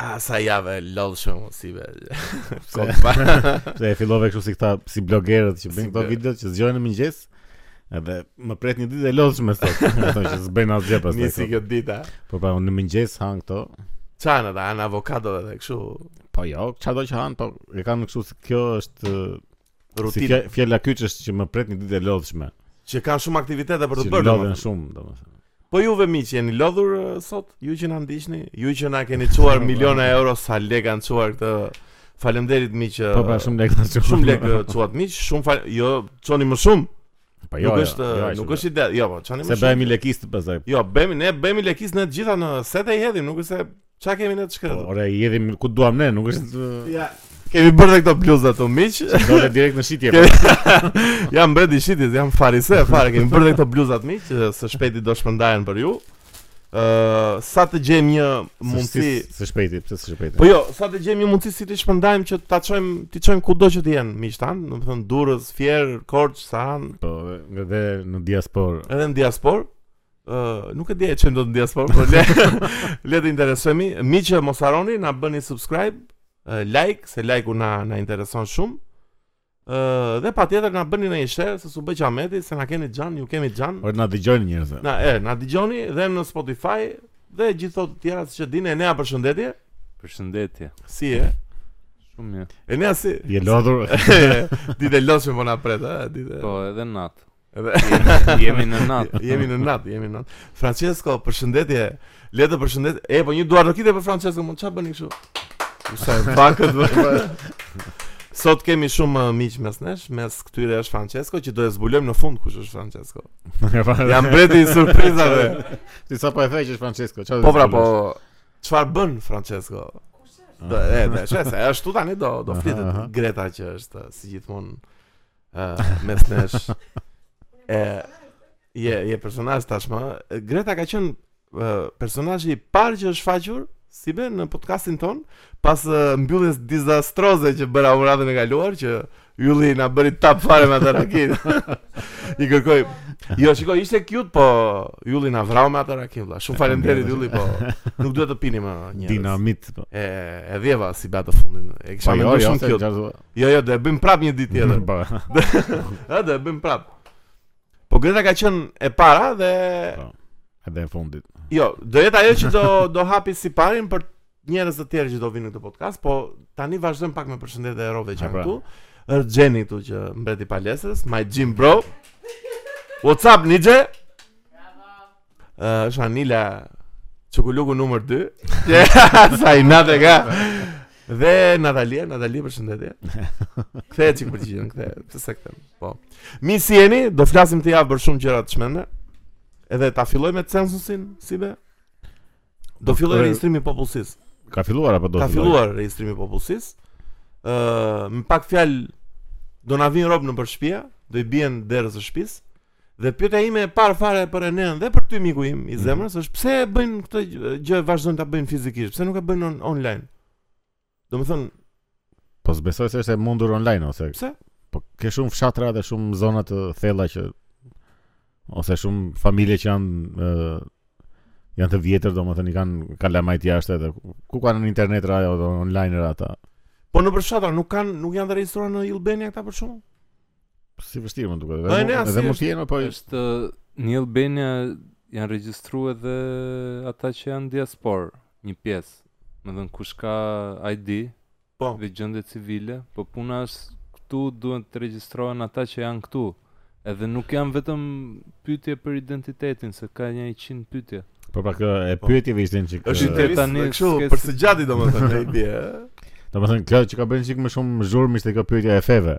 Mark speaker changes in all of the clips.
Speaker 1: A, Sa jave lodhë shumë si be Kot pa
Speaker 2: Se e fillove kështu si këta si blogerët që bëjnë
Speaker 1: Si
Speaker 2: këto
Speaker 1: blo-
Speaker 2: videot që zgjohen në mëngjes. Edhe më pret një ditë e lodhshme sot. Do të thonë që s'bën asgjë pastaj.
Speaker 1: Nisi
Speaker 2: sot.
Speaker 1: kjo dita
Speaker 2: Po pra unë në mëngjes han këto.
Speaker 1: Qanë ata, anë avokado dhe këshu
Speaker 2: Po jo, çado që han, po e kanë kështu se kjo është si
Speaker 1: Rutinë
Speaker 2: fja- fjala kyç është që më pret një ditë e lodhshme.
Speaker 1: Që kanë shumë aktivitete për
Speaker 2: Që
Speaker 1: të bërë
Speaker 2: lodhen
Speaker 1: domethënë.
Speaker 2: shumë, domethënë.
Speaker 1: Po juve miq, jeni lodhur eh, sot? Ju që na ndiqni, ju që na keni çuar miliona euro sa lek kanë çuar këtë. Faleminderit miq. eh,
Speaker 2: Po pra shumë lek tash.
Speaker 1: shumë lek eh, çuat miq, shumë fal... jo çoni më shumë.
Speaker 2: Po
Speaker 1: Jo,
Speaker 2: jo.
Speaker 1: nuk
Speaker 2: jo,
Speaker 1: është
Speaker 2: jo,
Speaker 1: nuk
Speaker 2: shumë
Speaker 1: është ide. Jo, po çoni
Speaker 2: lek.
Speaker 1: më
Speaker 2: se
Speaker 1: shumë.
Speaker 2: bëhemi lekist pastaj.
Speaker 1: Jo, bëhemi ne bëhemi lekis ne të gjitha në sete i hedhim, nuk është se çka kemi ne të
Speaker 2: Po,
Speaker 1: shkretë.
Speaker 2: Ore, i jedhim ku duam ne, nuk është
Speaker 1: Ja. Kemi bërë dhe këto bluzat këtu miq.
Speaker 2: dole direkt në shitje. po pra,
Speaker 1: Kemi- jam bredi shitit, jam farise, fare kemi bërë dhe këto bluzat miq, që së shpejti do shpërndahen për ju. Ë, sa të gjejmë një mundësi
Speaker 2: së shpejti, pse së shpejti.
Speaker 1: Po jo, sa të gjejmë një mundësi si të shpërndajmë që ta çojmë, ti çojmë kudo që të jenë miq tan, do të thënë Durrës, Fier, Korç, Sahan,
Speaker 2: Po, dhe- dhe në diasporë.
Speaker 1: edhe në diaspor. Ë, nuk e di e çojmë dot në diaspor, por le le të interesohemi. Miqë mos harroni na bëni subscribe, ë, like, se like-u na na intereson shumë. Ë, dhe patjetër na bëni një share se su bëj Ahmeti, se na keni xhan, ju kemi xhan.
Speaker 2: Por na dëgjojnë njerëz.
Speaker 1: Na e, na dëgjoni dhe në Spotify dhe gjithë ato të tjera që dini e nea përshëndetje.
Speaker 3: Përshëndetje.
Speaker 1: Si e?
Speaker 3: Shumë mirë.
Speaker 1: E nea si?
Speaker 2: Je lodhur.
Speaker 1: Ditë lodhshme po na pret, a ditë.
Speaker 3: Po, edhe natë.
Speaker 1: Edhe- Jo,
Speaker 3: Jemi në natë.
Speaker 1: jemi në natë, jemi në natë. Francesco, përshëndetje. Le të përshëndet. E po një duar do kite për Francesco, më çfarë bëni kështu? Sa e bakët bë. Sot kemi shumë uh, miq mes nesh, mes këtyre është Francesco që do e zbulojmë në fund kush është Francesco. Jam breti i surprizave.
Speaker 2: Ti sa po e the që është Francesco, çfarë?
Speaker 1: Po pra, po çfarë bën Francesco? Do, e, do, shesa, e ashtu tani do, do
Speaker 2: Aha, aha.
Speaker 1: flitet Greta që është uh, si gjithmonë uh, mes nesh. E, je, je personazh tashmë. Greta ka qenë uh, personazhi i parë që është faqur si be në podcastin ton pas uh, mbylljes dizastroze që bëra uratën e kaluar që Ylli na bëri tap fare me atë rakin. I kërkoj. Jo, shikoj, ishte cute, po Ylli na vrau me atë rakin. vlla. Shumë faleminderit Ylli, po nuk duhet të pini më njerëz.
Speaker 2: dinamit. po.
Speaker 1: E, e dhjeva si be atë fundin. E
Speaker 2: Po
Speaker 1: kisha
Speaker 2: jo,
Speaker 1: menduar
Speaker 2: jo,
Speaker 1: shumë
Speaker 2: se
Speaker 1: cute.
Speaker 2: çfarë?
Speaker 1: Jo, jo, do e bëjmë prap një ditë tjetër.
Speaker 2: Po. Mm-hmm.
Speaker 1: Ë, do e bëjmë prap. Po Greta ka qenë e para dhe
Speaker 2: Po. Edhe e fundit.
Speaker 1: jo, do jetë ajo që do do hapi si parin për njerëz të tjerë që do vinë në këtë podcast, po tani vazhdojmë pak me përshëndetjet e rove që
Speaker 2: Ha,
Speaker 1: janë
Speaker 2: pra.
Speaker 1: këtu. Është Jenny këtu që mbreti palesës, my gym bro. What's up Nije? Bravo. Ë, është Anila Çukuluku numër 2. Sa i natë ka. Dhe Natalia, Natalia përshëndetje. Kthehet çik përgjigjen, kthehet. Pse kthem? Po. Mi si jeni? Do flasim të javë për shumë gjëra të shmenda. Edhe ta filloj me censusin, si be? Do filloj
Speaker 2: kërë-
Speaker 1: regjistrimi i popullsisë.
Speaker 2: Ka filluar apo do?
Speaker 1: Ka
Speaker 2: të filloj?
Speaker 1: filluar regjistrimi i popullsisë. Ë, me pak fjalë do na vinë rob në për shtëpi, do i bien derës së shtëpisë. Dhe pyetja ime e parë fare për Enën dhe për ty miku im
Speaker 3: Mhm.
Speaker 1: i zemrës është pse e bëjnë këtë gjë- gjë vazhdojnë ta bëjnë fizikisht, pse nuk e bëjnë on online? Domethënë,
Speaker 2: Po s'besoj se është e mundur online ose.
Speaker 1: Pse?
Speaker 2: Po ke shumë fshatra dhe shumë zona të thella që ose shumë familje që janë ë, janë të vjetër, domethënë i kanë kalamajt jashtë edhe ku- ku kanë në internet ra ose online ra ata.
Speaker 1: po në përshatra nuk kanë nuk janë të regjistruar në Albania këta për shkakun?
Speaker 2: Si vështirë më duket.
Speaker 1: Po, e
Speaker 2: Edhe,
Speaker 1: nea,
Speaker 2: mu-
Speaker 1: si
Speaker 2: edhe mund
Speaker 1: është?
Speaker 2: të jenë po
Speaker 3: është në Albania janë regjistruar edhe ata që janë diaspor, një pjesë. Më dhënë kush ka ID
Speaker 1: Po.
Speaker 3: dhe gjëndje civile, po puna është këtu duhet të regjistrohen ata që janë këtu. Edhe nuk janë vetëm pyetje për identitetin, se ka një 100 pyetje.
Speaker 2: Po pra kë e
Speaker 1: Po.
Speaker 2: pyetjeve ishte një çik.
Speaker 1: Është
Speaker 2: ë,
Speaker 1: intervistë
Speaker 3: tani
Speaker 1: tani kështu
Speaker 3: s'ke
Speaker 1: për
Speaker 3: si-
Speaker 1: së gjati domethënë ai bie. ë?
Speaker 2: Domethënë kjo që ka bërë një çik më shumë zhurmë ishte kjo pyetja e feve.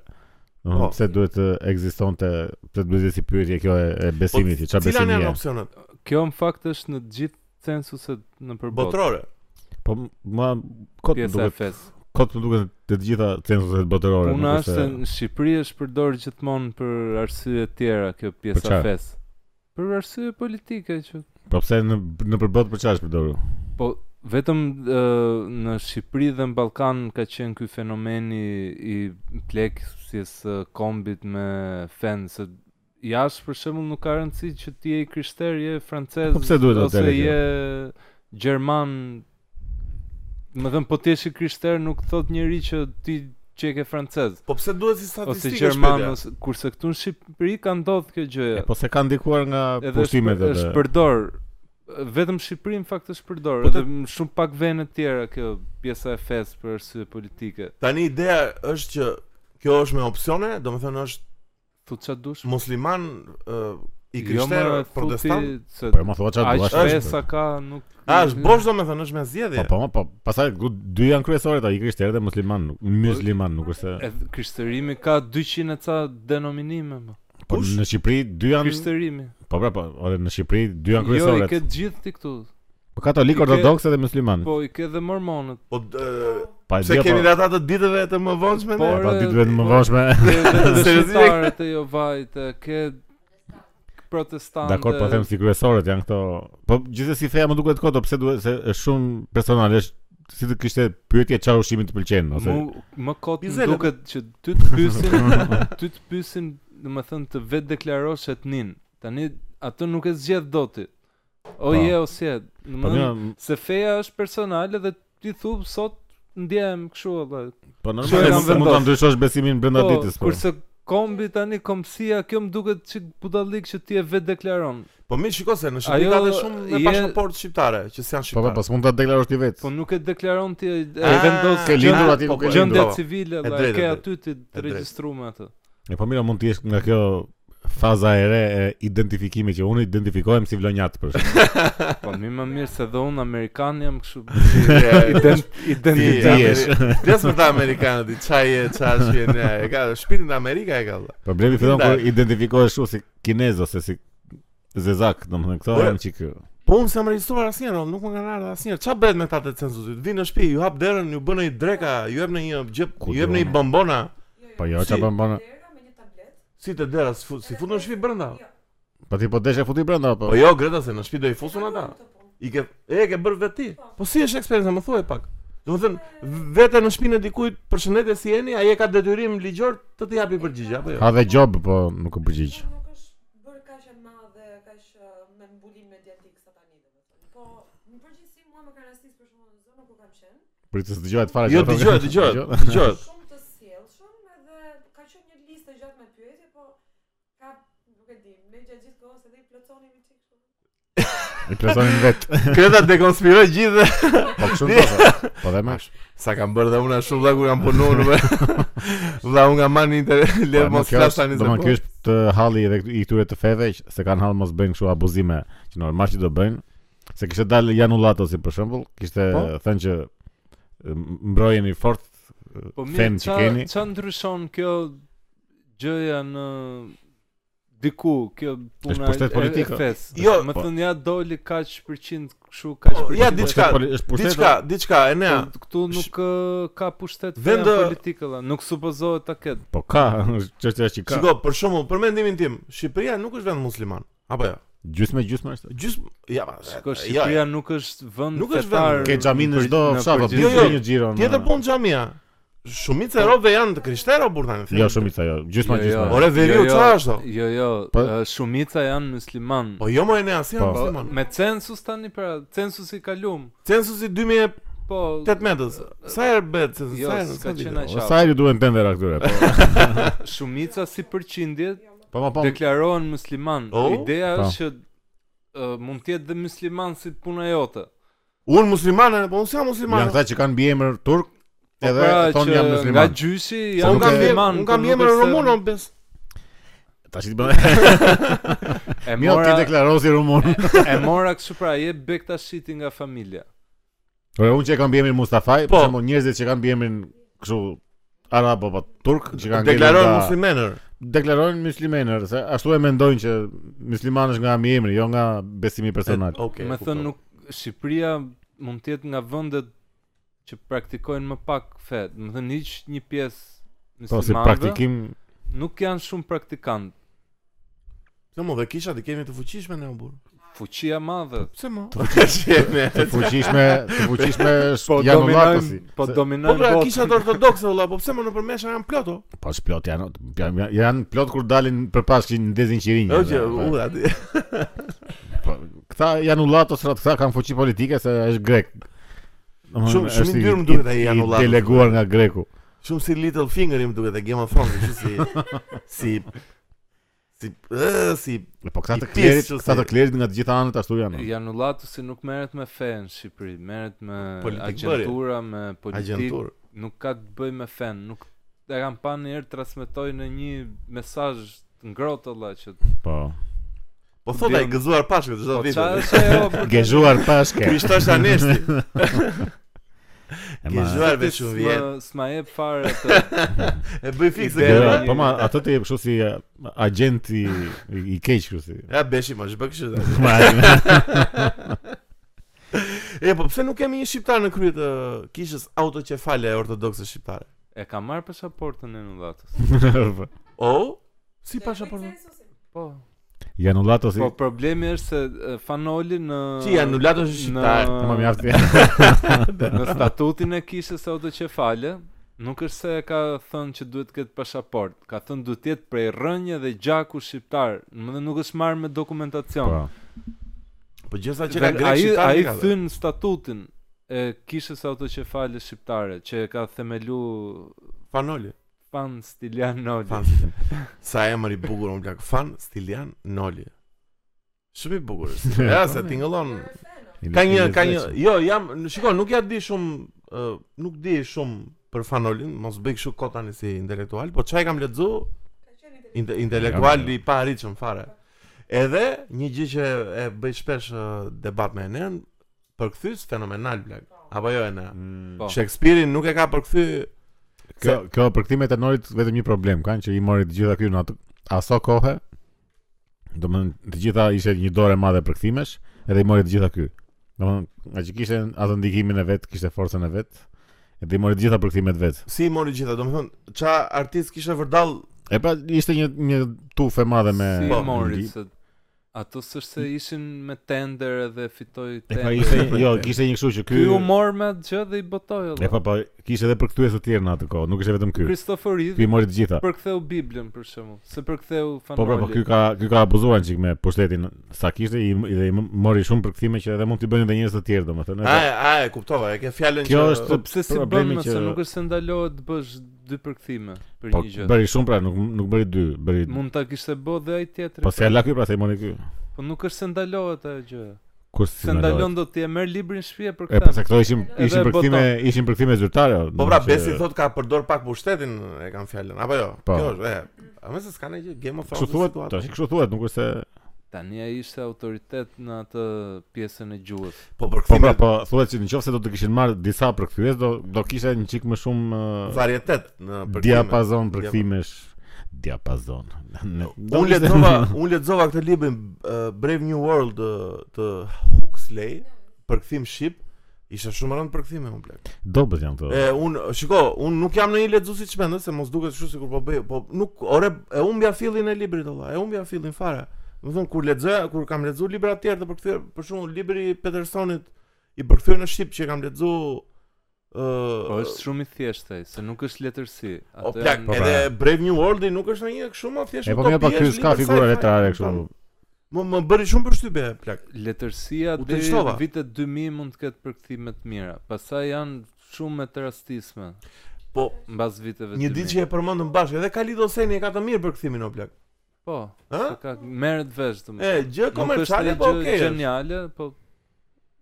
Speaker 1: Po.
Speaker 2: Domethënë pse duhet të ekzistonte, pse duhet të si pyetje kjo e, e
Speaker 1: Po,
Speaker 2: besimit, që çfarë
Speaker 1: Cilat
Speaker 2: besimi
Speaker 1: janë
Speaker 2: je?
Speaker 1: opsionet
Speaker 3: Kjo në fakt është në të gjithë censuset në përbot,
Speaker 1: botërore?
Speaker 2: Po më kot më
Speaker 3: pjesa e
Speaker 2: duket,
Speaker 3: fes.
Speaker 2: kot më duket të gjitha censuset botërore.
Speaker 3: Puna
Speaker 2: nuk
Speaker 3: është se në Shqipëri është përdorë gjithmonë për arsye tjera kjo
Speaker 2: Për
Speaker 3: pjesa
Speaker 2: çfarë?
Speaker 3: fes. Për arsye politike që
Speaker 2: Po pse në në përbot për çfarë është përdorur?
Speaker 3: po Vetëm ë, në Shqipëri dhe në Ballkan ka qenë ky fenomen i, i pleksis së kombit me fen se jashtë për shembull nuk ka rëndësi që ti je krishter, je francez
Speaker 2: Po pse duhet
Speaker 3: ose
Speaker 2: atëherë kjo?
Speaker 3: je gjerman. Më thënë, po ti je krishter nuk thot njëri që ti që je ke francez
Speaker 1: Po pse duhet si
Speaker 3: ose
Speaker 1: statistikë
Speaker 3: gjerman
Speaker 1: shpejt?
Speaker 3: ose kurse këtu në Shqipëri ka ndodhur kjo gjë
Speaker 2: E, po se ka ndikuar nga pushtimet
Speaker 3: është,
Speaker 2: edhe.
Speaker 3: është përdor vetëm Shqipëri në fakt është përdor
Speaker 1: Po
Speaker 3: edhe
Speaker 1: të-
Speaker 3: në shumë pak vene të tjera kjo pjesa e fesë për arsye politike.
Speaker 1: Tani ideja është që kjo është me opsione, domethënë është
Speaker 3: Thu ç'a dush?
Speaker 1: musliman ë, i
Speaker 3: Jo, më
Speaker 1: krishter
Speaker 3: thu ti
Speaker 1: protestant.
Speaker 3: se
Speaker 2: Po e më thua çfarë
Speaker 3: aq
Speaker 2: duash.
Speaker 3: fesa ka nuk
Speaker 1: A është bosh domethënë është me
Speaker 2: Po
Speaker 1: zgjedhje.
Speaker 2: po, po, pastaj gu- dy janë kryesore ta, i krishterë dhe musliman,
Speaker 3: Po,
Speaker 2: nuk- musliman, nuk është se
Speaker 3: Edhe krishterimi ka 200 e ca denominime më.
Speaker 2: po
Speaker 1: kush?
Speaker 2: në Shqipëri dy janë
Speaker 3: Krishterimi.
Speaker 2: po pra po, edhe në Shqipëri dy janë
Speaker 3: Jo, i
Speaker 2: kryesore.
Speaker 3: ke të gjithë ti këtu.
Speaker 2: Po katolik
Speaker 3: i ke-
Speaker 2: ortodoks edhe musliman.
Speaker 3: Po i ke dhe mormonët.
Speaker 1: Po ë,
Speaker 2: Pa
Speaker 1: pse
Speaker 2: dia po.
Speaker 1: kemi dhe ata të ditëve të më vonshme? ne?
Speaker 2: Po
Speaker 3: Por,
Speaker 2: pa
Speaker 3: e,
Speaker 2: ti duhet më
Speaker 3: po-
Speaker 2: voshme.
Speaker 3: Ke dhe dhe
Speaker 1: Seriozisht?
Speaker 3: shqiptarët e Jovajt, e ke protestante.
Speaker 2: Dakor, po them si kryesorët janë këto. Po gjithsesi feja më duket kodo, pse duhet se është shumë personal, është si të kishte pyetje çfarë ushqimi të pëlqen ose
Speaker 3: Mu, më kot më
Speaker 1: Bizele.
Speaker 3: duket që ty të pyesin, ty të pyesin, domethënë të vetë deklarosh etnin. Tani atë nuk e zgjedh dot ti. O
Speaker 2: Po.
Speaker 3: je o si je.
Speaker 2: Po mirë,
Speaker 3: Domethënë se feja është personale dhe ti thu sot ndjehem kështu valla.
Speaker 2: po
Speaker 3: Kështu
Speaker 2: normal
Speaker 3: e kam
Speaker 2: mund- mund ta
Speaker 3: vendosur.
Speaker 2: ndryshosh besimin brenda
Speaker 3: Po,
Speaker 2: ditës. Po.
Speaker 3: kurse kombi tani komsia, kjo më duket çik budallik që ti e vetë deklaron.
Speaker 1: Po mirë, shiko se në Shqipëri ka
Speaker 3: Ajo
Speaker 1: dhe shumë me
Speaker 3: je-
Speaker 1: pasaportë shqiptare që s'janë
Speaker 2: Po po,
Speaker 1: shqiptare.
Speaker 2: pas mund ta deklarosh ti vetë.
Speaker 3: Po nuk e deklaron ti e e
Speaker 1: Ah,
Speaker 3: vendos
Speaker 2: Ke lindur
Speaker 1: gjë-
Speaker 2: aty
Speaker 1: po,
Speaker 2: ku ke
Speaker 1: gjë-
Speaker 2: lindur.
Speaker 3: gjendja
Speaker 1: bravo.
Speaker 3: civile,
Speaker 1: E
Speaker 3: valla, e
Speaker 1: drejtë,
Speaker 3: ke
Speaker 1: e drejtë.
Speaker 3: aty ti të
Speaker 1: drejtë.
Speaker 3: regjistruar me atë.
Speaker 2: E po mira mund të jesh nga kjo faza e re e identifikimit që unë identifikohem si vlonjat për shkak.
Speaker 3: Po mi më mirë se dhe unë amerikan jam kështu
Speaker 1: Je-
Speaker 2: Ti
Speaker 1: Ti
Speaker 2: jesh.
Speaker 1: Flas për ta amerikanët, i çaj e çash që ne e ka shpirtin e Amerika e ka. valla.
Speaker 2: Problemi fillon kur
Speaker 1: Ndaj.
Speaker 2: identifikohesh kështu si kinez ose si zezak, domethënë këto
Speaker 1: Po,
Speaker 2: janë çik.
Speaker 1: Po unë s'jam regjistruar asnjëherë, nuk më kanë ardhur asnjëherë. Ç'a bëhet me ta të censusit? Vinë në shtëpi, ju hap derën, ju bën një dreka, ju jep në një gjep,
Speaker 2: Ku
Speaker 1: ju jep në
Speaker 2: do?
Speaker 1: një bombona,
Speaker 2: Po jo,
Speaker 1: Si?
Speaker 2: çfarë bën bën.
Speaker 1: si të dera, s'fu- si fut në shtëpi brenda.
Speaker 4: Jo,
Speaker 2: Po ti po desh e futi brenda po.
Speaker 1: Po jo, Greta, se në shtëpi do i fusun ata.
Speaker 4: po,
Speaker 1: I ke e ke bërë vetë ti. Po si është eksperjenca, më thuaj pak. Domethënë, vetë në shtëpinë e dikujt, përshëndetje si jeni, ai e ka detyrim ligjor të të japi përgjigje apo jo?
Speaker 2: Ka dhe job, po nuk u përgjigj.
Speaker 4: Nuk është bërë kaq e madhe, kaq ë, me mbulim mediatik sa tani domethënë. Po në përgjithësi mua më kanë rastis për shkakun në zonë ku kam qenë,
Speaker 2: Pritës dëgjohet Po fare.
Speaker 1: Jo,
Speaker 2: që-
Speaker 1: dëgjohet, dëgjohet, dëgjohet.
Speaker 4: shumë të sjellshëm edhe ka qenë një listë gjatë me pyetje, po ka nuk e di, me gjatë gjithë kohës edhe i plotsonin me çik kështu.
Speaker 2: I plesonin vetë.
Speaker 1: Greta dekonspiroi gjithë.
Speaker 2: Po kështu do. po. Po dhe më.
Speaker 1: Sa kam bërë dhe unë shumë dha kur jam punuar me. Vlla unë nga mani inter le
Speaker 2: Po,
Speaker 1: mos
Speaker 2: kjo
Speaker 1: flas
Speaker 2: është-
Speaker 1: tani se.
Speaker 2: domethënë,
Speaker 1: po.
Speaker 2: kjo është të halli edhe këtu- i këtyre të feve që se kanë hall mos bëjnë kështu abuzime që normal që do bëjnë. Se kishte dalë Janullato si për shembull, kishte
Speaker 1: Po.
Speaker 2: thënë që e, m- mbrojeni fort e,
Speaker 3: Po mirë,
Speaker 2: fen që
Speaker 3: qa-
Speaker 2: keni.
Speaker 3: Qa ndryshon kjo gjëja në diku, kjo puna
Speaker 2: pushtet politike.
Speaker 3: fes.
Speaker 1: Jo,
Speaker 3: më
Speaker 2: po.
Speaker 3: thënë ja doli kaq përqind kështu kaq
Speaker 1: Po,
Speaker 3: përqind.
Speaker 1: ja,
Speaker 3: kështu.
Speaker 1: diçka,
Speaker 2: Është poli- është pushtet.
Speaker 1: Diçka, diçka e nea.
Speaker 3: Po, Këtu nuk ë, ka pushtet feja
Speaker 1: Vendë-
Speaker 3: politike, la, nuk supozohet ta ketë.
Speaker 2: Po ka, është çështja që ka.
Speaker 1: Shiko, për shembull, për mendimin tim, Shqipëria nuk është vend musliman. Apo jo?
Speaker 2: Gjysmë gjysmë është.
Speaker 1: Gjys ja, ma, jo,
Speaker 3: Shiko, Shqipëria nuk është vend
Speaker 1: Nuk është
Speaker 3: fetar
Speaker 1: vend.
Speaker 2: Ke xhamin në
Speaker 3: për-
Speaker 2: çdo
Speaker 3: në
Speaker 2: fshat,
Speaker 3: përgjithësi.
Speaker 1: Jo, jo.
Speaker 2: një xhiro. në-
Speaker 1: Tjetër
Speaker 3: po-
Speaker 1: punë xhamia. Shumica e robëve janë të krishterë o burtani.
Speaker 2: Po. Jo shumica jo, gjysma gjysma.
Speaker 1: Ore, veriu, qa është, o?
Speaker 3: Jo, jo,
Speaker 2: Po-
Speaker 3: ë, shumica janë musliman.
Speaker 1: Po jo më e nea, si janë
Speaker 2: Po.
Speaker 1: musliman.
Speaker 3: Me census tani pra, censusi kalum.
Speaker 1: Censusi 2018-s.
Speaker 3: Po,
Speaker 1: Sa herë bëhet censusi?
Speaker 3: Jo,
Speaker 1: Sa herë?
Speaker 3: s'ka
Speaker 1: sa vite?
Speaker 3: qenë
Speaker 2: O, Po, Sa i duhen tendera këtyre? po.
Speaker 3: shumica si përqindje
Speaker 2: Po po po.
Speaker 3: deklarohen musliman.
Speaker 1: O?
Speaker 3: Ideja
Speaker 2: Po.
Speaker 3: është që ë, mund të jetë dhe musliman si puna jote.
Speaker 1: Unë musliman, e, po unë jam
Speaker 2: Janë
Speaker 1: musliman.
Speaker 2: këta që kanë biemër turk
Speaker 3: Po
Speaker 2: edhe
Speaker 3: pra
Speaker 2: thonë
Speaker 3: që
Speaker 2: jam
Speaker 3: Nga
Speaker 2: musliman.
Speaker 3: gjyshi
Speaker 1: Se
Speaker 3: janë
Speaker 1: Unë kam
Speaker 3: musliman.
Speaker 1: vjemë, unë kam
Speaker 3: po nuk
Speaker 1: vjemë
Speaker 3: është se-
Speaker 1: rumun, o bes.
Speaker 2: Tash ti bën.
Speaker 3: E
Speaker 2: Mirë Jo, ti
Speaker 3: mora
Speaker 2: deklaro si rumun.
Speaker 3: e mora kështu pra, je bektashiti nga familja.
Speaker 2: Ore unë që e kam biemrin Mustafaj,
Speaker 1: Po.
Speaker 2: për shembull njerëzit që kanë biemrin kështu arab apo turk që kanë
Speaker 1: Deklaron
Speaker 2: ngelur nga-
Speaker 1: muslimener.
Speaker 2: deklarojnë muslimaner, se ashtu e mendojnë që musliman është nga emri, jo nga besimi personal.
Speaker 1: Okej.
Speaker 3: Me
Speaker 1: kuptova.
Speaker 3: thënë nuk Shqipëria mund të jetë nga vendet që praktikojnë më pak fe. Do të thënë hiç një pjesë
Speaker 2: Po si
Speaker 3: muslimanëve
Speaker 2: praktikim
Speaker 3: nuk janë shumë praktikantë.
Speaker 1: Jo, mo dhe kisha ti kemi të fuqishme në burr.
Speaker 3: fuqia e madhe.
Speaker 1: Pse mo? Shemi.
Speaker 2: Të fuqishme, të fuqishme
Speaker 3: Po
Speaker 2: janë
Speaker 3: dominojmë, po
Speaker 1: Po
Speaker 3: dominojmë
Speaker 1: pra
Speaker 3: botën.
Speaker 1: kisha të ortodokse vëlla, po pse më nëpër mesha janë ploto?
Speaker 2: Po plot janë, janë, janë plot kur dalin përpas që ndezin qirinj.
Speaker 1: Jo që u aty.
Speaker 2: Po, këta janë ullatos, ra, këta kanë fuqi politike se është grek. Domethënë,
Speaker 1: Shumë- shumë i
Speaker 2: është
Speaker 1: ndyrë më duket ai
Speaker 2: i
Speaker 1: janë ullatos.
Speaker 2: Deleguar nga greku.
Speaker 1: Shumë si Little Finger i më duket e Game of Thrones, kështu si si si ë, si
Speaker 2: E, Po këta
Speaker 1: I
Speaker 2: të klerit,
Speaker 1: pjesë që
Speaker 2: këta
Speaker 1: se-
Speaker 2: të klerit nga të gjitha anët ashtu janë.
Speaker 1: Po.
Speaker 3: Janulatusi nuk merret me fe në Shqipëri, merret me
Speaker 1: Politikbërje.
Speaker 3: agjentura, me politikë,
Speaker 1: agjentur.
Speaker 3: nuk ka të bëj me fen, nuk e kam pa një herë transmetoj në një mesazh të ngrohtë valla që
Speaker 2: Po.
Speaker 1: Po thotë ai gëzuar pashkët çdo
Speaker 3: po
Speaker 1: vit.
Speaker 3: çfarë është ajo? bërë?
Speaker 2: Gezhuar pashke.
Speaker 1: Krishtosh anesti.
Speaker 2: E, ma-
Speaker 1: Gezhuar vetë
Speaker 3: Ti
Speaker 1: shumë
Speaker 3: s'ma-
Speaker 1: vjet.
Speaker 3: po, S'ma jep fare të
Speaker 1: E bëj fikse
Speaker 3: Ide-
Speaker 1: gjëra.
Speaker 2: Po ma ato të jep kështu si e, agent i i keq kështu si.
Speaker 1: Ja beshi më zhbë kështu.
Speaker 2: Ma-
Speaker 1: E po pse nuk kemi një shqiptar në krye të kishës autoqefale ortodokse shqiptare?
Speaker 3: e ka marr pasaportën e Janullatës.
Speaker 1: O, si
Speaker 4: Dhe
Speaker 1: pashaportë?
Speaker 4: make sense ose?
Speaker 3: Po.
Speaker 2: Janë ullatos si.
Speaker 3: Po problemi është se e, fanoli në
Speaker 1: Që janë nulatë është shqiptar.
Speaker 2: Po ma mjaft.
Speaker 3: Në statutin e kishës së autoqefale, nuk është se ka thënë që duhet të ketë pasaport, ka thënë duhet të jetë prej rënje dhe gjaku shqiptar, më dhe nuk është marrë me dokumentacion.
Speaker 2: Po.
Speaker 1: Po gjësa që
Speaker 3: Dhe
Speaker 1: ka grek
Speaker 3: ai
Speaker 1: shqiptar.
Speaker 3: ai
Speaker 1: nuk ka dhe.
Speaker 3: thyn statutin e kishës së autoqefale shqiptare që e ka themelu
Speaker 1: Fanoli.
Speaker 3: Pan Stilian Noli.
Speaker 1: Fan. Sa emër i bukur unë plak. Fan Stilian Noli. Shumë i bukur. është. Ja, se tingëllon.
Speaker 4: Dhe fan, ose?
Speaker 1: Ka një ka një jo, jam shikoj, nuk ja di shumë ë, nuk di shumë për Fanolin, mos bëj kështu kot tani si intelektual, po çaj kam lexu
Speaker 4: Ka qenë inteligent.
Speaker 1: inte, intelektual i pa arritshëm fare. Edhe një gjë që e bëj shpesh ë, debat me Enen, përkthys fenomenal plak. Apo jo Enen.
Speaker 2: Mm,
Speaker 3: Po.
Speaker 1: Shakespeare-in nuk e ka përkthy
Speaker 2: Kjo kjo përkthimet e Norit vetëm një problem kanë që i mori të gjitha këtu në atë aso kohë. Domethënë të gjitha ishte një dorë e madhe përkthimesh, edhe i mori të gjitha ky. Domethënë nga që kishte atë ndikimin e vet, kishte forcën e vet, edhe i mori të gjitha përkthimet vet.
Speaker 1: si i mori gjitha, domethënë ça artist kishte vërdall
Speaker 2: E pra ishte një një tufë e madhe me
Speaker 3: Si
Speaker 1: Po.
Speaker 3: e mori se ato s'është se ishin me tender edhe fitoi
Speaker 2: E pa
Speaker 3: tender.
Speaker 2: ishte jo, kishte një kështu që ky
Speaker 3: Ky u mor me atë gjë dhe i botoi.
Speaker 2: E
Speaker 3: valla.
Speaker 2: pa po kishte edhe përkthyeset të tjerë në atë kohë, nuk ishte vetëm ky.
Speaker 3: Christopher Reeve
Speaker 2: Ky i mori të gjitha.
Speaker 3: përktheu Biblën për shembull, se përktheu Fanoli.
Speaker 2: Po pra, po ky ka ky ka abuzuar çik me pushtetin sa kishte i, dhe i mori shumë përkthime që edhe mund t'i bënin edhe njerëz të tjerë domethënë.
Speaker 1: A, e- a, e kuptova, e ke fjalën që
Speaker 2: Kjo është
Speaker 3: Po pse si bën
Speaker 2: problemi
Speaker 3: më
Speaker 2: që-
Speaker 3: se nuk është se ndalohet të bësh dy përkthime për
Speaker 2: Po
Speaker 3: një gjë.
Speaker 2: bëri shumë pra, nuk nuk bëri dy, bëri
Speaker 3: Mund ta kishte bë dhe ai tjetri.
Speaker 2: Po se ala ky pra se i mori ky.
Speaker 3: po nuk është se ndalohet ajo gjë.
Speaker 2: Kur si
Speaker 3: Se
Speaker 2: ndalon.
Speaker 3: ndalon do të e merr librin në shtëpi për
Speaker 2: E
Speaker 3: këtë.
Speaker 2: pse këto ishin
Speaker 3: Edhe
Speaker 2: ishin përkthime, ishin përkthime zyrtare. o,
Speaker 1: Po pra
Speaker 2: domethënë
Speaker 1: Besi
Speaker 2: që-
Speaker 1: thot ka përdor pak pushtetin, e kanë fjalën. Apo jo?
Speaker 2: Po.
Speaker 1: Kjo është, e. A më se s'ka ne gjë Game of
Speaker 2: Kështu
Speaker 1: Thrones.
Speaker 2: thuhet,
Speaker 1: situatë.
Speaker 2: tash kështu thuhet, nuk është se
Speaker 3: Tani ai ishte autoritet në atë pjesën e gjuhës.
Speaker 1: Po për
Speaker 2: Po pra,
Speaker 1: kthimet
Speaker 2: po thuhet se nëse do të kishin marrë disa përkthyes, do do kishte një çik më shumë ë,
Speaker 1: varietet në për
Speaker 2: diapazon përkthimesh. Diapazon. Ne- do
Speaker 1: Unë
Speaker 2: kishte-
Speaker 1: lexova, unë lexova këtë libër uh, Brave New World uh, të Huxley, përkthim shqip, ishte shumë rënd përkthime unë plak.
Speaker 2: Dobët janë
Speaker 3: Po.
Speaker 2: këto.
Speaker 1: E unë shiko, unë nuk jam në një lexues i çmendës, se mos duket kështu sikur po bëj, po nuk ore e humbja fillin e librit valla, e humbja fillin fare. Do të thon kur lexoja, kur kam lexuar libra të tjerë të përkthyer, për shembull libri i Petersonit i përkthyer në shqip që kam lexuar ë
Speaker 3: Po është shumë i thjeshtë ai, se nuk është letërsi.
Speaker 1: O
Speaker 3: Atë
Speaker 1: plak,
Speaker 3: janë-
Speaker 2: Po, pra.
Speaker 1: edhe Brave New World nuk është ndonjë kështu më thjesht.
Speaker 2: E po mirë, po
Speaker 1: utopia,
Speaker 2: ky
Speaker 1: është
Speaker 2: s'ka
Speaker 1: libër
Speaker 2: figura
Speaker 1: sci-fi,
Speaker 2: letrare kështu.
Speaker 1: kupton? Më më bëri shumë përshtypje plak.
Speaker 3: letërsia
Speaker 1: U
Speaker 3: deri
Speaker 1: tërheqtova.
Speaker 3: në vitet 2000 mund të ketë përkthime të mira. Pastaj janë shumë me të rastisme
Speaker 1: Po
Speaker 3: mbas viteve
Speaker 1: një
Speaker 3: 2000.
Speaker 1: ditë që e përmendëm bashkë, edhe Khalid Hosseini e ka të mirë për kthimin o plak.
Speaker 3: Po,
Speaker 1: Ë?
Speaker 3: se ka merret vesh të
Speaker 1: E gjë
Speaker 3: Nuk
Speaker 1: komerciale
Speaker 3: është
Speaker 1: po
Speaker 3: një gjë
Speaker 1: okay. është.
Speaker 3: Geniale, po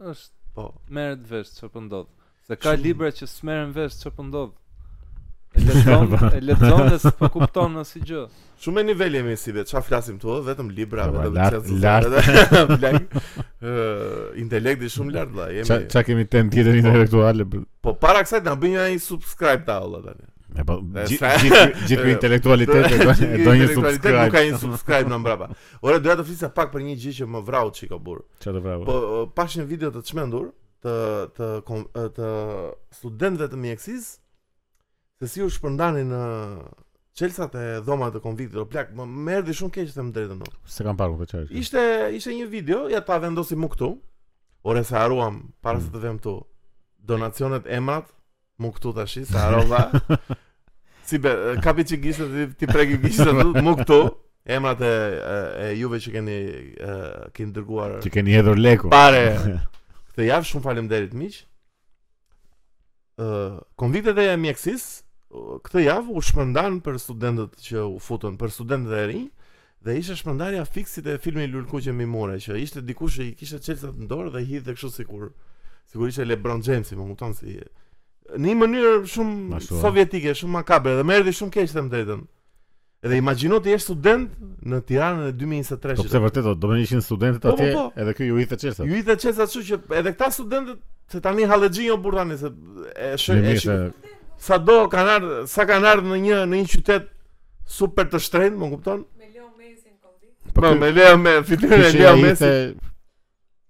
Speaker 3: është
Speaker 1: Po.
Speaker 3: merret vesh çfarë po ndodh. Se ka
Speaker 1: Shumë.
Speaker 3: libra që s'merren vesh çfarë po ndodh. E lexon, e lexon dhe s'po kupton asnjë gjë.
Speaker 1: Shumë e niveli jemi si vetë, çfarë flasim tu, ë, vetëm libra,
Speaker 2: Po, po,
Speaker 1: vetëm
Speaker 2: lart-
Speaker 1: qesu,
Speaker 2: lart.
Speaker 1: vetëm- plak. Ë, intelekti shumë lart valla,
Speaker 2: Qa,
Speaker 1: jemi.
Speaker 2: qa kemi temë tjetër intelektuale për...
Speaker 1: Po para kësaj na bën ai subscribe ta valla tani.
Speaker 2: E po,
Speaker 1: E,
Speaker 2: gjithë
Speaker 1: sa-
Speaker 2: gjithë- gjithë ky
Speaker 1: e,
Speaker 2: intelektualitet e do- e do një
Speaker 1: Intelektualitet Nuk ka
Speaker 2: subscribe.
Speaker 1: një subscribe në mbrapa. Ora doja të flisja pak për një gjë që më vrau çiko burr.
Speaker 2: Qa të bravo.
Speaker 1: Po uh, pash një video të çmendur të të kom- uh, të studentëve të mjekësisë se si u shpërndanin në Çelsat e dhomat të konviktit o plak, më më erdhi shumë keq të më drejtën. do.
Speaker 2: Se kam parë për çfarë. është.
Speaker 1: Ishte ishte një video, ja ta vendosim mu këtu. Ore se haruam para se të vem këtu. Donacionet emrat mu këtu tash, se harova. si be, kapi që gishtë ti, ti preki gishtë mu këtu. Emrat e, e, e juve që keni e, keni dërguar
Speaker 2: Që keni hedhur leku.
Speaker 1: Pare. Këtë javë shumë faleminderit miq. Ë, konviktet e mjekësisë ë, këtë javë u shpërndan për studentët që u futën, për studentët e rinj dhe ishte shpërndarja fiksit e filmit Lulkuqe Mimore që ishte dikush që i kishte çelësat në dorë dhe hidhte kështu sikur sikur ishte LeBron James, më kupton si në një mënyrë shumë
Speaker 2: Mashuar.
Speaker 1: sovjetike, shumë makabre dhe më erdhi shumë keq të drejtën. Edhe imagjino ti je student në Tiranën e 2023.
Speaker 2: Po pse vërtet do, do më ishin studentët
Speaker 1: Po, po,
Speaker 2: atje,
Speaker 1: po.
Speaker 2: edhe ky ju i the çelsa.
Speaker 1: Ju i të qesa kështu që edhe këta studentët se tani hallexhin jo burr tani se e shë e
Speaker 2: Mirë se
Speaker 1: shë sa do kanë ardhur sa kanë ardhur në një në një qytet super të shtrenjtë, më kupton?
Speaker 4: Me Leo Mesin kondik.
Speaker 2: po
Speaker 1: Po
Speaker 2: ky-
Speaker 1: me Leo me fytyrën e
Speaker 2: ky që
Speaker 1: Leo
Speaker 2: ai
Speaker 1: Messi.
Speaker 2: ishte-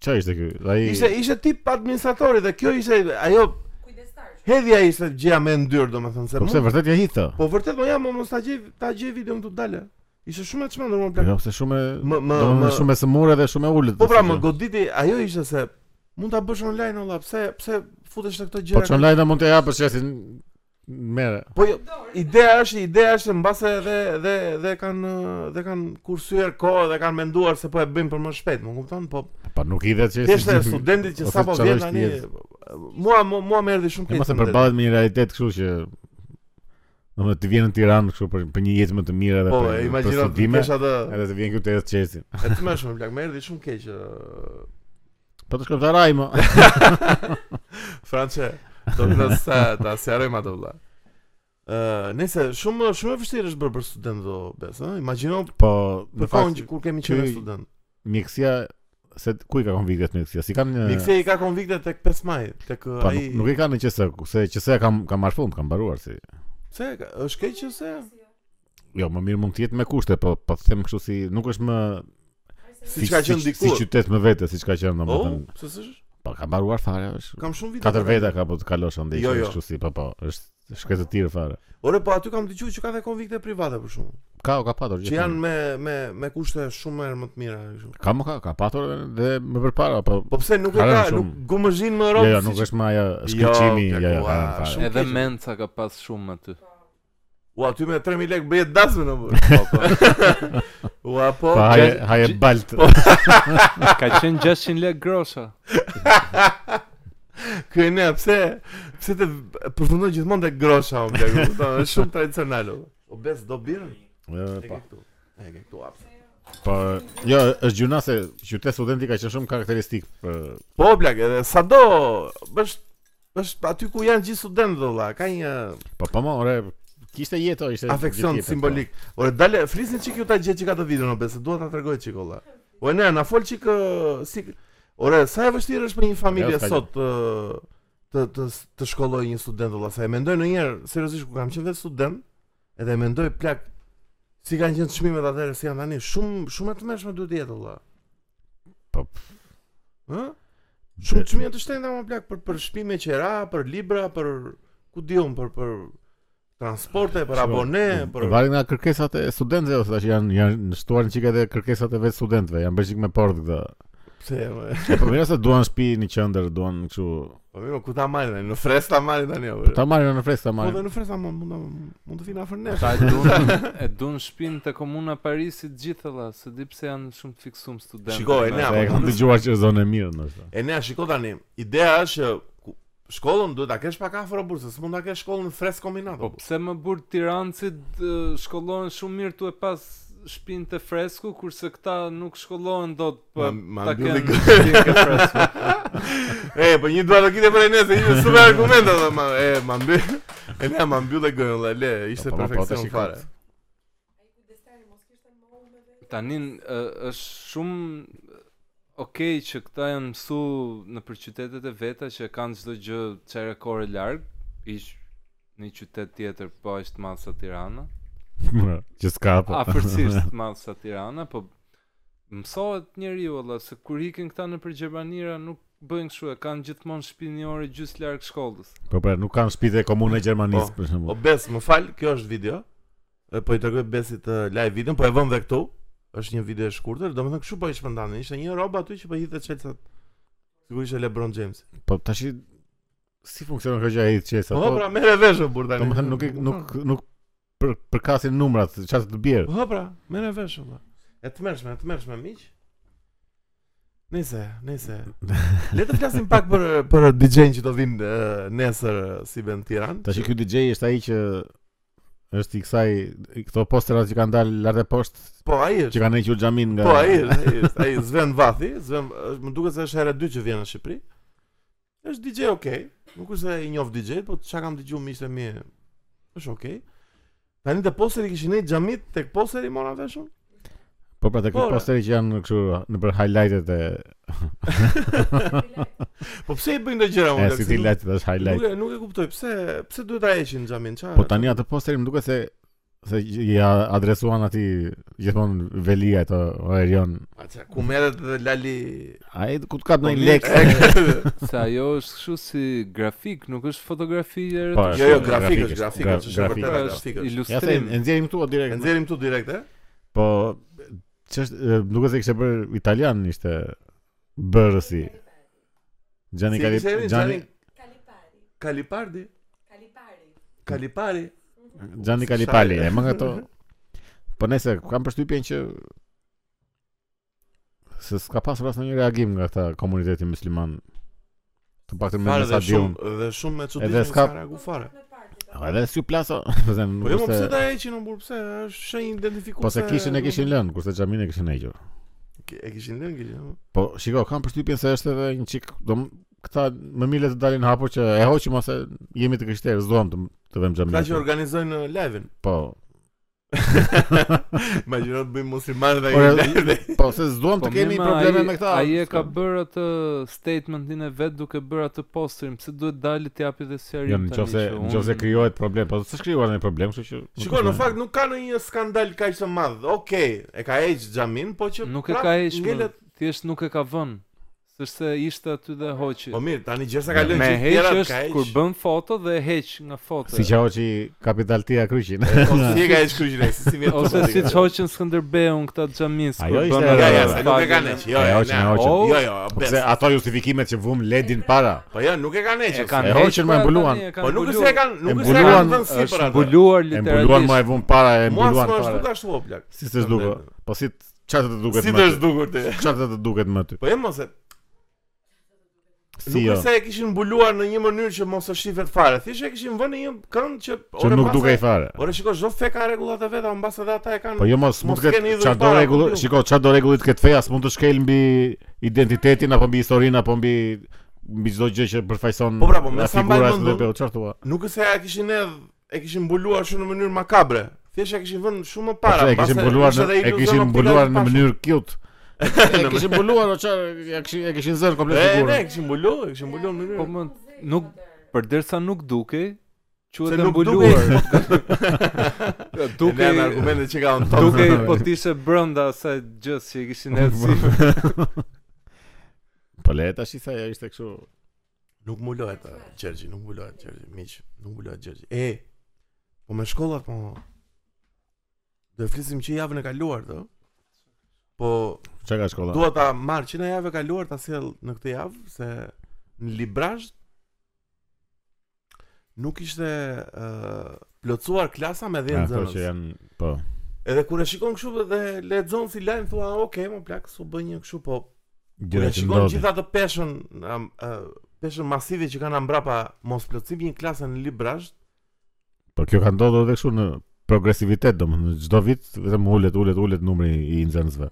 Speaker 2: Çfarë ishte ky? Ai
Speaker 1: Ishte ishte tip administratori dhe kjo ishte ajo
Speaker 4: Kujdestar. shumë.
Speaker 1: hedhja ishte gjëja më e ndyrë domethënë se
Speaker 2: Po pse
Speaker 1: mund-
Speaker 2: vërtet ja hidhte?
Speaker 1: po vërtet më jam më mos ta gjej ta gjej videon këtu dale. Ishte shumë e çmendur më plak.
Speaker 2: Jo, se shumë e-
Speaker 1: Më më
Speaker 2: do më
Speaker 1: më
Speaker 2: shumë e sëmurë dhe shumë e ulët.
Speaker 1: Po pra
Speaker 2: thotë.
Speaker 1: më goditi, ajo ishte se mund ta bësh online olla, pse pse futesh në këto
Speaker 2: Po
Speaker 1: gjëra?
Speaker 2: çon lajta mund të japësh çesin merë.
Speaker 1: Po jo,
Speaker 4: Dorë.
Speaker 1: Ideja është, ideja është mbase edhe edhe edhe kanë dhe kanë kursyer kohë dhe kanë menduar se po e bëjmë për më shpejt, më kupton? Po
Speaker 2: Po nuk i dhe çesin.
Speaker 1: thjesht e studentit që
Speaker 2: Ose
Speaker 1: sapo
Speaker 2: çfarë
Speaker 1: vjen
Speaker 2: është
Speaker 1: tani
Speaker 2: jetë?
Speaker 1: mua mua, mua më erdhi shumë
Speaker 2: E mos e
Speaker 1: të ndërtoj.
Speaker 2: përballet me një realitet kështu që domethënë të vjen në Tiranë kështu për për një jetë më të mirë edhe
Speaker 1: Po,
Speaker 2: për,
Speaker 1: e
Speaker 2: për
Speaker 1: imagjino ti
Speaker 2: studime.
Speaker 1: kesh atë
Speaker 2: Edhe të vjen këtu të çesin.
Speaker 1: e të mëshëm plak, më erdhi shumë keq. ë,
Speaker 2: Po të shkojmë të raj më.
Speaker 1: Françe, do të thotë sa ta sjarojmë ato vëlla. Ë, nëse shumë shumë e vështirë është bërë për student do bes, ë? Imagjino
Speaker 2: Po në
Speaker 1: për kohën
Speaker 2: fakt
Speaker 1: që kur kemi
Speaker 2: ky-
Speaker 1: qenë student.
Speaker 2: mjekësia se t- ku i ka konviktet mjekësia? Si kanë një
Speaker 1: Miksei ka konvikte tek 5 maj, tek ë,
Speaker 2: Po
Speaker 1: ai.
Speaker 2: nuk, nuk i kanë në QS, se QS kam kam marrë fund, kam mbaruar si.
Speaker 1: Pse ka- është keq që se?
Speaker 2: Jo, më mirë mund të jetë me kushte, po po të them kështu si nuk është më
Speaker 1: Si çka qenë
Speaker 2: si
Speaker 1: dikur.
Speaker 2: qytet më vete, siç ka qenë
Speaker 1: Oh,
Speaker 2: domethënë.
Speaker 1: pse s'është?
Speaker 2: Po kam mbaruar fare, është
Speaker 1: Kam shumë vite.
Speaker 2: Katër veta ka po të kalosh andaj
Speaker 1: Jo,
Speaker 2: jo,
Speaker 1: jo.
Speaker 2: kështu si, po po, është shkretë të tjerë fare.
Speaker 1: Ore, po aty kam dëgjuar që ka dhe konvikte private për shkakun,
Speaker 2: Ka o ka patur
Speaker 1: që janë me me me kushte shumë herë më të mira kështu.
Speaker 2: ka më ka, ka patur dhe më përpara, po
Speaker 1: Po pse nuk e
Speaker 2: Ka
Speaker 1: ka,
Speaker 2: rënë
Speaker 1: nuk
Speaker 2: shumë.
Speaker 1: gumëzhin më
Speaker 2: jo,
Speaker 1: rrobë.
Speaker 2: jo, nuk është më ajo shkëlqimi,
Speaker 1: plak,
Speaker 2: jo, jo,
Speaker 1: ua,
Speaker 2: ka rënë fare.
Speaker 1: shumë.
Speaker 3: Edhe
Speaker 1: keq.
Speaker 3: menca ka pas shumë aty.
Speaker 1: U aty me 3000 lekë bëhet dasmë në Po, burë. U apo
Speaker 2: Po haje haje
Speaker 3: gj-
Speaker 2: balt.
Speaker 1: po,
Speaker 3: Ka qenë 600 lek grosha.
Speaker 1: ky ne pse pse të përfundon gjithmonë tek grosha, o bler, kupton, është shumë tradicional. o. O bes do birën?
Speaker 2: Jo,
Speaker 1: E
Speaker 2: Po,
Speaker 1: ke këtu. E ke këtu hapse.
Speaker 2: po, jo, është gjuna se qytet studenti ka qenë shumë karakteristik për
Speaker 1: Po blak, edhe sado është është aty ku janë gjithë studentët valla, ka një
Speaker 2: po po më ore kishte jetë, o, ishte
Speaker 1: Afeksion
Speaker 2: gjithjetër, po.
Speaker 1: simbolik. Ore dale, flisni çik ju ta gjej çik atë videon obes, dua ta tregoj çik olla. O ne, na fol çik ë, si Ore, sa e vështirë është për një familje
Speaker 2: Jo, s'ka
Speaker 1: sot të të të, të shkollojë një student olla, sa e mendoj ndonjëherë, seriozisht kur kam qenë vetë student, edhe e mendoj plak si kanë qenë çmimet atëherë si janë tani, shumë shumë e tmeshme duhet të jetë olla.
Speaker 2: Po.
Speaker 1: Ë? Shumë çmime të shtrenjta më plak për për shtëpi me qera, për libra, për ku diun, për për transporte, për
Speaker 2: Shiko,
Speaker 1: abone, për
Speaker 2: Varet nga kërkesat e studentëve ose tash janë janë shtuar në çik edhe kërkesat e vetë studentëve, janë bërë çik me port këta.
Speaker 1: pse më.
Speaker 2: E po mirë se duan shtëpi në qendër, duan kështu.
Speaker 1: Po mirë, ku ta marrin tani? Në Fres ta marrin tani apo?
Speaker 2: Ta marrin në fresë ta
Speaker 1: Po dhe
Speaker 2: marrin.
Speaker 1: në Fres ta marrin, mund ta- mund të vinë afër nesh.
Speaker 3: Ta e dun, e dun shpinë të komuna Parisit gjithëlla, se di pse janë shumë të fiksum studentë.
Speaker 1: Shiko, e
Speaker 2: Se
Speaker 1: nea,
Speaker 2: e
Speaker 1: po,
Speaker 2: kam dëgjuar që është zonë e mirë ndoshta.
Speaker 1: E nea shiko tani, ideja është që ku- shkollën duhet ta kesh pak afër o burr, se s'mund ta kesh shkollën në Fres kombinat.
Speaker 3: Po
Speaker 1: o burr.
Speaker 3: pse më burë tirancit shkollohen shumë mirë tu e pas shpinë të fresku, kurse këta nuk shkollohen do të
Speaker 1: Ma-
Speaker 3: për
Speaker 1: ma
Speaker 3: ta
Speaker 1: mbylli
Speaker 3: kenë
Speaker 1: gë-
Speaker 3: shpinë të fresku.
Speaker 1: E, po një dua do kite për ne, se ishte super argument edhe ma e ma mbyll. E nea ma mbyll e gojën, la, le, ishte
Speaker 2: Po, po, po,
Speaker 1: perfeksion
Speaker 2: tash i kam-
Speaker 1: fare.
Speaker 4: Ai kujdestari mos kishte më ullë me vetë.
Speaker 3: Tanin ë, është shumë Okej që këta janë mësu në për qytetet e veta që kanë çdo gjë çere kore larg, ish në një qytet tjetër po është madh sa Tirana.
Speaker 2: Që s'ka po.
Speaker 3: Afërsisht Ah, madh sa Tirana, po mësohet njeriu valla se kur ikin këta në për Gjermanira nuk bëjnë kështu, e kanë gjithmonë shtëpinë një orë gjys larg shkollës.
Speaker 2: Po pra, nuk kanë shtëpitë e komunë e Gjermanisë
Speaker 1: Po,
Speaker 2: për
Speaker 1: O
Speaker 2: shembull.
Speaker 1: bes, më fal, kjo është video. e, po i tregoj Besit e, live videon, po e vëm dhe këtu. Është një video e shkurtër, domethënë kështu po i shpërndanin. Ishte një rob aty që po hidhte Chelsea. Sigurisht e LeBron James.
Speaker 2: Po tash si funksionon kjo gjë e
Speaker 1: Po
Speaker 2: çesa?
Speaker 1: po, pra merre vesh o burr tani.
Speaker 2: Domethënë Po, nuk i- nuk nuk për përkasin numrat, çfarë të bjerë.
Speaker 1: Po pra, merre vesh valla. E tmerrshme, e tmerrshme miq. Nice, nice. Le të flasim pak për për DJ-n që do vinë e, nesër e, si bën në Tiranë.
Speaker 2: Tash ky DJ është ai që është i kësaj i këto posterat që kanë dalë lart e poshtë
Speaker 1: Po ai është.
Speaker 2: që kanë hequr xhamin nga
Speaker 1: Po ai është, ai është, ai Sven Vathi, Sven është- më duket se është hera e dytë që vjen në Shqipëri. Është DJ okay, nuk është se i njoh DJ, po çka kam dëgjuar miqtë e mi është okay. Tani te posteri kishin ne xhamit tek posteri mora veshun.
Speaker 2: Po pra tek
Speaker 1: Po, ra.
Speaker 2: posteri që janë kështu në për highlightet e
Speaker 1: Po pse i bëjnë këto gjëra
Speaker 2: e
Speaker 1: unë?
Speaker 2: Eh, si ti
Speaker 1: Nuk,
Speaker 2: lajt është
Speaker 1: nuk
Speaker 2: highlight.
Speaker 1: e- nuk e kuptoj pse pse duhet ta heqin xhamin çfarë?
Speaker 2: Po tani atë posteri më duket se se ja adresuan aty gjithmonë Velia ato Orion.
Speaker 1: Atë ku merret dhe Lali
Speaker 2: Ai ku të kap në
Speaker 1: Po,
Speaker 2: lek.
Speaker 3: Se ajo është kështu si grafik, nuk është fotografi e
Speaker 2: Po,
Speaker 3: retush.
Speaker 1: Jo, jo,
Speaker 2: Grafikë,
Speaker 1: grafik është, grafik
Speaker 2: grafikë, gra-
Speaker 1: është, është
Speaker 2: grafikë.
Speaker 1: vërtet
Speaker 3: është
Speaker 1: grafik.
Speaker 2: Ja se
Speaker 3: ilustrim.
Speaker 2: e nxjerrim këtu o
Speaker 1: E
Speaker 2: direkt.
Speaker 1: nxjerrim tu direkt, eh? e?
Speaker 2: Po ç'është e, më duket se kishte bër italian ishte bërësi. Gianni
Speaker 1: Si
Speaker 2: Cali-
Speaker 1: kishte emrin?
Speaker 2: Gianni
Speaker 4: Kalipari.
Speaker 1: Kalipardi,
Speaker 4: Kalipari.
Speaker 1: Kalipari.
Speaker 2: Gianni Calipari, e më nga to. Po nëse kam përshtypjen që se s'ka pasur asnjë reagim nga këta komuniteti musliman. Të paktën me
Speaker 1: Fare
Speaker 2: sa
Speaker 1: dhe
Speaker 2: diun.
Speaker 1: shumë, dhe shumë e
Speaker 2: Edhe
Speaker 1: çuditshme
Speaker 2: s'ka-
Speaker 1: s'ka reagu fare.
Speaker 2: A Edhe si u plaso,
Speaker 1: Po
Speaker 2: pse nuk
Speaker 1: jo, më pse
Speaker 2: është.
Speaker 1: ta heqin o burr, pse është shenjë identifikuese.
Speaker 2: Po se kishin e kishin lënë, kurse xhamin e kishin hequr.
Speaker 1: Ki- E kishin lënë, kishin. ëh.
Speaker 2: Po shiko, kam përshtypjen se është edhe një çik, do m- këta më mile të dalin hapur që e hoqim ose jemi të krishterë, zdohem të të vëmë xhamin.
Speaker 1: Ata Pra që organizojnë uh, live-in.
Speaker 2: Po.
Speaker 1: Imagjino të bëjmë muslimanë dhe
Speaker 2: Ore,
Speaker 1: ai live.
Speaker 2: Po se zdohem
Speaker 3: Po
Speaker 2: të kemi
Speaker 3: mirë, ma,
Speaker 2: probleme
Speaker 3: ai-
Speaker 2: me këta.
Speaker 3: Ai e ka bërë atë statementin e vet duke bërë atë posterin, pse duhet dali të japi dhe sjarim
Speaker 2: Jo, në qofse, në qofse krijohet problem, po s'është krijuar ndonjë problem, kështu që nuk
Speaker 1: Shikoj,
Speaker 2: është
Speaker 1: në
Speaker 2: ndonjë-
Speaker 1: fakt nuk ka ndonjë skandal kaq të madh. Okej, e ka heq xhamin, po që
Speaker 3: nuk e
Speaker 1: prap
Speaker 3: ka heq, më,
Speaker 1: ngelet-
Speaker 3: thjesht nuk e ka vënë. Sërse se ishte aty dhe hoqi.
Speaker 1: Po mirë, tani gjersa ka lënë
Speaker 3: Me
Speaker 1: gjithë
Speaker 3: heq
Speaker 1: tjerat, ka
Speaker 3: është kur bën foto dhe e heq nga foto.
Speaker 2: Si që hoqi kapitaltia kryqin
Speaker 1: Po si e ka heq kryqin ai, si si vjen.
Speaker 3: Ose si të hoqën Skënderbeun këta xhamis
Speaker 2: Ajo
Speaker 3: kur
Speaker 2: ishte-
Speaker 3: bën.
Speaker 1: Ja,
Speaker 2: Ja,
Speaker 3: atë
Speaker 1: ja, se nuk e kanë
Speaker 3: fagin.
Speaker 1: heq. Jo,
Speaker 2: E
Speaker 1: jo,
Speaker 2: hoqën, e
Speaker 1: na-
Speaker 2: hoqën.
Speaker 1: Jo, jo,
Speaker 2: Pse
Speaker 1: bes.
Speaker 2: ato justifikimet që vum ledin para
Speaker 1: Po jo, nuk e kanë heq.
Speaker 3: E
Speaker 1: ose.
Speaker 3: kanë
Speaker 2: E
Speaker 3: heq,
Speaker 2: hoqën, ma e
Speaker 3: pra,
Speaker 2: mbuluan.
Speaker 3: tani e kanë
Speaker 1: Po nuk është
Speaker 3: mbuluar.
Speaker 1: se e kanë, nuk
Speaker 2: E
Speaker 1: është se e kanë
Speaker 2: mbuluan,
Speaker 1: vënë si
Speaker 3: është
Speaker 1: për atë.
Speaker 2: E
Speaker 3: mbuluar
Speaker 2: mbuluan
Speaker 3: literalisht.
Speaker 2: ma e vum para E
Speaker 1: Mua s'ma
Speaker 2: mbuluan
Speaker 1: është
Speaker 2: para
Speaker 1: duke ashtu o plak.
Speaker 2: Si të zhduko Po si të qatë të duket
Speaker 1: Si
Speaker 2: më
Speaker 1: të
Speaker 2: ty?
Speaker 1: zhdukur ti?
Speaker 2: Qatë të duket më ty
Speaker 1: Po e mos e
Speaker 2: Si
Speaker 1: Nuk
Speaker 2: jo
Speaker 1: është se e kishin mbuluar në një mënyrë që mos të shifet fare. Thjesht e kishin vënë në një kënd që
Speaker 2: Që nuk duke i fare
Speaker 1: Ore pra shiko, çdo fe ka rregullat e veta, mbas edhe ata e kanë.
Speaker 2: Po jo mos mund
Speaker 1: mos
Speaker 2: të
Speaker 1: keni
Speaker 2: ketë
Speaker 1: idhën
Speaker 2: çfarë do
Speaker 1: para,
Speaker 2: rregull,
Speaker 1: kuptim.
Speaker 2: shiko çfarë do rregullit këtë feja, s'mund të shkel mbi identitetin apo mbi historinë apo mbi mbi çdo gjë që përfaqëson
Speaker 1: Po pra, po, me
Speaker 2: nga
Speaker 1: sa mbaj
Speaker 2: figura
Speaker 1: mendun-
Speaker 2: SDP, çfarë thua?
Speaker 1: Nuk është se e kishin edh, e kishin mbuluar shumë në mënyrë makabre. Thjesht e kishin vënë shumë më para.
Speaker 2: Para, Po e
Speaker 1: mbas
Speaker 2: kishin mbuluar
Speaker 1: ishte
Speaker 2: në-
Speaker 1: edhe
Speaker 2: e
Speaker 1: iluzion
Speaker 2: kishin
Speaker 1: optik
Speaker 2: mbuluar në
Speaker 1: pashëm.
Speaker 2: mënyrë cute. E kishin mbuluar o çfarë, ja kishin e kishin zënë komplet
Speaker 1: E, ne,
Speaker 2: figurën.
Speaker 1: e kishin mbuluar, e kishin mbuluar në
Speaker 3: Po
Speaker 1: mënyrë.
Speaker 3: më nuk përderisa nuk dukej,
Speaker 1: Se
Speaker 3: quhet e
Speaker 1: nuk
Speaker 3: mbuluar.
Speaker 1: Duke
Speaker 3: Dukej
Speaker 1: në argumentet që kanë top.
Speaker 3: dukej po të ishe brenda asaj gjës që i kishin hedhë si.
Speaker 2: Po le tash i tha ja ishte kështu.
Speaker 1: Nuk mbulohet eh, Gjergji, nuk mbulohet Gjergji, miq, nuk mbulohet Gjergji. E. Po me shkollat po. Do e flisim që javën e kaluar do. Po
Speaker 2: Çka ka shkolla?
Speaker 1: dua ta marr që në javë e kaluar ta sjell në këtë javë se në librazh nuk ishte ë plotësuar klasa me 10
Speaker 2: Ato Ah, që
Speaker 1: nxënës.
Speaker 2: janë po.
Speaker 1: Edhe kur e shikon kështu dhe lexon si lajm thua, "Ah, "Ok, më plak, su bën një kështu po Kur
Speaker 2: Gjëra
Speaker 1: e
Speaker 2: që
Speaker 1: shikon
Speaker 2: ndodhin.
Speaker 1: gjithë atë peshën am, ë, peshën masive që kanë mbrapa mos plotësimi një klase në librazh,
Speaker 2: Po kjo ka ndodhur edhe kështu në progresivitet domethënë çdo vit vetëm ulet ulet ulet numri i nxënësve.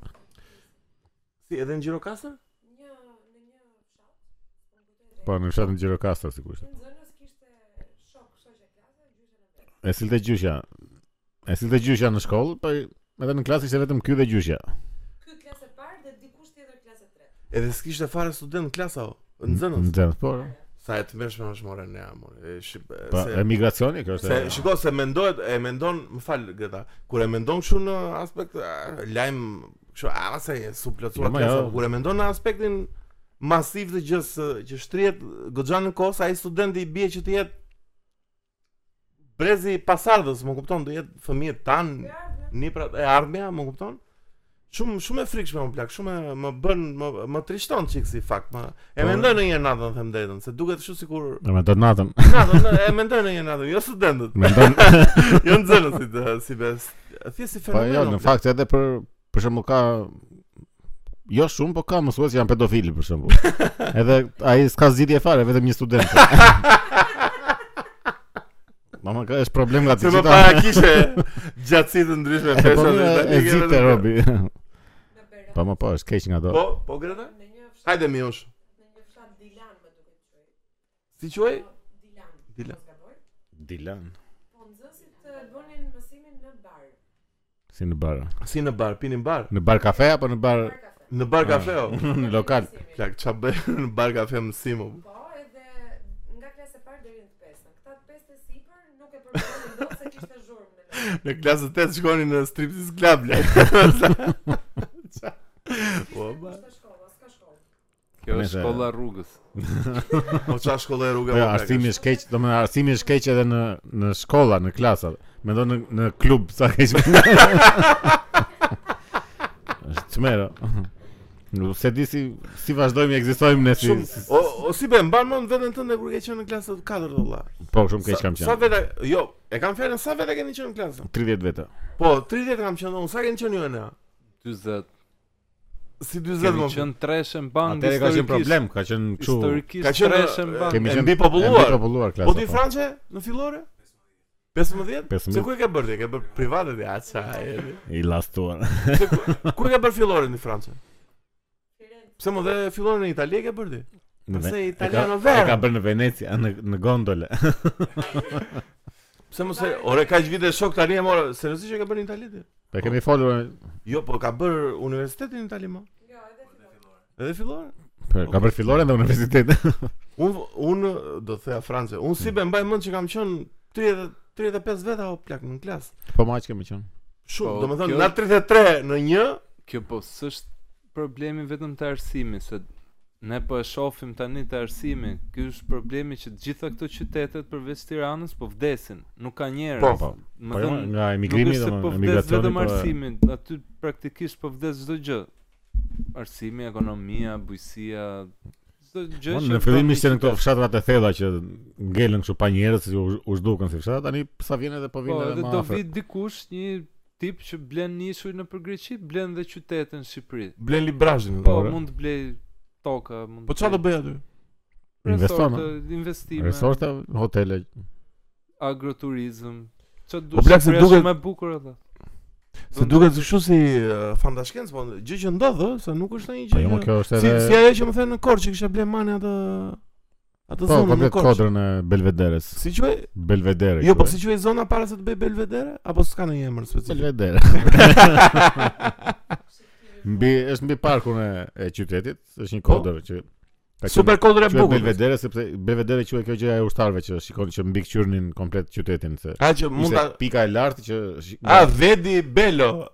Speaker 1: si edhe në gjirokastër?
Speaker 4: Një në një fshat.
Speaker 2: Po në fshatin Gjirokastër sigurisht.
Speaker 4: Një nxënës kishte shok, shoqe klase, gjyshe në vetë.
Speaker 2: E silte gjyshja. E silte gjyshja në shkollë, po edhe në klasë ishte vetëm ky dhe gjyshja.
Speaker 4: Ky klasë e parë dhe dikush tjetër klasë e tretë.
Speaker 1: Edhe s'kishte fare student në klasa o, nxënës.
Speaker 2: Nxënës, po.
Speaker 1: Sa e tmerrshme është more ne amor. E shqip, e,
Speaker 2: Po
Speaker 1: se,
Speaker 2: emigracioni kjo
Speaker 1: se
Speaker 2: është.
Speaker 1: shiko se mendohet, e mendon, më fal Greta, kur e mendon kështu në aspekt a, lajm kështu a se e su plotësuar
Speaker 2: Jo, ma,
Speaker 1: klasa,
Speaker 2: jo.
Speaker 1: kur e mendon në aspektin masiv të gjës ë, që shtrihet goxhan në kohë, sa ai studenti i bie që të jetë brezi i pasardhës, më kupton, do jetë fëmijët tan, niprat e ardhmja, më kupton? Shumë shumë e frikshme më plak, shumë e- më bën më, më trishton çik si fakt, më e
Speaker 2: Po.
Speaker 1: mendoj në një natën, them drejtën, se duket kështu sikur
Speaker 2: E me të natën.
Speaker 1: natën e mendoj në një natën, jo studentët,
Speaker 2: Me ndon.
Speaker 1: jo nxënësit ë, si bes. Thjesht si
Speaker 2: Po
Speaker 1: fenomen.
Speaker 2: jo,
Speaker 1: më plak.
Speaker 2: në fakt edhe për për shembull ka jo shumë, po ka mësues që janë pedofili për shembull. Edhe ai s'ka zgjidhje fare, vetëm një student. Mama ka është problem nga
Speaker 1: Se
Speaker 2: të
Speaker 1: më
Speaker 2: gjitha.
Speaker 1: para kishe gjatësi të ndryshme
Speaker 2: E po
Speaker 1: fesha
Speaker 2: mirë, e zgjidhte Robi.
Speaker 4: Në Berat,
Speaker 2: Po më po, është keq nga do.
Speaker 1: Po, po Greta?
Speaker 4: në një fshat,
Speaker 1: Hajde mi ush.
Speaker 4: në një fshat Dilan më duket quaj.
Speaker 1: Si quaj? Dilan.
Speaker 4: Dilan. mos gaboj.
Speaker 2: Dilan
Speaker 4: Po nxënësit e bënin mësimin në bar.
Speaker 2: si në bar.
Speaker 1: Si në bar, pinin bar.
Speaker 2: Në bar kafe apo në bar
Speaker 4: Bar kafe.
Speaker 1: Në bar kafe o.
Speaker 2: në lokal?
Speaker 4: Mësimin.
Speaker 1: Plak, qa bëjë në bar kafe mësim o.
Speaker 4: Po, edhe nga klasë e parë deri në të pestën. Këta të pestë sipër nuk e përmendën dot se kishte zhurmë në lokal.
Speaker 1: Në klasë 8 shkoni në striptease club, plak. Qa- O, ba.
Speaker 4: Kishte shkolla, s'ka shkollë.
Speaker 3: Kjo është
Speaker 2: Nëse-
Speaker 3: shkolla e rrugës.
Speaker 1: Po qa shkolla e rruga
Speaker 2: Po
Speaker 1: më
Speaker 2: jo,
Speaker 1: plak, është.
Speaker 2: artimi është keq, domethënë artimi është keq edhe në në shkolla, në klasa. Mendon në në klub sa keq. është çmero. Nuk se di si si vazhdojmë, ekzistojmë ne si,
Speaker 1: Shumë,
Speaker 2: si
Speaker 1: o, o si be, mban mend veten tënde kur ke qenë në klasë të 4 dolla.
Speaker 2: po shumë keq kam
Speaker 1: Sa
Speaker 2: qenë.
Speaker 1: vete, jo, e kam fjalën sa vete keni qenë në klasë?
Speaker 2: 30 vete.
Speaker 1: Po, 30 kam qenë unë, sa keni qenë ju e ne?
Speaker 3: 40.
Speaker 1: Si 40
Speaker 3: Kemi
Speaker 1: më.
Speaker 3: qenë treshe mban
Speaker 2: Atëre
Speaker 3: historikisht.
Speaker 2: ka qenë problem, ka qenë kështu.
Speaker 3: Historikisht
Speaker 1: Ka qenë, e,
Speaker 3: treshe mban.
Speaker 2: Kemi
Speaker 1: e
Speaker 2: qenë
Speaker 1: mbi populluar.
Speaker 2: e mbi populluar klasa.
Speaker 1: Po ti
Speaker 2: po.
Speaker 1: franqe në fillore? 15?
Speaker 2: 15.
Speaker 1: Se ku e ke bërë ti? E Ke bërë private ti, aça.
Speaker 2: I lastuar.
Speaker 1: Se ku, ku e ke bërë filloren në Francë?
Speaker 4: Firenze.
Speaker 1: Pse më dhe filloren në Itali e ke bërë ti?
Speaker 2: Në Ve-
Speaker 1: Pse
Speaker 2: e ka-
Speaker 1: italiano
Speaker 2: E ka
Speaker 1: verë?
Speaker 2: bërë në Venecia, në në gondole.
Speaker 1: Pse mos e ore kaq vite shok tani e mora, seriozisht e ka bërë në Itali ti?
Speaker 2: E kemi folur,
Speaker 1: Jo, po ka bërë universitetin në Itali më.
Speaker 4: Jo, edhe fillon.
Speaker 1: Edhe filloren.
Speaker 2: për- ka bërë filloren dhe universitet.
Speaker 1: Un un do të theja Francë. Un si be mbaj mend që kam qenë 30 35 veta o plak në klasë.
Speaker 2: Po ma që kemi qenë.
Speaker 1: Shumë,
Speaker 3: Po,
Speaker 1: domethënë
Speaker 3: kjo-
Speaker 1: nga 33 në 1
Speaker 3: Kjo po s'është problemi vetëm të arsimi, se ne po e shohim tani të arsimi. Ky është problemi që të gjitha këto qytetet përveç Tiranës po vdesin, nuk ka njerëz.
Speaker 1: Po,
Speaker 2: Po.
Speaker 3: Më
Speaker 2: Po jo,
Speaker 3: thënë,
Speaker 2: nga
Speaker 3: nuk
Speaker 2: emigrimi
Speaker 3: është
Speaker 2: dhe
Speaker 3: se po vdes
Speaker 2: emigracioni.
Speaker 3: vetëm
Speaker 2: po e-
Speaker 3: arsimi, aty praktikisht po vdes çdo gjë. Arsimi, ekonomia, bujësia, çdo gjë.
Speaker 2: Po,
Speaker 3: që
Speaker 2: në fillim
Speaker 3: bën
Speaker 2: ishte në këto
Speaker 3: qytet.
Speaker 2: fshatra të thella që ngelën kështu pa njerëz, që u, u zhdukën si fshatra, tani sa vjen edhe po
Speaker 3: Po,
Speaker 2: vjen edhe
Speaker 3: edhe
Speaker 2: më
Speaker 3: do
Speaker 2: afër.
Speaker 3: vi dikush një tip që blen nishuj në për Greqi, blen dhe qytetin në Shqipëri.
Speaker 1: blen librazhin.
Speaker 3: Po,
Speaker 2: Ore.
Speaker 3: mund të blej toka, mund
Speaker 1: Po çfarë do bëj aty?
Speaker 2: Investon,
Speaker 3: resorte, investime,
Speaker 2: Resorte, hotele. po
Speaker 3: agroturizm. Ço
Speaker 1: Po,
Speaker 3: duhet
Speaker 1: plak, se duket-
Speaker 3: më bukur atë.
Speaker 1: Se duket kështu si uh, fantashkencë, po gjë që ndodh, ë, se nuk është ndonjë
Speaker 2: Po jo,
Speaker 1: gjë.
Speaker 2: më
Speaker 1: që-
Speaker 2: kjo është
Speaker 1: Si
Speaker 2: edhe
Speaker 1: si ajo që më thënë në Korçë që kisha ble mani atë atë
Speaker 2: po
Speaker 1: zonë në
Speaker 2: komplet
Speaker 1: Korçë.
Speaker 2: kodrën e Belvederes.
Speaker 1: Si quaj?
Speaker 2: Belvedere.
Speaker 1: Jo, po
Speaker 2: quhet.
Speaker 1: si quaj zona para se të bëj Belvedere apo s'ka ndonjë emër specifik?
Speaker 2: Belvedere. mbi është mbi parkun e, e qytetit, është një
Speaker 1: Po.
Speaker 2: kodër që ka qenë-
Speaker 1: Super kodrë e
Speaker 2: quhet
Speaker 1: bukur.
Speaker 2: Belvedere sepse Belvedere quhet kjo gjëja e ushtarëve që shikoni që mbi kqyrnin komplet qytetin se.
Speaker 1: Ka që mund
Speaker 2: Ishte
Speaker 1: ta
Speaker 2: pika e lartë që shi-
Speaker 1: A Vedi Belo.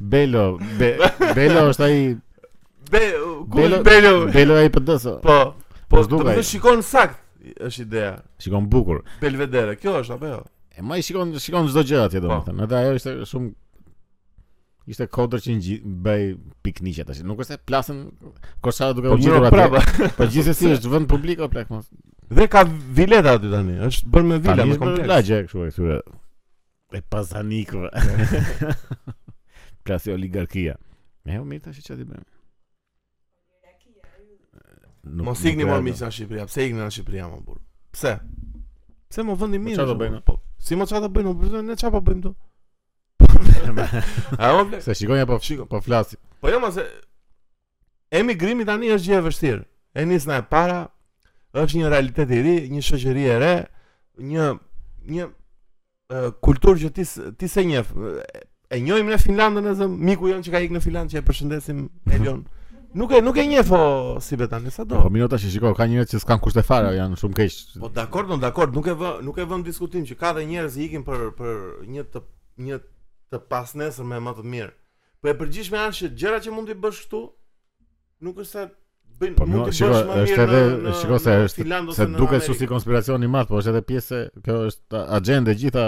Speaker 2: Belo, be, Belo është ai
Speaker 1: Be ku
Speaker 2: Belo-
Speaker 1: është Belo?
Speaker 2: Belo ai PDS.
Speaker 1: Po. Po,
Speaker 2: s'duk
Speaker 1: do të
Speaker 2: ai.
Speaker 1: thotë shikon sakt është ideja.
Speaker 2: Shikon bukur.
Speaker 1: Belvedere, kjo është apo jo?
Speaker 2: E më i shikon shikon çdo gjë
Speaker 1: Po.
Speaker 2: atje domethënë. Edhe ajo ishte shumë ishte kodër që ngji bëj pikniqe tash. Nuk është se plasen korsarë duke u
Speaker 1: Po
Speaker 2: gjetur
Speaker 1: mirë,
Speaker 2: atje.
Speaker 1: prapa.
Speaker 2: Po gjithsesi është vend publik o plak mos.
Speaker 1: Dhe ka vileta aty tani, është bërë me vila,
Speaker 2: Tani
Speaker 1: me
Speaker 2: është bërë
Speaker 1: kompleks.
Speaker 2: lagje kështu e këtyre e pazanikëve. Klasi oligarkia. E u mirë tash çfarë ti bën? Nuk-
Speaker 1: Mos
Speaker 2: nuk
Speaker 1: ikni
Speaker 2: e
Speaker 1: më
Speaker 2: ardha.
Speaker 1: miq në Shqipëri, pse ikni në Shqipëri më burr? Pse? Pse më vendi mirë?
Speaker 2: çfarë do
Speaker 1: është,
Speaker 2: bëjnë?
Speaker 1: Po, si më çfarë do bëjnë? Po ne çfarë po bëjmë këtu? A më
Speaker 2: Se shikoj apo
Speaker 1: Shiko.
Speaker 2: po flasi.
Speaker 1: Po jo, mos e emigrimi tani është gjë e vështirë. E nisna e para, është një realitet i ri, një shoqëri e re, një një e, kulturë që ti s- ti se njeh. E- E njohim në Finlandën e zëm, miku jon që ka ikë në Finland që e përshëndesim Elion. Nuk e nuk e njeh o si betani sa do.
Speaker 2: Po minota që shikoj, ka njerëz që s'kan kushte fare, janë shumë keq.
Speaker 1: Po dakord, no dakord, nuk e vë nuk e vëm diskutim që ka dhe njerëz që ikin për për një të një të pasnesër me më të mirë. Po e përgjithshme është që gjëra që mund t'i bësh këtu nuk është se Bëjnë,
Speaker 2: Po,
Speaker 1: mund
Speaker 2: më-
Speaker 1: të
Speaker 2: shiko,
Speaker 1: bësh më
Speaker 2: është
Speaker 1: mirë
Speaker 2: edhe-
Speaker 1: në- në-
Speaker 2: shiko se
Speaker 1: në
Speaker 2: është-
Speaker 1: Finland ose
Speaker 2: Se
Speaker 1: në
Speaker 2: duket shumë si
Speaker 1: Amerikë.
Speaker 2: konspiracion i madh, po është edhe pjesë, kjo është agjende e gjitha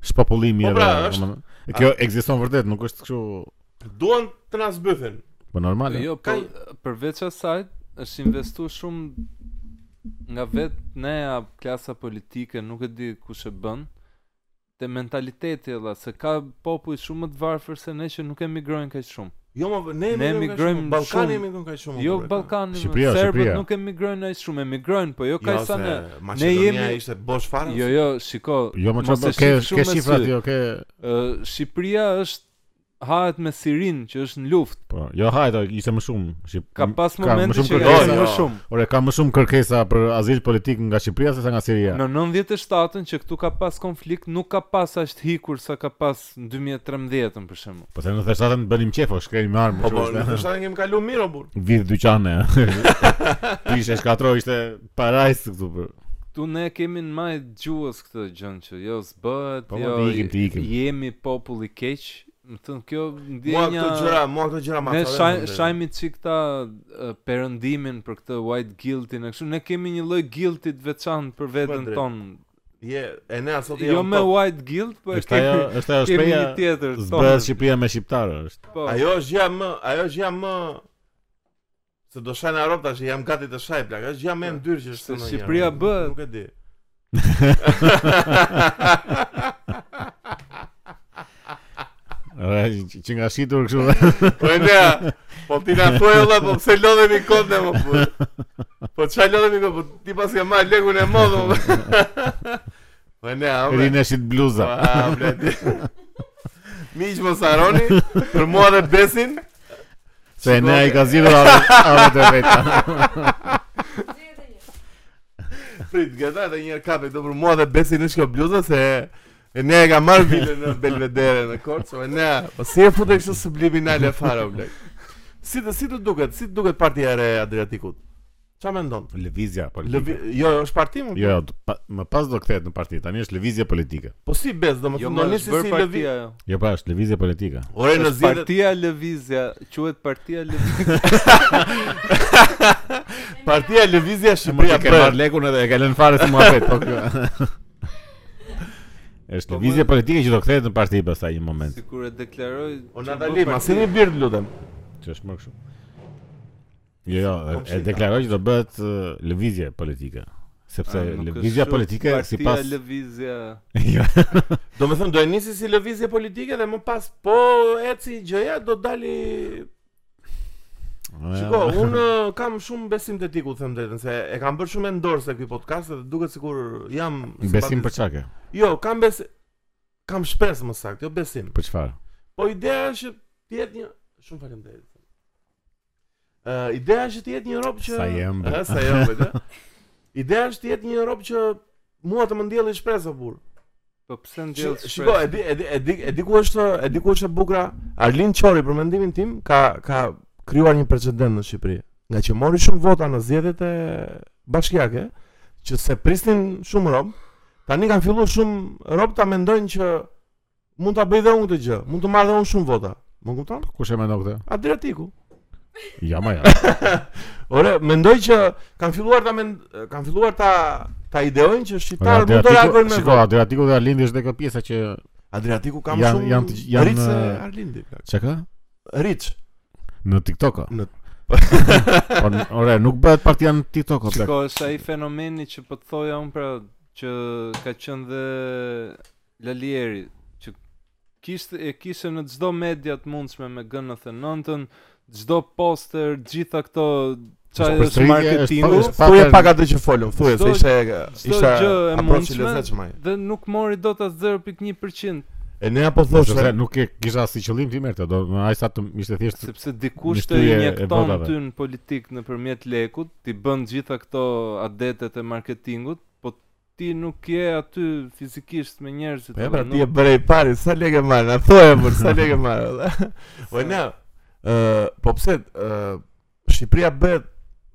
Speaker 2: shpapullimi
Speaker 1: Po,
Speaker 2: edhe.
Speaker 1: pra, është-
Speaker 2: domethënë, Kjo ekziston vërtet, nuk është kështu,
Speaker 1: Duan të na zbythin.
Speaker 2: po normal.
Speaker 3: Jo, po përveç asaj është investuar shumë nga vetë neja klasa politike, nuk e di kush e bën, te mentaliteti ella se ka popull shumë më të varfër se ne që nuk emigrojnë kaq shumë.
Speaker 1: Jo, më ne
Speaker 3: Ne emigrojmë
Speaker 1: emigrojmë Ballkani
Speaker 3: shumë.
Speaker 1: emigron kaq shumë. po.
Speaker 3: Jo
Speaker 1: bre,
Speaker 3: Ballkani,
Speaker 2: Shqipëria,
Speaker 3: serbët
Speaker 2: Shqipëria.
Speaker 3: nuk emigrojnë ai shumë, emigrojnë, po jo
Speaker 1: Jo,
Speaker 3: kaq sa
Speaker 1: se
Speaker 3: ne.
Speaker 1: Maqedonia
Speaker 3: jemi-
Speaker 1: ishte bosh fare.
Speaker 3: Jo, jo, shiko.
Speaker 2: Jo, më
Speaker 3: mos e
Speaker 2: çfarë ke
Speaker 3: shih shumë
Speaker 2: ke
Speaker 3: me
Speaker 2: shifrat,
Speaker 3: sy.
Speaker 2: jo ke.
Speaker 3: Ë, Shqipëria është hahet me Sirin që është në luftë.
Speaker 2: Po, jo hajde, ishte më shumë. Shqip-
Speaker 3: Ka pas
Speaker 2: ka më
Speaker 3: momente
Speaker 2: shumë
Speaker 3: që ka
Speaker 1: kërkesa.
Speaker 3: qenë më
Speaker 1: Jo.
Speaker 3: shumë.
Speaker 2: Ore, ka më shumë kërkesa për azil politik nga Shqipëria sesa nga Siria.
Speaker 3: Në 97-ën që këtu ka pas konflikt, nuk ka pas ashtë hikur sa ka pas në 2013-ën për shembull.
Speaker 2: Po se në 97-ën bënim qefo, shkrim me armë.
Speaker 1: Po po,
Speaker 2: kështu
Speaker 1: ne
Speaker 2: është.
Speaker 1: thashë kemi kaluar mirë o burr.
Speaker 2: Vidh dyqane. Prishe shkatroj ishte parajs këtu për.
Speaker 3: Tu ne kemi në majë gjuhës këtë gjën që jo s'bëhet,
Speaker 2: Po,
Speaker 3: jo
Speaker 2: ti ikim, ti ikim.
Speaker 3: jemi popull i keq. Më thënë kjo
Speaker 1: Mua
Speaker 3: ndjenja...
Speaker 1: këto gjëra, mua këto gjëra ma
Speaker 3: Ne
Speaker 1: thave,
Speaker 3: shaj,
Speaker 1: më thënë.
Speaker 3: shajmi çik ta ë, perëndimin për këtë white guilty në kështu ne kemi një lloj guilty të veçantë për veten
Speaker 1: drejt.
Speaker 3: tonë.
Speaker 1: Je, e ne asot
Speaker 3: Jo me white guilt, po e
Speaker 2: Është ajo,
Speaker 3: kemi
Speaker 2: është ajo
Speaker 3: kemi
Speaker 2: shpreha.
Speaker 3: një tjetër.
Speaker 2: Zbëhet
Speaker 3: tonë.
Speaker 2: Shqipëria me shqiptarë është.
Speaker 3: Po.
Speaker 1: Ajo është gjë më, ajo është gjë më se do shaj në Europë tash, jam gati të shaj plak. Është gjë më e ndyrë që
Speaker 3: Po. Se
Speaker 1: është. në
Speaker 3: Shqipëria
Speaker 1: një,
Speaker 3: bëhet.
Speaker 1: Nuk e di.
Speaker 2: Ora, që- që nga shitur kështu.
Speaker 1: Po e nea, po ti na thuaj olla, po pse lodhemi kot ne më po. Po çaj lodhemi kot, po ti pas ke marr lekun e modhëm. Po e nea, ome.
Speaker 2: Rinë shit bluza.
Speaker 3: po,
Speaker 1: Ah, bledi. Miq mos haroni për mua dhe Besin.
Speaker 2: Se ne ai ka zgjidhur ave ave të vetë.
Speaker 4: Zje edhe një.
Speaker 1: Prit, gata edhe një herë kape këtu për mua dhe Besin është kjo bluza se e ne e ka marrë vilën në Belvedere në Korçë, e ne, po si e futë kështu subliminale fare o blek. Si të si të duket, si të duket partia e re e Adriatikut? Çfarë mendon?
Speaker 2: Lëvizja
Speaker 1: Lëvi...
Speaker 2: politike.
Speaker 1: Jo, jo, është parti më?
Speaker 2: Jo, jo, pa- më pas do kthehet në parti. Tani është lëvizje politike.
Speaker 1: Po si bez, do më
Speaker 3: Jo,
Speaker 1: të
Speaker 3: më
Speaker 1: ndoni
Speaker 3: është
Speaker 1: si
Speaker 3: bërë
Speaker 1: si lëvi...
Speaker 3: partia ajo.
Speaker 2: Jo, pra, është lëvizje politike.
Speaker 1: Ore në
Speaker 3: Është
Speaker 1: zjedet...
Speaker 3: Partia Lëvizja, quhet Partia Lëvizja.
Speaker 1: Partia e Lëvizja e
Speaker 2: Shqipëria
Speaker 1: Shqipëria
Speaker 2: ke
Speaker 1: bërë.
Speaker 2: marrë lekun edhe e ka lënë fare si muhabet, po kjo. Është
Speaker 3: Po,
Speaker 2: lëvizje politike që do kthehet në parti pastaj një moment,
Speaker 3: Sikur e deklaroi.
Speaker 1: O
Speaker 3: që
Speaker 1: Natali,
Speaker 3: bë
Speaker 1: ma
Speaker 3: parti.
Speaker 1: si një bird lutem.
Speaker 2: që është më kështu. Jo, jo, e- e
Speaker 1: Komshita.
Speaker 2: deklaroj që do bëhet ë, lëvizje politike, sepse
Speaker 3: A, Ah, nuk është
Speaker 2: lëvizja
Speaker 3: shumë
Speaker 2: politike sipas
Speaker 3: Partia Lëvizja.
Speaker 2: Jo,
Speaker 1: Do me thënë, do e nisi si lëvizje politike dhe më pas, po eci gjëja do dali Shiko, unë eh, kam shumë besim te ti ku them drejtën se e kam bërë shumë endorse ky podcast dhe duket sikur jam
Speaker 2: besim për
Speaker 1: simpatis-
Speaker 2: çka ke?
Speaker 1: Jo, kam bes kam shpresë më saktë, jo besim.
Speaker 2: Për çfarë?
Speaker 1: Po ideja është që të jetë një shumë faleminderit. Ë ideja është që të jetë një Europë që
Speaker 2: Sa jem, bë.
Speaker 1: Ë, sa jam vetë. Ideja është të jetë një Europë që mua të më ndjelli shpresë o burr.
Speaker 3: Po pse ndjell?
Speaker 1: Shi- Shiko, e di e di e di e di ku është e di ku është e bukura Arlin Çori për mendimin tim ka ka krijuar një precedent në Shqipëri, nga që mori shumë vota në zgjedhjet e bashkiake, që se prisnin shumë rob, tani kanë filluar shumë rob ta mendojnë që mund ta bëj dhe unë këtë gjë, mund të marr dhe unë shumë vota. Më kupton?
Speaker 2: Kush e mendon këtë?
Speaker 1: Adriatiku.
Speaker 2: Jo, më jo.
Speaker 1: Ore, mendoj që kanë filluar ta mend... kanë filluar ta ta ideojnë që
Speaker 2: Ora,
Speaker 1: shqiptarët mund të reagojnë me
Speaker 2: Shiko,
Speaker 1: votë.
Speaker 2: Adriatiku dhe Arlindi është dhe kjo pjesa që
Speaker 1: Adriatiku kam
Speaker 2: Janë-
Speaker 1: shumë
Speaker 2: janë të gj- janë,
Speaker 1: rritse
Speaker 2: eh,
Speaker 1: Arlindi.
Speaker 2: çka ka?
Speaker 1: Rich.
Speaker 2: Në TikTok.
Speaker 1: Në-
Speaker 2: Po, n- ore, nuk bëhet partia në TikTok, o plak.
Speaker 3: Shiko, është ai fenomeni që po të thoja unë pra që ka qenë dhe Lalieri që kishte e kishte në çdo media të mundshme me G99-ën, çdo poster, gjitha këto çaj
Speaker 2: Është
Speaker 3: është
Speaker 2: përstritje,
Speaker 3: marketingu.
Speaker 2: është
Speaker 1: Thuaj
Speaker 2: pattern.
Speaker 1: pak atë që folëm, thuaj se
Speaker 3: Çdo-
Speaker 1: ishte
Speaker 3: çdo
Speaker 1: ishte
Speaker 3: gjë e
Speaker 1: approach i
Speaker 3: mundshme.
Speaker 1: lezetshëm ai.
Speaker 3: dhe nuk mori dot as 0.1%,
Speaker 1: E ne apo
Speaker 2: Sepse
Speaker 1: thoshte,
Speaker 2: nuk e kisha si qëllim ti merrte, do ai sa të ishte thjesht
Speaker 3: sepse dikush të
Speaker 2: Nishtyrje e
Speaker 3: injekton
Speaker 2: votave.
Speaker 3: ty në politik nëpërmjet lekut, ti bën gjitha këto adetet e marketingut, po ti nuk je aty fizikisht me
Speaker 2: Po
Speaker 3: njerëzit.
Speaker 1: e
Speaker 3: edhe
Speaker 1: pra ti e
Speaker 3: nuk-
Speaker 1: bëre i pari, sa lekë marr, na thuaj për sa lekë marr. Po ne, ë, po pse ë Shqipëria bëhet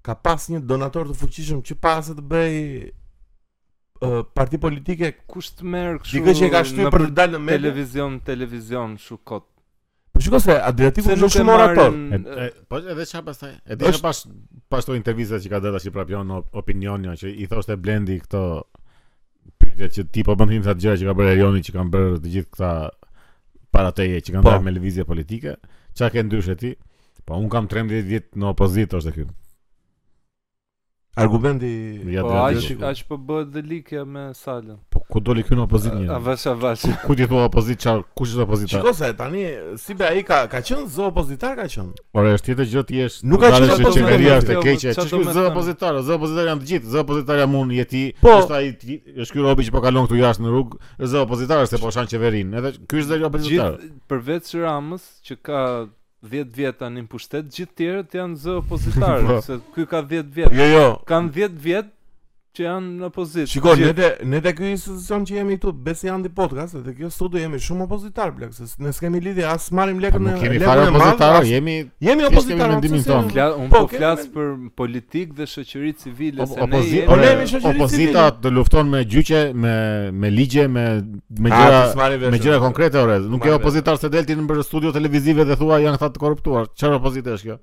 Speaker 1: ka pas një donator të fuqishëm që pas të bëj ë, parti politike
Speaker 3: kush të merr kështu.
Speaker 1: dikë që e ka shtyr
Speaker 3: në
Speaker 1: për të dalë në media.
Speaker 3: televizion, televizion, kështu kot.
Speaker 1: Po shikoj se Adriatiku është shumë orator.
Speaker 2: E- e- Po edhe çfarë pastaj? E di
Speaker 1: Është-
Speaker 2: çfarë pas po ashtu intervista që ka dhënë tash i prapë janë op- opinion janë që i thoshte Blendi këto pyetje që ti po bën him sa gjëra që ka bërë Erioni që kanë bërë të gjithë këta para teje që kanë
Speaker 1: Po.
Speaker 2: dhënë me lëvizje politike, çka ke ndyshe ti? Po un kam 13 vjet në opozitë është ky.
Speaker 1: Argumenti
Speaker 2: Ja,
Speaker 3: Po
Speaker 2: ja,
Speaker 3: aq
Speaker 2: shiko.
Speaker 3: aq po bëhet dhe likja me Salën.
Speaker 2: Po ku doli ky në opozitë
Speaker 3: A
Speaker 2: një?
Speaker 3: vash a vash.
Speaker 2: Ku- Ku ti thua opozitë çfarë? Kush është opozita?
Speaker 1: Shiko se tani si be ai ka ka qenë zë opozitar ka qenë.
Speaker 2: Ora është tjetër gjë ti je.
Speaker 1: Nuk ka qenë
Speaker 2: dalësh
Speaker 1: jo,
Speaker 2: që
Speaker 1: opozitar,
Speaker 2: qeveria është e
Speaker 3: kjo,
Speaker 2: keqe.
Speaker 3: po, çfarë
Speaker 2: Ç'është
Speaker 3: do
Speaker 2: ky
Speaker 3: me
Speaker 2: zë
Speaker 3: thënë?
Speaker 2: opozitar? Zë opozitar janë të gjithë. Zë opozitar janë unë, je ti.
Speaker 1: Po.
Speaker 2: Është ai ti- është ky robi që po kalon këtu jashtë në rrugë, është zë opozitar se po shan qeverinë. Edhe ky është zë opozitar.
Speaker 3: Gjithë përveç Ramës që ka 10 vjet tani në pushtet, gjithë tjerët janë zë opozitarë,
Speaker 2: Po.
Speaker 3: se ky ka 10 vjet.
Speaker 1: Jo, jo.
Speaker 3: Kanë 10 vjet që janë në opozit.
Speaker 1: Shiko, ne
Speaker 3: Gjithë.
Speaker 1: te ne te ky institucion që jemi këtu, Besi Andi Podcast, dhe kjo studio jemi shumë opozitar blek, se s- ne s'kemi lidhje as marrim
Speaker 2: Po,
Speaker 1: lekën e
Speaker 2: Nuk kemi
Speaker 1: lekën
Speaker 2: fare
Speaker 1: e madhe,
Speaker 2: opozitar,
Speaker 1: as-
Speaker 2: jemi
Speaker 1: jemi
Speaker 2: kemi
Speaker 1: opozitar.
Speaker 2: mendimin
Speaker 1: mëse se-
Speaker 2: tonë.
Speaker 3: Fla, un
Speaker 1: Po,
Speaker 3: po
Speaker 1: kemi-
Speaker 3: flas për politikë dhe shoqëri civile, se ne
Speaker 2: opozitë.
Speaker 1: Po, ne
Speaker 3: jemi
Speaker 1: jemi shoqëri
Speaker 2: Opozita
Speaker 1: civile.
Speaker 2: të lufton me gjyqe, me me ligje, me me
Speaker 1: A, të
Speaker 2: gjëra
Speaker 1: s'marrim vesh,
Speaker 2: me gjëra konkrete ore. Nuk
Speaker 1: Marrë
Speaker 2: je
Speaker 1: vesh.
Speaker 2: opozitar se del ti në bërë studio televizive dhe thua janë këta të korruptuar. Çfarë opozite është kjo?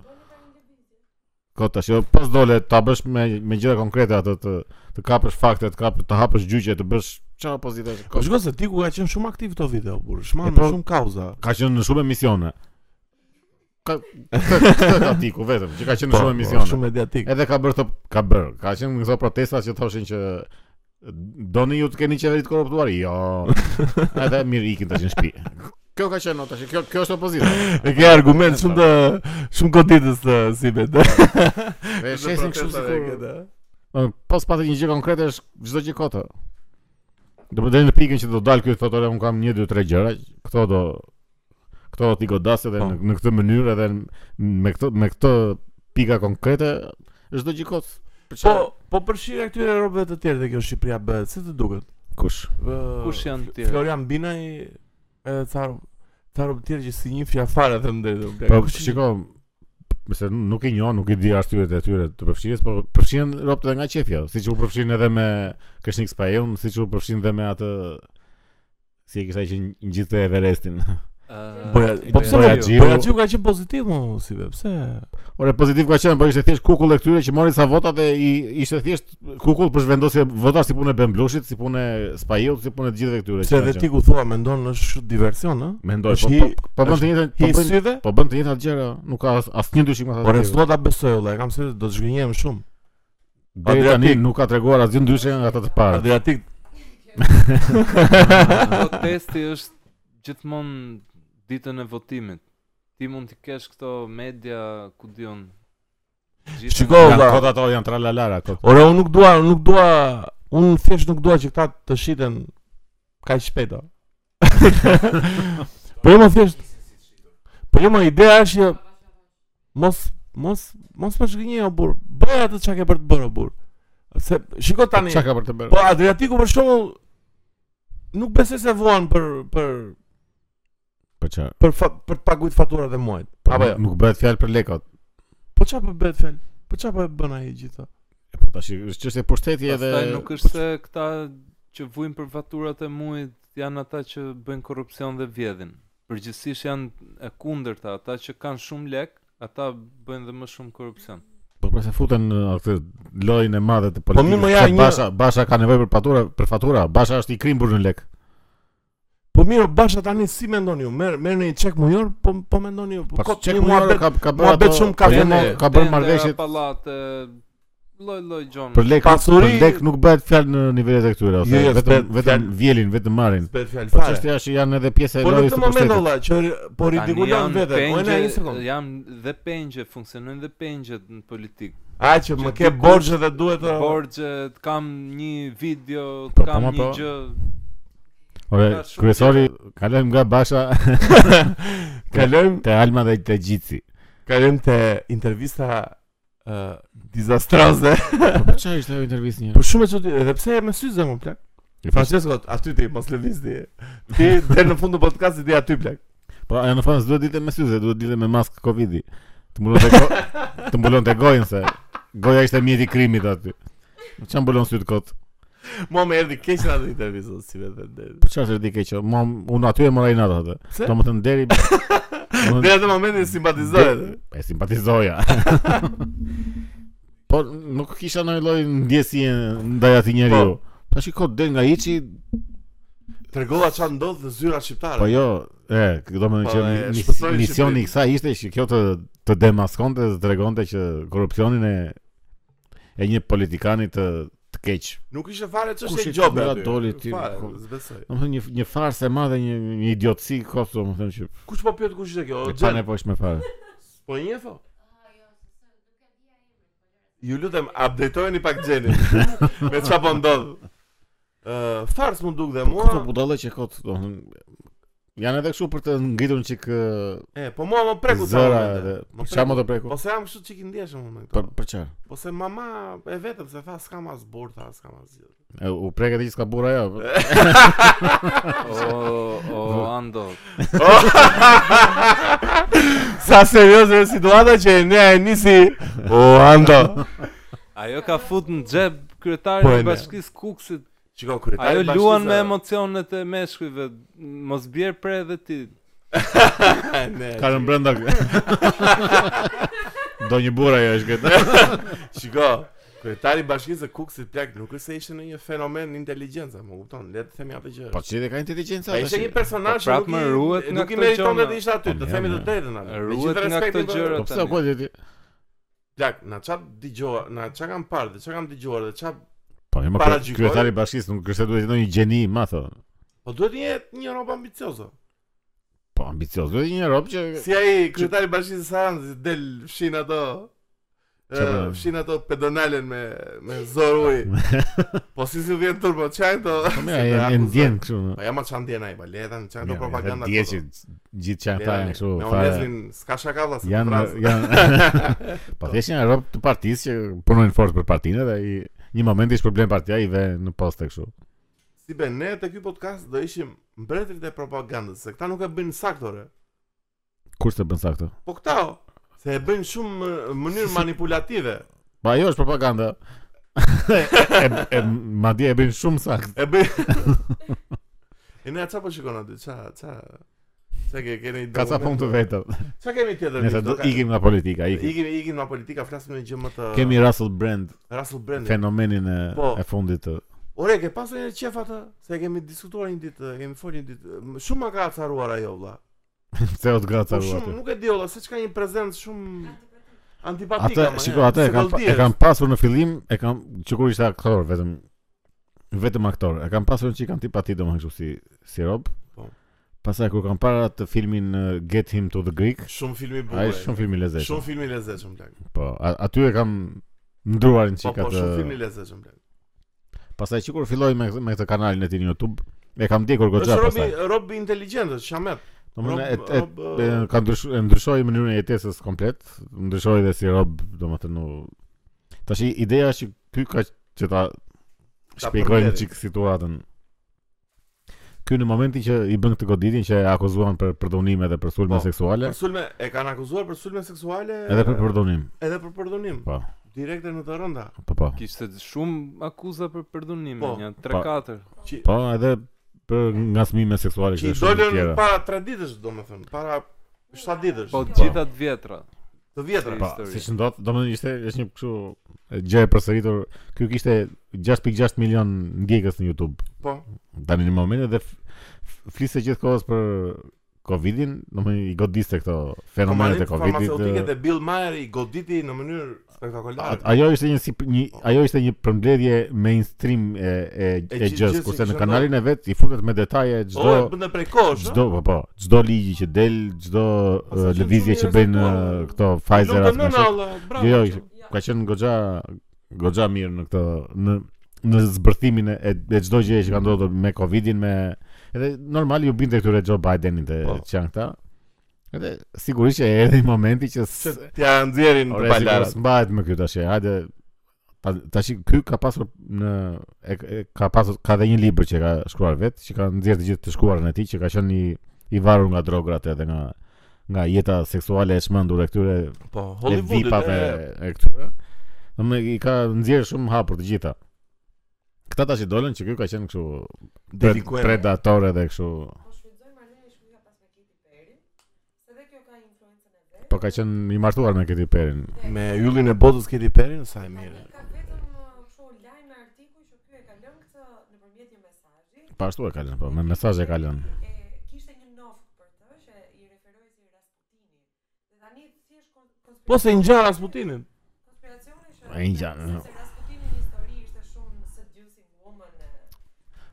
Speaker 2: Kot tash, jo, pas dole ta bësh me me gjëra konkrete atë të të kapësh fakte, të kapësh të hapësh gjyqe, të bësh çfarë opozite është.
Speaker 1: Po
Speaker 2: Kot,
Speaker 1: shiko se ti ku ka qenë shumë aktiv këto vite, o burr. Shman
Speaker 2: E, po-
Speaker 1: shumë kauza.
Speaker 2: Ka qenë në shumë emisione. Ka këtë këtë ka tiku vetëm, që ka qenë në
Speaker 1: Po,
Speaker 2: shumë
Speaker 1: po,
Speaker 2: emisione.
Speaker 1: Shumë mediatik.
Speaker 2: Edhe ka bërë të, ka bërë. Ka qenë në këto protesta që thoshin që doni ju të keni qeveri të korruptuar? Jo. Edhe mirë ikin tash në shtëpi. Kjo ka qenë tash. Kjo kjo është opozita.
Speaker 1: E ke argument shumë të shumë goditës të si vetë.
Speaker 2: Dhe shesin kështu sikur.
Speaker 1: këta.
Speaker 2: Ë, Pas pati një gjë konkrete është çdo gjë kotë. Do më deri në pikën që do dal ky thotë "Ore, un kam 1 2 3 gjëra, këto do këto do t'i godas edhe
Speaker 1: Po.
Speaker 2: në, në këtë mënyrë edhe në- me këto me këtë pika konkrete çdo gjë kot.
Speaker 1: Po,
Speaker 2: Për çfarë?
Speaker 1: po përfshirja këtyre robëve të tjerë dhe kjo Shqipëria bëhet, si të duket?
Speaker 2: kush?
Speaker 1: Vë-
Speaker 3: Kush janë të tjerë?
Speaker 1: Florian Binaj edhe ca ro- ca robë të tjerë që si një fjafare të ndërë.
Speaker 2: Po shiko, mëse nuk i njoh, nuk i di arsyet e tyre të përfshirjes, po përfshihen ropt edhe nga qefja, siç u përfshin edhe me Keshnik Spajon, siç u përfshin edhe me atë si e kisha që ngjitë Everestin.
Speaker 3: Ë,
Speaker 1: Po, ja- po pse
Speaker 2: Boja
Speaker 1: Boja
Speaker 2: Gjiu-
Speaker 1: Gjiu Boja Gjiu ka qenë pozitiv më si be, pse?
Speaker 2: Ore pozitiv ka qenë, po ishte thjesht kukull e këtyre që mori sa vota dhe i ishte thjesht kukull për zhvendosje votash si punë e Bemblushit, si punë e Spajeut, si punë e të gjithëve këtyre.
Speaker 1: Pse edhe ti ku thua mendon është diversion, ë?
Speaker 2: mendoj,
Speaker 1: është
Speaker 2: po
Speaker 1: hi-
Speaker 2: po- po bën të njëjtën, po
Speaker 1: Hi
Speaker 2: bën
Speaker 1: syve?
Speaker 2: po bën të njëjtat gjëra, nuk ka as- asnjë dyshim nga sa.
Speaker 1: Por e
Speaker 2: të tjerë.
Speaker 1: s'do po, ta besoj, valla, e kam se do të zhgënjem shumë.
Speaker 2: Deri tani
Speaker 1: Adriatik.
Speaker 2: nuk ka treguar asgjë ndryshe nga ata të parë.
Speaker 1: Adriatik
Speaker 3: Po testi është gjithmonë ditën e votimit. Ti mund të kesh këto media ku diun. gjitha-
Speaker 1: Shiko,
Speaker 2: Janë
Speaker 1: valla.
Speaker 2: kod ato janë tralalara kod.
Speaker 1: Ore, unë nuk dua, unë nuk dua, unë thjesht nuk dua që këta të shiten kaq shpejt. o. po jo më thjesht. Po jo më ideja është që mos mos mos pa shkënjej o burr. Bëj atë çka ke për të bërë o burr. Se shiko tani.
Speaker 2: Çka ka për të bërë?
Speaker 1: Po Adriatiku për shembull nuk besoj se vuan për për
Speaker 2: Po çfarë?
Speaker 1: për fa, për të paguajt faturat e muajit.
Speaker 2: Po
Speaker 1: Apo
Speaker 2: nuk-
Speaker 1: jo.
Speaker 2: nuk bëhet fjalë për lekot.
Speaker 1: Po çfarë po bëhet fjalë? Po çfarë po e bën ai gjithë?
Speaker 2: E Po tash është çështje pushteti edhe
Speaker 3: Pastaj nuk është se këta që vujnë për faturat e muajit janë ata që bëjnë korrupsion dhe vjedhin. Përgjithsisht janë e kundërta, ata që kanë shumë lek, ata bëjnë dhe më shumë korrupsion.
Speaker 2: po pra se futen në atë lojën e madhe të
Speaker 1: Po
Speaker 2: politikës.
Speaker 1: mirë, më ja,
Speaker 2: Se
Speaker 1: një-
Speaker 2: Basha, Basha ka nevojë për fatura, për fatura. Basha është i krimbur në lek.
Speaker 1: Po mirë, Basha tani si mendoni ju? Merr merr një çek mujor, po po mendoni ju? Po
Speaker 2: Po
Speaker 1: kot
Speaker 2: çe
Speaker 1: një
Speaker 2: ku mua
Speaker 1: muhabet
Speaker 2: ka ka bërë
Speaker 1: muhabet shumë ka
Speaker 2: po,
Speaker 1: vënë.
Speaker 2: mo- ka bërë
Speaker 3: Tendera,
Speaker 2: marrëveshje
Speaker 3: pallate, lloj lloj gjon.
Speaker 2: për lek.
Speaker 1: Pasuri-
Speaker 2: Për lek nuk bëhet fjalë në nivelet e këtyre ose
Speaker 1: Jo, jo,
Speaker 2: vetëm
Speaker 1: s'bëhet
Speaker 2: vetëm
Speaker 1: fjalë.
Speaker 2: vjelin, vetëm marrin.
Speaker 1: për fjalë
Speaker 2: Po
Speaker 1: fare.
Speaker 2: çështja është që janë edhe pjesë e
Speaker 1: Po në
Speaker 2: lojës
Speaker 1: këtë
Speaker 2: së
Speaker 1: moment
Speaker 2: pushtetit.
Speaker 1: valla që po ridikulon veten. Po na një sekond.
Speaker 3: Janë dhe pengje, funksionojnë dhe pengjet në politikë.
Speaker 1: A që më
Speaker 3: që
Speaker 1: ke
Speaker 3: dikush-
Speaker 1: borxhe dhe duhet të
Speaker 3: Borxhet, kam një video,
Speaker 2: Po, po,
Speaker 3: kam
Speaker 2: ma,
Speaker 3: një
Speaker 2: po.
Speaker 3: gjë.
Speaker 2: Ore,
Speaker 3: Ka shumë
Speaker 2: kryesori kalojmë nga Basha
Speaker 1: kalojm
Speaker 2: te Alma dhe te Gjitsi.
Speaker 1: kalojm te intervista ë dizastraze.
Speaker 2: Po çfarë ishte ajo intervistë një?
Speaker 1: Po shumë e çuditshme, edhe pse e me syze më plak. Francesco, aty ti mos lëviz ti. Ti deri në fund të podcastit ti aty plak.
Speaker 2: Po, e në fund s'duhet ditë me syze, duhet ditë me maskë Covidi. Të mbulon të, go... të mbulon të gojën se goja ishte mjeti i krimit aty. Po, Çfarë mbulon syt kot?
Speaker 1: Mua më erdhi keq në atë intervistë si vetë.
Speaker 2: Po çfarë është di keq? Mo unë aty e mora inat atë.
Speaker 1: Pse?
Speaker 2: Domethënë deri
Speaker 1: Dhe atë momentin simpatizoj.
Speaker 2: De- E simpatizoja. Po nuk kisha ndonjë lloj ndjesie ndaj atij njeriu. Ta shiko del nga hiçi,
Speaker 1: Tregova çfarë ndodh në zyra shqiptare.
Speaker 2: po jo, e, do të
Speaker 1: Po,
Speaker 2: thonë që
Speaker 1: e,
Speaker 2: mis-
Speaker 1: shpëtoi
Speaker 2: misioni
Speaker 1: Shqipërinë.
Speaker 2: i kësaj ishte që kjo të të demaskonte, të tregonte që korrupsionin e e një politikani të të keq.
Speaker 1: Nuk ishte fare
Speaker 2: Kush
Speaker 1: çështë
Speaker 2: i
Speaker 1: e gjobe
Speaker 2: kamera
Speaker 1: aty.
Speaker 2: doli ti?
Speaker 1: Fare,
Speaker 2: Ku-
Speaker 1: zbesoj.
Speaker 2: Do të thonë një një farsë e madhe, një një idiotësi kot, do të thonë që
Speaker 1: Kush po pyet kush ishte kjo? O
Speaker 2: e pa
Speaker 1: Xhen.
Speaker 2: nevojshme fare.
Speaker 1: Po e njeh po? Ju lutem, updatojeni pak Xhenin. Me çfarë po ndodh? Ë, fars më duk dhe
Speaker 2: Po këto
Speaker 1: mua.
Speaker 2: budalla që kot, do të thonë janë edhe kështu për të ngritur një çik ë,
Speaker 1: E, po mua më preku ca
Speaker 2: zëra
Speaker 1: momente.
Speaker 2: edhe.
Speaker 1: Më
Speaker 2: Çfarë
Speaker 1: preku.
Speaker 2: më të preku?
Speaker 1: Po se jam kështu çik i ndjeshëm unë me
Speaker 2: Për
Speaker 1: këto.
Speaker 2: për çfarë?
Speaker 1: Po se mama e vetëm se tha s'kam as burta, as kam as gjë.
Speaker 2: E, U preket që s'ka burra ajo. po.
Speaker 3: O, o, Ando,
Speaker 1: Sa serioze është situata që e nea e nisi O Ando
Speaker 3: ajo ka fut në xhep
Speaker 1: Po,
Speaker 3: kryetarin
Speaker 1: e
Speaker 3: e
Speaker 1: ne.
Speaker 3: bashkisë Kuksit.
Speaker 1: Qiko kryetari
Speaker 3: Ajo luan me emocionet e meshkujve. Mos bjer pre edhe ti.
Speaker 1: emotë
Speaker 2: Ka rënë brenda. Do një burra ajo është këtë.
Speaker 1: Qiko Kryetari i bashkisë e kuksit plak nuk është se ishte në një fenomen inteligjencë Më kupton, le të themi atë që
Speaker 2: Po çi dhe ka inteligencë
Speaker 1: Pa ishte
Speaker 2: tash.
Speaker 1: një personazh
Speaker 3: Po,
Speaker 1: që
Speaker 3: prap
Speaker 1: nuk
Speaker 3: më ruhet
Speaker 1: i
Speaker 3: nga
Speaker 1: nuk i
Speaker 3: këto
Speaker 1: meriton
Speaker 3: gjona.
Speaker 1: të ishte aty,
Speaker 2: Po,
Speaker 1: të
Speaker 2: ne,
Speaker 1: themi të
Speaker 2: ne.
Speaker 1: drejtën atë. Me
Speaker 3: Ruhet
Speaker 1: gjithë
Speaker 3: nga
Speaker 1: respektin
Speaker 3: këto
Speaker 1: për-
Speaker 3: gjëra.
Speaker 2: Po pse
Speaker 3: tani.
Speaker 2: ku ti?
Speaker 1: Plak, na çfarë dëgjova, na çfarë kam parë dhe çfarë kam dëgjuar dhe çfarë
Speaker 2: Po më
Speaker 1: Para
Speaker 2: kry-
Speaker 1: gjykoj.
Speaker 2: kryetari i bashkisë nuk është se duhet të jetë një gjeni i madh. thonë.
Speaker 1: Po duhet një një rob ambicioz.
Speaker 2: Po ambicioz, duhet një rob që
Speaker 1: Si ai kryetari i bashkisë së Saranës del fshin ato e,
Speaker 2: Çfarë?
Speaker 1: fshin ato pedonalen me me zor uj. po si si vjen turbo çajn to.
Speaker 2: po mira, e- e ndjen kështu. në-
Speaker 1: Po jam çan ndjen ai, bale, edhe çan
Speaker 2: Mira,
Speaker 1: do propaganda.
Speaker 2: Dje që gjithë çan ta janë kështu.
Speaker 1: Me
Speaker 2: fare.
Speaker 1: Onezlin s'ka shaka valla. s'u
Speaker 2: Janë
Speaker 1: vrasë.
Speaker 2: janë Po thjesht janë rob të partisë që punojnë fort për partinë dhe i një moment ish problem partia i ve në postë kështu.
Speaker 1: Si be, ne te ky podcast do ishim mbretërit e propagandës, se këta nuk e bëjnë saktore.
Speaker 2: Kur të bën saktë?
Speaker 1: Po këta o, se e bëjnë shumë në mënyrë manipulative.
Speaker 2: Po ajo është propaganda. e, e, madje e bëjnë shumë saktë.
Speaker 1: E bëjnë E ne çfarë po shikon aty? Ç'a ç'a ç'a ke keni
Speaker 2: Ka ca punë të veta.
Speaker 1: Ç'a kemi tjetër?
Speaker 2: Nëse
Speaker 1: Vito?
Speaker 2: do
Speaker 1: Ka-
Speaker 2: ikim nga politika, ikim.
Speaker 1: Ikim ikim nga politika, flasim në gjë më të
Speaker 2: Kemi Russell Brand,
Speaker 1: Russell Brand.
Speaker 2: fenomenin e,
Speaker 1: Po.
Speaker 2: e fundit të
Speaker 1: Ore, ke pasur një qef atë? Se e kemi diskutuar një ditë, e kemi folur një ditë. M- Shumë ma ka acaruar ajo vëlla.
Speaker 2: Zeot
Speaker 1: Po
Speaker 2: Graca
Speaker 1: shumë
Speaker 2: aty.
Speaker 1: nuk e di vëlla, se çka një prezencë shumë antipatika.
Speaker 2: Atë, shiko, atë e kam e kam pasur në fillim, e kam që kur ishte aktor vetëm vetëm aktor, e kam pasur që i kam tipati domethënë kështu si si rob.
Speaker 1: Po.
Speaker 2: Pastaj kur kam parë atë filmin uh, Get Him to the Greek,
Speaker 1: shumë filmi i bukur.
Speaker 2: ai është shumë film i lezetshëm.
Speaker 1: Shumë film i lezetshëm plak.
Speaker 2: Po, a- aty e kam ndruar një
Speaker 1: Po
Speaker 2: çik
Speaker 1: po, shumë film i
Speaker 2: atë.
Speaker 1: lezetshëm plak.
Speaker 2: Pastaj që kur filloi me me këtë kanalin e tij në YouTube, e kam djegur
Speaker 1: Është
Speaker 2: goxha
Speaker 1: robi
Speaker 2: pastaj.
Speaker 1: robi inteligjent, është shamet.
Speaker 2: Domethënë
Speaker 1: Rob-
Speaker 2: e- e
Speaker 1: rob,
Speaker 2: e,
Speaker 1: ë,
Speaker 2: ka ndrysh, e ndryshoi mënyrën e jetesës komplet, ndryshoi edhe si rob, domethënë u Tash ideja është që ky ka që ta shpjegojnë
Speaker 1: përmbledhë.
Speaker 2: çik situatën. Ky në momentin që i bën këtë goditjen që e akuzuan për përdhunime dhe për sulme
Speaker 1: Po,
Speaker 2: seksuale,
Speaker 1: Për sulme e kanë akuzuar për sulme seksuale
Speaker 2: edhe për përdhunim.
Speaker 1: edhe për përdhunim.
Speaker 2: Po.
Speaker 1: Direkte në të rënda.
Speaker 2: Po po.
Speaker 3: Kishte shumë akuza për përdhunim,
Speaker 1: Po.
Speaker 3: një 3-4.
Speaker 1: Që
Speaker 2: Po, edhe për ngasmime seksuale
Speaker 1: që
Speaker 2: që
Speaker 1: i
Speaker 2: shumë të
Speaker 1: dolën
Speaker 2: tjera.
Speaker 1: para 3 ditësh domethënë, para 7 ditësh.
Speaker 3: Po gjitha të vjetra.
Speaker 1: të vjetra.
Speaker 2: Po,
Speaker 3: histori.
Speaker 2: siç ndot, domethënë ishte është një kështu e, gjë e përsëritur. Ky kishte 6.6 milion ndjekës në YouTube.
Speaker 1: Po.
Speaker 2: Tani në momentin dhe f- f- fliste gjithkohës për Covidin, domethënë i godiste këto fenomenet
Speaker 1: Kompanitë
Speaker 2: e Covidit.
Speaker 1: farmaceutike
Speaker 2: e,
Speaker 1: dhe Bill Maher i goditi në mënyrë spektakolare.
Speaker 2: A- Ajo ishte një si një ajo ishte një përmbledhje mainstream e e e,
Speaker 1: E gjithë-
Speaker 2: gjës,
Speaker 1: gjithë
Speaker 2: kurse
Speaker 1: që
Speaker 2: në
Speaker 1: çdo-
Speaker 2: kanalin e vet i futet me detaje
Speaker 1: O, e
Speaker 2: çdo
Speaker 1: bën dhe prej kohësh.
Speaker 2: çdo po po, çdo ligji që del, çdo
Speaker 1: Po, se
Speaker 2: e,
Speaker 1: gjithë
Speaker 2: lëvizje që
Speaker 1: njerëzit
Speaker 2: bëjnë
Speaker 1: po,
Speaker 2: e, këto Pfizer
Speaker 1: Lutem
Speaker 2: atë
Speaker 1: nëna,
Speaker 2: më shek.
Speaker 1: olla, bravo.
Speaker 2: Jo, jo,
Speaker 1: që-
Speaker 2: ishte- ka qenë goxha goxha mirë në këtë në në zbërthimin e e çdo gjëje që ka ndodhur me Covidin me edhe normal ju binte këtyre Joe Bidenit e
Speaker 1: Po.
Speaker 2: që janë këta. Edhe sigurisht që erdhi momenti që
Speaker 1: Që
Speaker 2: s-
Speaker 1: t'ja nxjerrin të
Speaker 2: jo. Ore,
Speaker 1: palaras.
Speaker 2: sigurisht mbahet me ky tash. Hajde ta- tash ky ka pasur në e, e, ka pasur ka dhe një libër që ka shkruar vet, që ka nxjerrë të gjithë të shkruarën e tij, që ka qenë i i varur nga drograt edhe nga nga jeta seksuale e çmendur e këtyre
Speaker 1: Po,
Speaker 2: e
Speaker 1: Hollywoodit
Speaker 2: vipave
Speaker 1: e
Speaker 2: e, e këtyre. Domethënë i ka nxjerrë shumë hapur të gjitha. Këta tash i dolën që ky ka qenë kështu pred,
Speaker 1: dedikuar.
Speaker 2: predator edhe kështu.
Speaker 4: Po shfrytëzoj marrëdhënien e shkruja pas me Katy Perry, se dhe kjo ka influencën e vet.
Speaker 2: Po po ka qenë i martuar me Katy Perry.
Speaker 1: Me yllin e botës Katy Perry, sa e mirë.
Speaker 4: Ka vetëm uh, kështu lajme artikuj që ky e ka lënë këtë nëpërmjet një mesazhi.
Speaker 2: Po ashtu e ka lënë, po me mesazhe ka lënë.
Speaker 4: E kishte një nof për të që i referoi si Rasputini. Dhe tani thjesht kon- konspiracione.
Speaker 1: Po se ngjan Rasputinin.
Speaker 4: konspiracione që
Speaker 2: E ngjan,
Speaker 4: se-
Speaker 2: no.
Speaker 4: se Rasputini në histori ishte shumë seducing woman. e,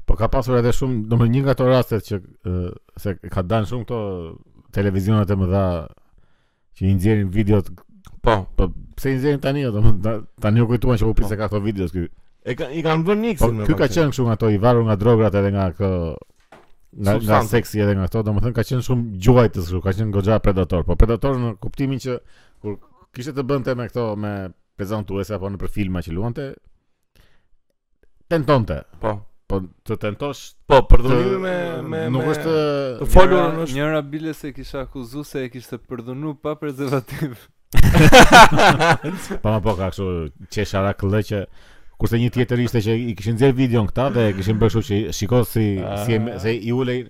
Speaker 2: Po ka pasur edhe shumë, domethënë një nga ato rastet që ë, se ka dalë shumë këto televizionet e mëdha që i nxjerrin videot,
Speaker 1: Po.
Speaker 2: po pse i nxjerrin tani, domethënë ta- tani u kujtuan që u pise ka këto videos ky.
Speaker 1: E ka, i kanë vënë
Speaker 2: Po
Speaker 1: Nixin. me
Speaker 2: ky ka
Speaker 1: pak
Speaker 2: qenë kështu nga ato i varur nga drograt edhe nga kë nga nga
Speaker 1: Substancë.
Speaker 2: seksi edhe nga këto, domethënë ka qenë shumë gjuajtës kështu, ka qenë goxha predator, po predator në kuptimin që kur kishte të bënte me këto me prezantuese apo në për filma që luante tentonte,
Speaker 1: Po.
Speaker 2: po të tentosh
Speaker 1: Po,
Speaker 2: të-
Speaker 1: përdorimi me me
Speaker 2: nuk
Speaker 1: me-
Speaker 2: është
Speaker 1: të folur
Speaker 3: Njëra-
Speaker 1: është
Speaker 3: Njëra bile se kisha akuzu se e kishte përdhunu pa prezervativ.
Speaker 2: po ma po ka kështu qeshara këllë që kurse një tjetër ishte që i kishin nxjerr videon këta dhe e kishin bërë kështu që shiko si si e- se i ulej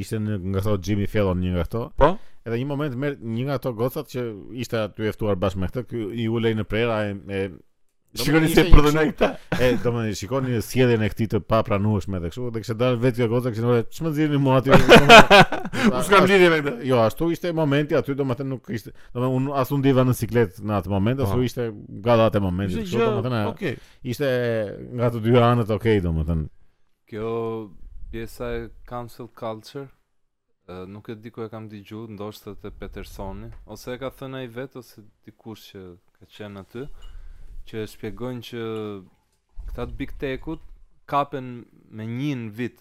Speaker 2: ishte në, nga ato Jimmy Fallon një nga ato.
Speaker 1: Po?
Speaker 2: Edhe një moment merr një nga ato gocat që ishte aty e ftuar bashkë me këtë, ky i ulej në prera e, e
Speaker 1: Shikoni
Speaker 2: Ishte
Speaker 1: se
Speaker 2: një
Speaker 1: përdorën
Speaker 2: kështu-
Speaker 1: këta.
Speaker 2: E, do më thënë, shikoni sjelljen e këtij të papranueshme dhe kështu, dhe kishte dalë vetë kjo goca, kishte thënë, "Ç'më nxjerrni mua aty?"
Speaker 1: Unë s'kam lidhje me këtë.
Speaker 2: Jo, ashtu ishte momenti aty, domethënë nuk ishte, domethënë unë as u ndiva në siklet në atë moment,
Speaker 1: Po.
Speaker 2: ashtu ishte gallat e momentit,
Speaker 1: Ishte
Speaker 2: kështu
Speaker 1: gjë.
Speaker 2: domethënë
Speaker 1: Okej.
Speaker 2: ishte nga të dy anët okay, domethënë.
Speaker 3: Kjo pjesa e cancel culture ë, nuk e di ku e kam dëgju, ndoshta te Petersoni, ose e ka thënë ai vetë ose dikush që ka qenë aty, që e shpjegojnë që këta të Big Tech-ut kapen me një në vit,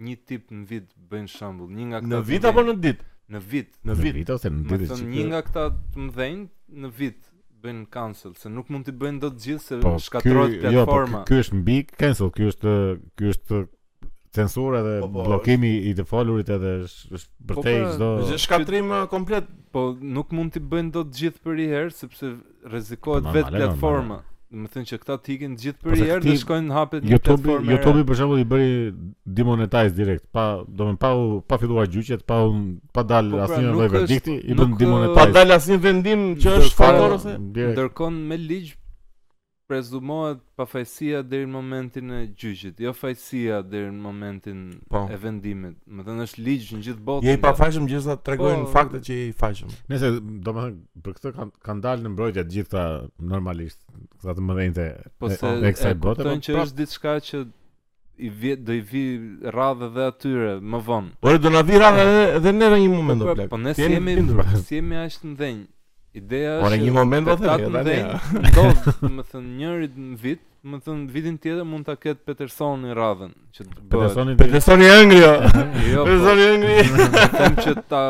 Speaker 3: një tip në vit bëjnë shembull, një nga këta
Speaker 1: Në
Speaker 3: të
Speaker 1: vit apo
Speaker 3: mëdhenj-
Speaker 1: në ditë?
Speaker 3: në vit.
Speaker 1: Në vit.
Speaker 2: ose në
Speaker 3: Më
Speaker 2: ditë.
Speaker 3: thënë
Speaker 2: që-
Speaker 3: një nga këta të mëdhenj në vit bëjnë cancel, se nuk mund t'i bëjnë dot gjithë se
Speaker 2: po
Speaker 3: shkatërrohet
Speaker 2: ky- Jo, po
Speaker 3: platforma.
Speaker 2: ky- ky është mbi cancel, ky është ky është censura dhe
Speaker 1: Po, po,
Speaker 2: bllokimi i të folurit edhe është është për te
Speaker 3: pra,
Speaker 2: çdo
Speaker 1: Është shkatrim uh, komplet.
Speaker 3: Po nuk mund t'i bëjnë dot gjithë për i herë sepse rrezikohet
Speaker 2: Normale,
Speaker 3: vetë platforma. Do të thënë që këta t'ikin gjithë
Speaker 2: Po
Speaker 3: për
Speaker 2: se
Speaker 3: i herë
Speaker 2: këti
Speaker 3: dhe shkojnë hapet një
Speaker 2: YouTube
Speaker 3: platformë. e re.
Speaker 2: YouTube për shembull i bëri demonetize direkt, pa domethënë pa u pa filluar gjyqet, pa u pa dal
Speaker 3: Po, pra,
Speaker 2: asnjë
Speaker 3: nuk
Speaker 2: lloj
Speaker 3: është-
Speaker 2: verdikti, i
Speaker 3: nuk,
Speaker 2: bën
Speaker 3: ë,
Speaker 1: Pa
Speaker 2: demonetize.
Speaker 1: dal asnjë vendim që
Speaker 3: Ndërkohë-
Speaker 1: është faktor ose
Speaker 2: direkt.
Speaker 3: ndërkohë me ligj prezumohet pafajësia deri në momentin e gjyqit, jo fajësia deri në momentin
Speaker 1: Po.
Speaker 3: e vendimit. Do të thënë është ligj në gjithë botën.
Speaker 1: Je i pafajshëm gjithsa tregojnë
Speaker 3: Po.
Speaker 1: faktet që je i fajshëm.
Speaker 2: Nëse domethënë për këtë kanë kanë dalë në mbrojtje të gjitha normalisht, këta të mëdhenjtë
Speaker 3: Po
Speaker 2: e-
Speaker 3: se
Speaker 2: e
Speaker 3: e
Speaker 2: kësaj bote, po
Speaker 3: kuptojnë që
Speaker 2: prap-
Speaker 3: është diçka që i vi, do i vi radhë dhe atyre më vonë.
Speaker 1: Ore do na vira edhe edhe neve një moment
Speaker 3: Po,
Speaker 1: do
Speaker 3: pra,
Speaker 1: blek.
Speaker 3: Po ne
Speaker 1: Ti
Speaker 3: si
Speaker 1: jemi
Speaker 3: jemi
Speaker 1: bindur.
Speaker 3: si jemi aq të ndënj. Ideja është
Speaker 1: Ore një moment do themi, edhe ne.
Speaker 3: do, më thënë njëri në vit, më thënë vitin tjetër mund ta ketë Petersoni radhën që të bëhet.
Speaker 2: Petersoni
Speaker 1: Petersoni e ëngri. jo.
Speaker 3: Jo, po,
Speaker 1: Petersoni e ëngri.
Speaker 3: më thënë që ta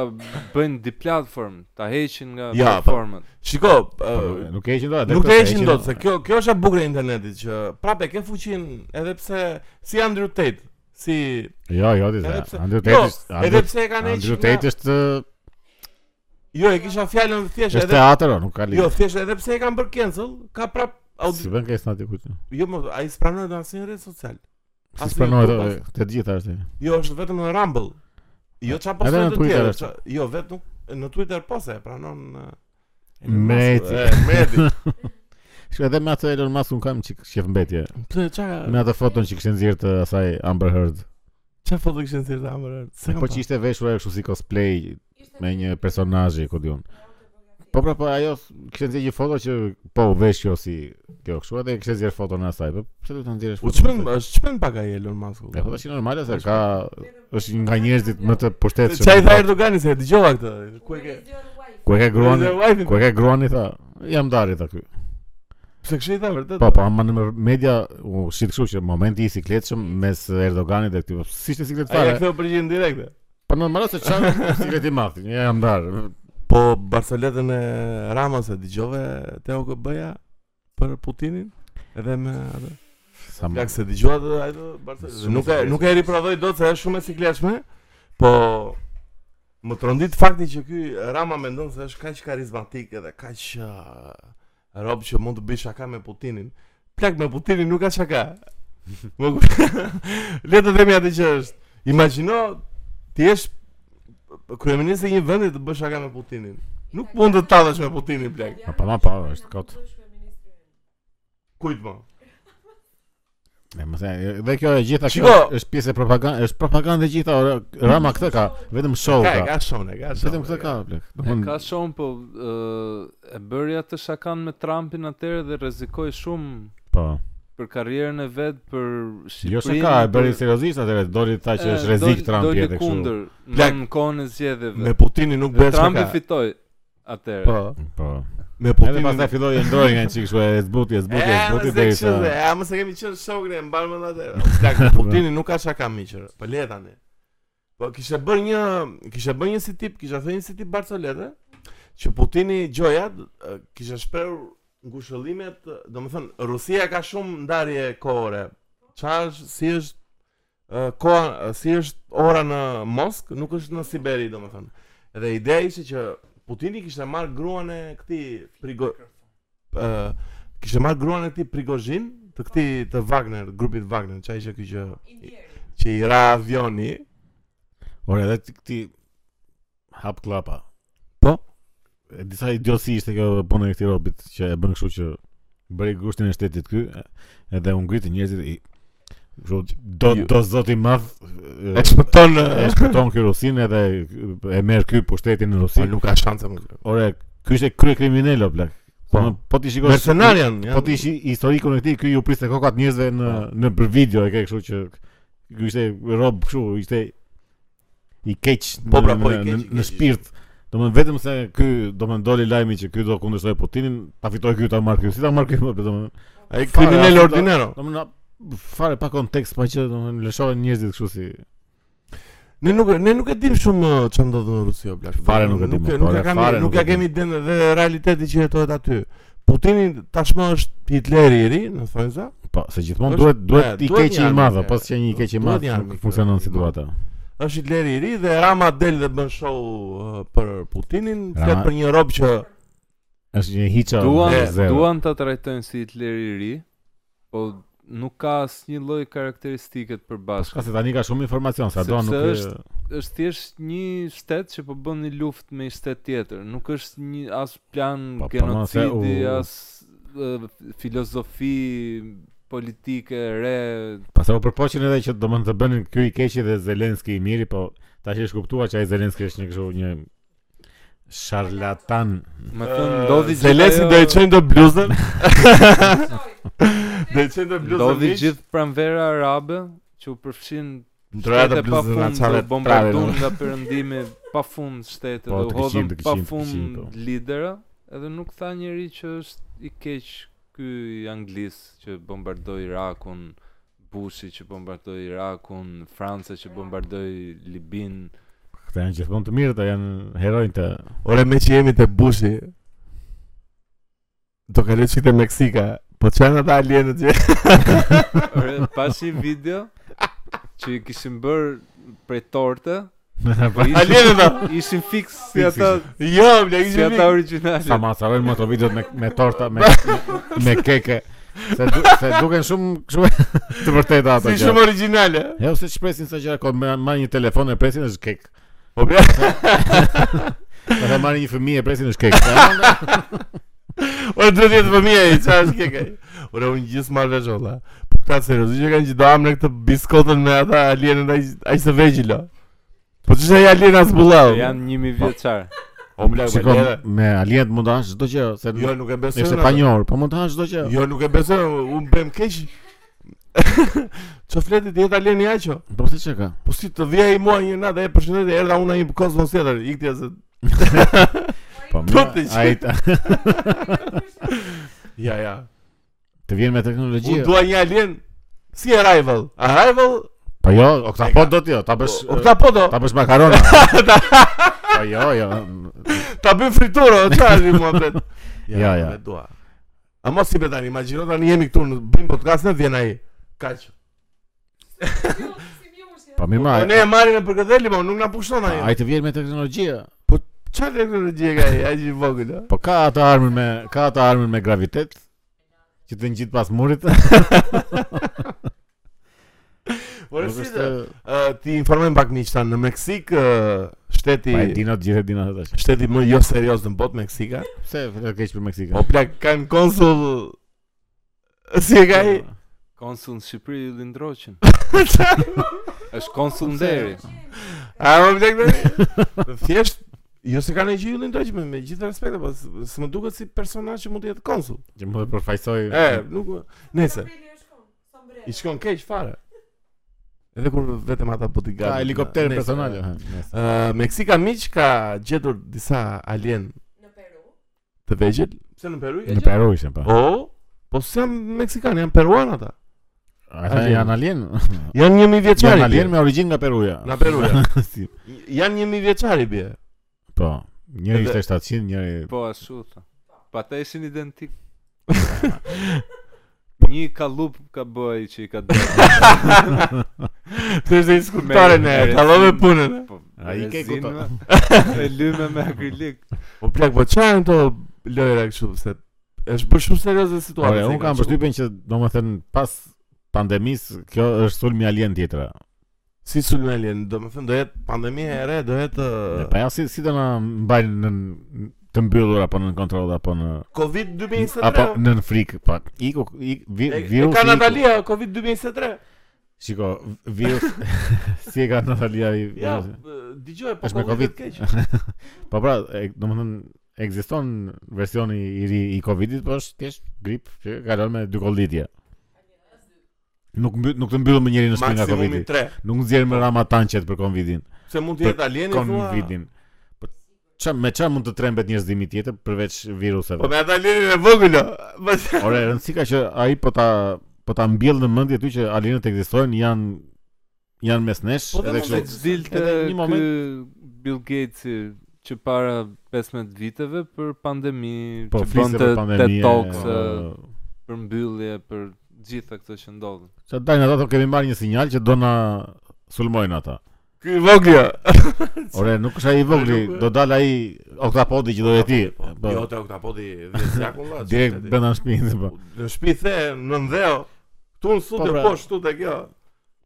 Speaker 3: bëjnë di platform, ta heqin nga
Speaker 1: Ja, po.
Speaker 3: platformat.
Speaker 1: Shiko, uh,
Speaker 2: Po,
Speaker 1: ë,
Speaker 2: nuk e heqin dot. edhe
Speaker 1: nuk
Speaker 2: këtë
Speaker 1: të
Speaker 2: se
Speaker 1: heqin dot se kjo kjo është e bukur e internetit që prapë e ke fuqin edhe pse si Andrew Tate, si
Speaker 2: Jo, jo, ti.
Speaker 1: Edhe pse-
Speaker 2: Andrew
Speaker 1: jo,
Speaker 2: Tate. është-
Speaker 1: edhe
Speaker 2: Andrew-
Speaker 1: pse e kanë hequr.
Speaker 2: Andrew Tate është
Speaker 1: Jo, e kisha fjalën thjesht
Speaker 2: është
Speaker 1: edhe
Speaker 2: teatr, o, nuk ka lidhje.
Speaker 1: Jo, thjesht edhe pse e kanë bërë cancel, ka prap
Speaker 2: Si
Speaker 1: audi.
Speaker 2: bën kësaj natë kujt.
Speaker 1: Jo, më ai spranohet në asnjë rrjet social.
Speaker 2: Si
Speaker 1: Asnjë
Speaker 2: pranohet
Speaker 1: grup,
Speaker 2: e, të gjitha është. e.
Speaker 1: Jo, është vetëm në Rumble. Jo çfarë po
Speaker 2: Edhe
Speaker 1: thonë
Speaker 2: në
Speaker 1: të
Speaker 2: Twitter
Speaker 1: tjerë.
Speaker 2: është.
Speaker 1: qa- Jo, vetëm në Twitter po se e pranon eh, Elon Musk,
Speaker 2: Mreti.
Speaker 1: eh, Mreti.
Speaker 2: Shkoj edhe me atë Elon Musk un kam çik shef mbetje.
Speaker 1: Pse çfarë?
Speaker 2: Me atë foton që kishin nxjerrë të asaj Amber Heard.
Speaker 1: Çfarë foto kishin thirrë Amber? Se
Speaker 2: Po që ishte veshur ajo kështu si cosplay
Speaker 4: ishte
Speaker 2: me një
Speaker 4: një
Speaker 2: personazh, ku diun.
Speaker 4: autobiografi.
Speaker 2: Po pra po ajo s- kishte nxjerrë një foto që po u vesh kjo si kjo kështu edhe kishte nxjerrë foton e asaj. Po pse do ta nxjerrësh?
Speaker 1: U
Speaker 2: foton
Speaker 1: çmend,
Speaker 2: e asaj?
Speaker 1: është çmend pak ai Elon Musk.
Speaker 2: E po tash normale se ka është një nga njerëzit më të pushtetshëm.
Speaker 1: Çaj tha Erdogani se e dëgjova këtë. Ku e ke?
Speaker 4: Where is
Speaker 2: Ku e
Speaker 4: your wife?
Speaker 2: ka gruan?
Speaker 1: Where is your wife?
Speaker 2: Ku e ka gruani tha? Jam dari tha ky.
Speaker 1: Pse kishë i tha vërtet?
Speaker 2: Po, po, ama në media u shit kështu që momenti i sikletshëm mes Erdoganit dhe këtij, po, si ishte siklet
Speaker 1: Ai e
Speaker 2: fare.
Speaker 1: ktheu përgjigjen direkte.
Speaker 2: Po normal se çan siklet i madh, një jam dar.
Speaker 1: Po Barceletën e Ramos e dëgjove Teo Kb-ja për Putinin? Edhe me atë.
Speaker 2: Sa më.
Speaker 1: Plak se dëgjova atë ajo Barcelona.
Speaker 2: Shumë
Speaker 1: Nuk e
Speaker 2: sikletshme.
Speaker 1: nuk e riprodhoj dot se është shumë e sikletshme, po më trondit fakti që ky Rama mendon se është kaq karizmatik edhe kaq uh, rob që mund të bëj shaka me Putinin. Plak me Putinin nuk ka shaka. Më kup- Le të themi atë që është. Imagjino ti je kryeminist i një vendi të bësh shaka me Putinin. Nuk mund të tallesh me Putinin blek.
Speaker 2: Po, po, ma, po, është kot.
Speaker 1: Kujt më?
Speaker 2: Ne më thënë, dhe kjo e gjitha kjo
Speaker 1: Shiko!
Speaker 2: është- është pjesë e propagandë, është propagandë e gjitha, ora, Rama këtë ka, vetëm show
Speaker 1: Ka,
Speaker 2: Oh, ka.
Speaker 1: ka shone, ka shone.
Speaker 2: Vetëm këtë ka, blek.
Speaker 3: E
Speaker 2: Domthon
Speaker 3: ka shumë, po ë, e bëri atë shakan me Trumpin atëherë dhe rrezikoi shumë
Speaker 2: po.
Speaker 3: për karrierën e vet, për Shqipërinë.
Speaker 2: Jo se ka, e bëri
Speaker 3: për-
Speaker 2: seriozisht atëherë, doli tha që
Speaker 3: E,
Speaker 2: është rrezik
Speaker 3: doli-
Speaker 2: Trump
Speaker 3: doli
Speaker 2: jetë kështu.
Speaker 3: kundër
Speaker 1: Plak.
Speaker 3: në kohën e zgjedhjeve.
Speaker 1: Me Putinin nuk
Speaker 3: Dhe
Speaker 1: bësh
Speaker 3: Trumpi
Speaker 1: ka.
Speaker 3: fitoi atëherë.
Speaker 1: Po.
Speaker 2: Po.
Speaker 1: Me
Speaker 2: Edhe
Speaker 1: Putinin.
Speaker 2: pastaj filloi e ndroi nga një çik kështu e zbuti,
Speaker 1: Eh,
Speaker 2: e zbuti, e zbuti deri sa.
Speaker 1: Ja, eh, mos e kemi qenë shokre mban më atë. Plak, Putini nuk ka çka miqër. Po le tani. Po kishte bër një, kishte bër një si tip, kishte thënë një si tip Barcolete, që Putini gjoja eh, kishte shprehur ngushëllimet, domethënë Rusia ka shumë ndarje kohore. Çfarë është- si është eh, koha, eh, si është ora në Moskë, nuk është në Siberi domethënë. Dhe ideja ishte që Putini kishte marrë gruan e këtij Prigo eh, kishte marrë gruan e këtij Prigozhin, të këtij të Wagner, grupit Wagner, çaj që ky që që i ra avioni.
Speaker 2: Ora edhe ti- ti hap klapa.
Speaker 1: Po.
Speaker 2: E disa idiosi ishte kjo puna e këtij robit që e bën kështu që bëri gushtin e shtetit ky e- edhe u ngriti njerëzit i kështu do
Speaker 1: Ju-
Speaker 2: do zoti i madh e,
Speaker 1: E shpëton
Speaker 2: e shpëton ky Rusin edhe e merr ky pushtetin në
Speaker 1: Po
Speaker 2: Rusi.
Speaker 1: nuk ka shanse më.
Speaker 2: Ore, ky ishte krye kriminal o plak.
Speaker 1: Po.
Speaker 2: Po, po ti shikosh
Speaker 1: Mercenar janë.
Speaker 2: Po ti ishi historikun e këtij, ky ju priste kokat njerëzve në
Speaker 1: Po.
Speaker 2: në për video e ke kështu që ky ishte rob kështu, ishte i keq
Speaker 1: Po,
Speaker 2: në-
Speaker 1: pra, po, i
Speaker 2: në-
Speaker 1: keq,
Speaker 2: në-
Speaker 1: i
Speaker 2: në
Speaker 1: keq.
Speaker 2: shpirt. Domethënë vetëm se ky domethënë doli lajmi që ky do kundërshtoj Putinin, ta fitoj ky ta marr ky, si ta marr ky po, më domethënë.
Speaker 1: ai
Speaker 2: fare,
Speaker 1: kriminal
Speaker 2: as-
Speaker 1: ordinero.
Speaker 2: Domethënë na- fare pa kontekst, pa që domethënë lëshohen njerëzit kështu si
Speaker 1: Ne nuk ne nuk e dim shumë uh, ç'a ndodh në Rusi o blaq.
Speaker 2: Fare nuk e
Speaker 1: Nuk,
Speaker 2: dim, po,
Speaker 1: nuk, e
Speaker 2: ja,
Speaker 1: kam,
Speaker 2: fare
Speaker 1: nuk
Speaker 2: nuk
Speaker 1: ja
Speaker 2: e
Speaker 1: kemi dim dhe realiteti që jetohet aty. Putini tashmë është Hitleri i ri, në thonjza.
Speaker 2: Po, se gjithmonë
Speaker 1: Është-
Speaker 2: duhet duhet
Speaker 1: e,
Speaker 2: i
Speaker 1: duhet
Speaker 2: keq
Speaker 1: një
Speaker 2: i madh,
Speaker 1: armik,
Speaker 2: po
Speaker 1: e,
Speaker 2: s'ka një i keq i
Speaker 1: duhet
Speaker 2: madh
Speaker 1: një
Speaker 2: nuk
Speaker 1: armik,
Speaker 2: funksionon
Speaker 1: e,
Speaker 2: si
Speaker 1: i
Speaker 2: duhet.
Speaker 1: madh. Është Hitleri i ri dhe Rama del dhe bën show uh, për Putinin, flet
Speaker 2: Rama-
Speaker 1: për një rob që
Speaker 2: Është një hiça
Speaker 3: Duan,
Speaker 1: e,
Speaker 2: zero.
Speaker 3: duan ta trajtojnë si Hitler i ri, po nuk ka asnjë lloj karakteristike të
Speaker 2: Po
Speaker 3: përbashkët.
Speaker 2: shka se tani ka shumë informacion, sa do
Speaker 3: Sepse
Speaker 2: nuk e-
Speaker 3: është- Është thjesht një shtet që po bën një luftë me një shtet tjetër. Nuk është një as plan
Speaker 2: Po, po, ma,
Speaker 3: genocidi,
Speaker 2: se u-
Speaker 3: as ë, filozofi politike re.
Speaker 2: Pastaj u përpoqën edhe që domon të bënin ky i keqi dhe Zelenski i miri, po tash është kuptuar që ai Zelenski është një kështu një sharlatan.
Speaker 3: Më thënë ndodhi gjithë
Speaker 1: Zelesi
Speaker 3: ajo-
Speaker 1: do i çojnë do bluzën. Do i çojnë do bluzën.
Speaker 3: Ndodhi
Speaker 1: miq.
Speaker 3: gjithë pranvera arabe që u përfshin
Speaker 1: Ndroja dhe
Speaker 3: shtete pa
Speaker 1: bluzën
Speaker 3: fund
Speaker 1: atë çave
Speaker 3: dhe bombarduan
Speaker 1: trave.
Speaker 3: nga perëndimi pa fund shtete
Speaker 2: Po,
Speaker 3: dhe
Speaker 2: të
Speaker 3: u
Speaker 2: këqin, të
Speaker 3: hodhën
Speaker 2: këqin,
Speaker 3: pa
Speaker 2: të këqin,
Speaker 3: fund
Speaker 2: po.
Speaker 3: lidera, edhe nuk tha njëri që është i keq ky i Anglis që bombardoi Irakun, Bushi që bombardoi Irakun, Franca që bombardoi Libin.
Speaker 2: Këta janë gjithmonë të mirë, ta janë herojnë të
Speaker 1: Ore me që jemi të bushi Do kaloj që këtë Meksika Po që janë ata alienët që
Speaker 3: Ore, Pash një video që i kishin bërë prej torte, po
Speaker 1: Alienët
Speaker 3: ishin,
Speaker 1: a
Speaker 3: ishin fix si
Speaker 2: Fix,
Speaker 3: ata
Speaker 1: Jo, bla, i
Speaker 3: si ata origjinale.
Speaker 2: sa masarojnë moto videot me me torta, me me keke. Se, du, se duken shumë kështu të vërteta ato.
Speaker 1: Si
Speaker 2: gjëra.
Speaker 1: shumë originale
Speaker 2: Jo, se shpresin sa gjëra, ko ma- marrin një telefon e presin është kek.
Speaker 1: Po bla
Speaker 2: Edhe marrin një fëmijë e presin është kek.
Speaker 1: Ore do të jetë fëmija i qa është keke Ore unë gjithë marrë vesh olla Po këta seriosisht që kanë që do amë në këtë biskotën me ata alienët aq- aq të vegjilo Po që që e alienë asë bulla o.
Speaker 3: Janë 1000 vjeçar.
Speaker 1: O bla, po
Speaker 2: Shikon,
Speaker 1: lere.
Speaker 2: me alienet mund të hash çdo gjë, se
Speaker 1: Jo, nuk e besoj
Speaker 2: Ishte
Speaker 1: në
Speaker 2: pa
Speaker 1: atë.
Speaker 2: njohur, po mund të hash çdo gjë.
Speaker 1: Jo, nuk e besoj, unë bëjmë keq Që fletit jetë alieni aqo
Speaker 2: Po pse çka?
Speaker 1: Po si të vija i mua një natë e përshëndetje erdha unë ai kosmos tjetër, iktja se
Speaker 2: Po
Speaker 1: Po ti që-
Speaker 2: ai ta-
Speaker 1: ja ja.
Speaker 2: të vjen me
Speaker 1: Unë
Speaker 2: teknologji.
Speaker 1: dua një alien si Arrival. Arrival,
Speaker 2: Po jo, oktapod do ti, jo, ta bësh
Speaker 1: o këta po do,
Speaker 2: ta bësh makarona. Po jo, jo.
Speaker 1: ta bëjmë friturë, o çfarë i mua bet.
Speaker 2: Ja, ja.
Speaker 1: nuk e dua. A mos si betani, imagjino tani jemi këtu në bëjmë podcast në vjen ai. Kaq.
Speaker 2: Po mirë, ma,
Speaker 1: Po ne e marrim e për këtë limon, nuk na pushton ai.
Speaker 2: ai të vjen me teknologji.
Speaker 1: Çfarë teknologji ka ai, aq i vogël? o?
Speaker 2: Po ka atë armën me ka atë armën me gravitet që të ngjit pas murit.
Speaker 1: Ore
Speaker 2: Nuk
Speaker 1: si
Speaker 2: është
Speaker 1: të- Ë, ti informojmë pak miq tanë në Meksik ë, shteti
Speaker 2: Pa po e dina të gjithë e dina të tash.
Speaker 1: shteti më jo serioz në botë Meksika.
Speaker 2: Pse vetë keq për
Speaker 1: O
Speaker 2: Meksikën?
Speaker 1: plak kanë konsull si e ka ai?
Speaker 3: Konsul në Shqipëri i Lindroqin. Është konsul nderi.
Speaker 1: A o plak tani? Thjesht Jo se kanë e gjullin të që me, me gjithë respekte, po s- së më duket si personazh që mund të jetë konsul.
Speaker 2: Që më dhe përfaqësoj.
Speaker 1: E, nuk, nese,
Speaker 4: Sombrero.
Speaker 1: i shkon keq fare. Edhe kur vetëm ata po t'i
Speaker 2: Ka
Speaker 1: gabin.
Speaker 2: Ah, helikopter
Speaker 1: Nese,
Speaker 2: personal. jo.
Speaker 1: e.
Speaker 2: ha, nese.
Speaker 1: Ë, Meksika miq ka gjetur disa alien
Speaker 4: Në Peru.
Speaker 1: të vegjël. Pse në Peru i ka
Speaker 2: Në
Speaker 1: gjetur?
Speaker 2: Peru ishin pa.
Speaker 1: O, po se janë meksikan, janë peruan ata.
Speaker 2: Ata
Speaker 1: alien.
Speaker 2: janë alien.
Speaker 1: Janë një mi vjeçari.
Speaker 2: Janë alien me origjinë nga Peruja.
Speaker 1: Nga Peruja.
Speaker 2: Si-
Speaker 1: Janë një mi vjeçari bie.
Speaker 2: Po. Njëri
Speaker 1: Edhe-
Speaker 2: ishte 700, njëri
Speaker 3: Po ashtu tha. Pa ta ishin identik. Një kalup ka bëj që i ka dhënë.
Speaker 1: Pse është i skulptore ne,
Speaker 3: Me-
Speaker 1: tallove punën. e.
Speaker 3: Po,
Speaker 2: Ai ke
Speaker 3: rezinë,
Speaker 2: kupton.
Speaker 3: E lyme me akrilik.
Speaker 1: Po plak, po çfarë janë këto lojra kështu se është bërë shumë serioze situata.
Speaker 2: Ore,
Speaker 1: se
Speaker 2: unë
Speaker 1: i
Speaker 2: kam
Speaker 1: kanë
Speaker 2: përshtypjen që domethënë pas pandemisë kjo është sulmi alien tjetër.
Speaker 1: qu- si sulm alien, domethënë do jetë pandemia e re, do jetë
Speaker 2: E,
Speaker 1: uh,
Speaker 2: Pa ja si si do na mbajnë në të mbyllur apo në kontroll apo në
Speaker 1: Covid 2023.
Speaker 2: apo po, në në frikë pak. Iku ik vi,
Speaker 1: E- e
Speaker 2: virusi.
Speaker 1: ka
Speaker 2: iku.
Speaker 1: Natalia Covid 2023.
Speaker 2: Shiko, virus si e ka Natalia i
Speaker 1: Ja,
Speaker 2: virusi.
Speaker 1: e, dëgjoj po
Speaker 2: Është me
Speaker 1: Covid
Speaker 2: Covid.
Speaker 1: keq.
Speaker 2: Po pra, e- domethënë ekziston versioni i ri i Covidit, po është thjesht grip që kalon me dy kollitje. Nuk mby, nuk të mbyllën me njëri në shtëpi nga
Speaker 1: Maksimumi
Speaker 2: Covidi.
Speaker 1: 3.
Speaker 2: Nuk nxjerrin me ramatanqet për Covidin.
Speaker 1: Se mund të
Speaker 2: Për
Speaker 1: jetë alieni thua.
Speaker 2: Covidin. Po ç'a me ç'a mund të trembet njerëzimi tjetër përveç viruseve?
Speaker 1: Po me ata alienin e vogël. o. Mos-
Speaker 2: Ore, rëndësi ka që ai po ta po ta mbjell në mendje ty që alienët ekzistojnë, janë janë mes nesh,
Speaker 1: Po dhe
Speaker 2: edhe
Speaker 1: mos e
Speaker 2: kështu.
Speaker 3: Vetë dilte
Speaker 2: Edhe
Speaker 3: një
Speaker 2: një
Speaker 3: moment
Speaker 2: moment-
Speaker 3: Bill Gates që para 15 viteve për pandemi,
Speaker 2: Po
Speaker 3: që
Speaker 2: fliste për pandemi. po.
Speaker 3: TED Talks për mbyllje, për gjitha këto që ndodhin.
Speaker 2: Ç'a dajnë ata, thonë, kemi marrë një sinjal që do na sulmojnë ata.
Speaker 1: Ky i vogël. jo. o.
Speaker 2: Ore, nuk është ai i vogli,
Speaker 1: Nuk-
Speaker 2: do dal ai oktapodi që do jetë ti. Po,
Speaker 1: Jo, te oktapodi 10 jakulla.
Speaker 2: direkt brenda në shtëpi. Po,
Speaker 1: Në shtëpi the në ndheu. Tu në
Speaker 2: Po,
Speaker 1: studio
Speaker 2: pra.
Speaker 1: po shtu te kjo.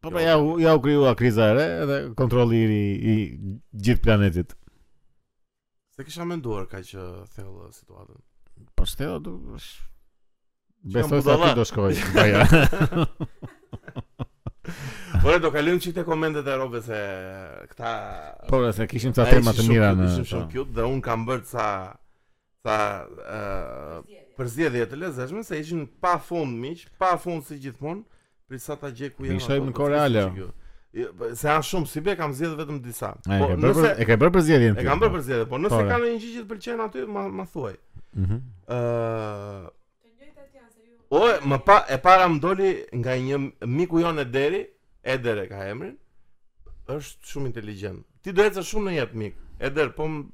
Speaker 2: po pra, ja
Speaker 1: jo.
Speaker 2: u ja u krijua kriza e re edhe kontrolli i, i gjithë planetit.
Speaker 1: Se kisha menduar ka që thellë situatën.
Speaker 2: Po shteta do është- Besoj
Speaker 1: janë
Speaker 2: se aty
Speaker 1: budalla.
Speaker 2: do shkoj. Po ja.
Speaker 1: Ore do kalojmë çikte komentet e robës e këta
Speaker 2: Po pra, se kishim ca
Speaker 1: Ai
Speaker 2: tema
Speaker 1: ishin
Speaker 2: të
Speaker 1: shumë
Speaker 2: mira
Speaker 1: cute,
Speaker 2: në. po.
Speaker 1: ishin shumë cute dhe un kam bërë ca ca ë
Speaker 4: Zgjedhje.
Speaker 1: përzjedhje të lezetshme se ishin pa fund miq, pa fund si gjithmonë, prisa ta gjej ku
Speaker 2: Mi
Speaker 1: janë.
Speaker 2: shojmë
Speaker 1: ato,
Speaker 2: në
Speaker 1: po
Speaker 2: Koreale.
Speaker 1: s'është kjo. Jo, po, Se janë shumë si be kam zgjedhë vetëm disa.
Speaker 2: A, E
Speaker 1: Po
Speaker 2: ke bërë
Speaker 1: nëse
Speaker 2: për- e ke bërë për zgjedhjen
Speaker 1: e kam bërë përzjedhje, po nëse
Speaker 2: Po, e.
Speaker 1: kanë një gjë që të pëlqen aty, ma ma thuaj.
Speaker 2: Mhm.
Speaker 1: Ë
Speaker 4: Të njëjtat janë se ju.
Speaker 1: O, më pa, e para më doli nga një miku jon e deri, Eder e ka emrin, është shumë inteligjent. Ti do ecësh shumë në jetë mik. Eder, po më,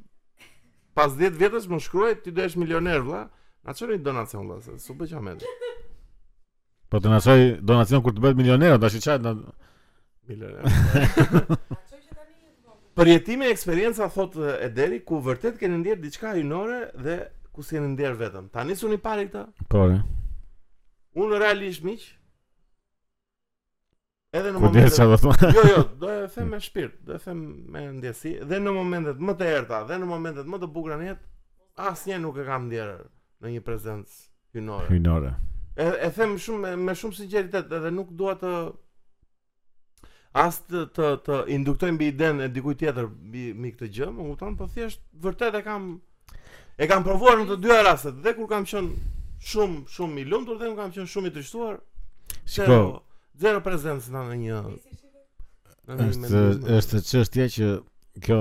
Speaker 1: pas 10 vjetësh më shkruaj, ti do jesh milioner vlla. Na çoni donacion vlla, se su bëj çamet.
Speaker 2: Po të na çoj donacion kur të bëhet milioner, tash çaj na
Speaker 1: Milioner.
Speaker 4: A çoj që tani jetë vogël.
Speaker 1: Përjetime e eksperienca thot e, Ederi ku vërtet keni ndjer diçka hyjnore dhe ku s'keni ndjer vetëm. Tani suni pari këtë.
Speaker 2: Po. re.
Speaker 1: Unë realisht miq. Edhe në
Speaker 2: Ku di
Speaker 1: momentet-
Speaker 2: çfarë do të thonë?
Speaker 1: Jo, jo, do e them me shpirt, do e them me ndjesi dhe në momentet më të errta dhe në momentet më të bukura në jetë, asnjë nuk e kam ndjerë në një prezencë hyjnore.
Speaker 2: Hyjnore.
Speaker 1: E, e them shumë me shumë sinqeritet edhe nuk dua të as të të, të induktoj mbi idenë e dikujt tjetër mbi mbi këtë gjë, më kupton, po thjesht vërtet e kam e kam provuar në të dyja rastet, dhe kur kam qenë shumë shumë i lumtur dhe kur kam qenë shumë i trishtuar,
Speaker 2: Shiko,
Speaker 1: zero, zero prezencë në një
Speaker 4: Nisi shihet.
Speaker 1: në një
Speaker 2: është
Speaker 1: mendizëm.
Speaker 2: është çështja që kjo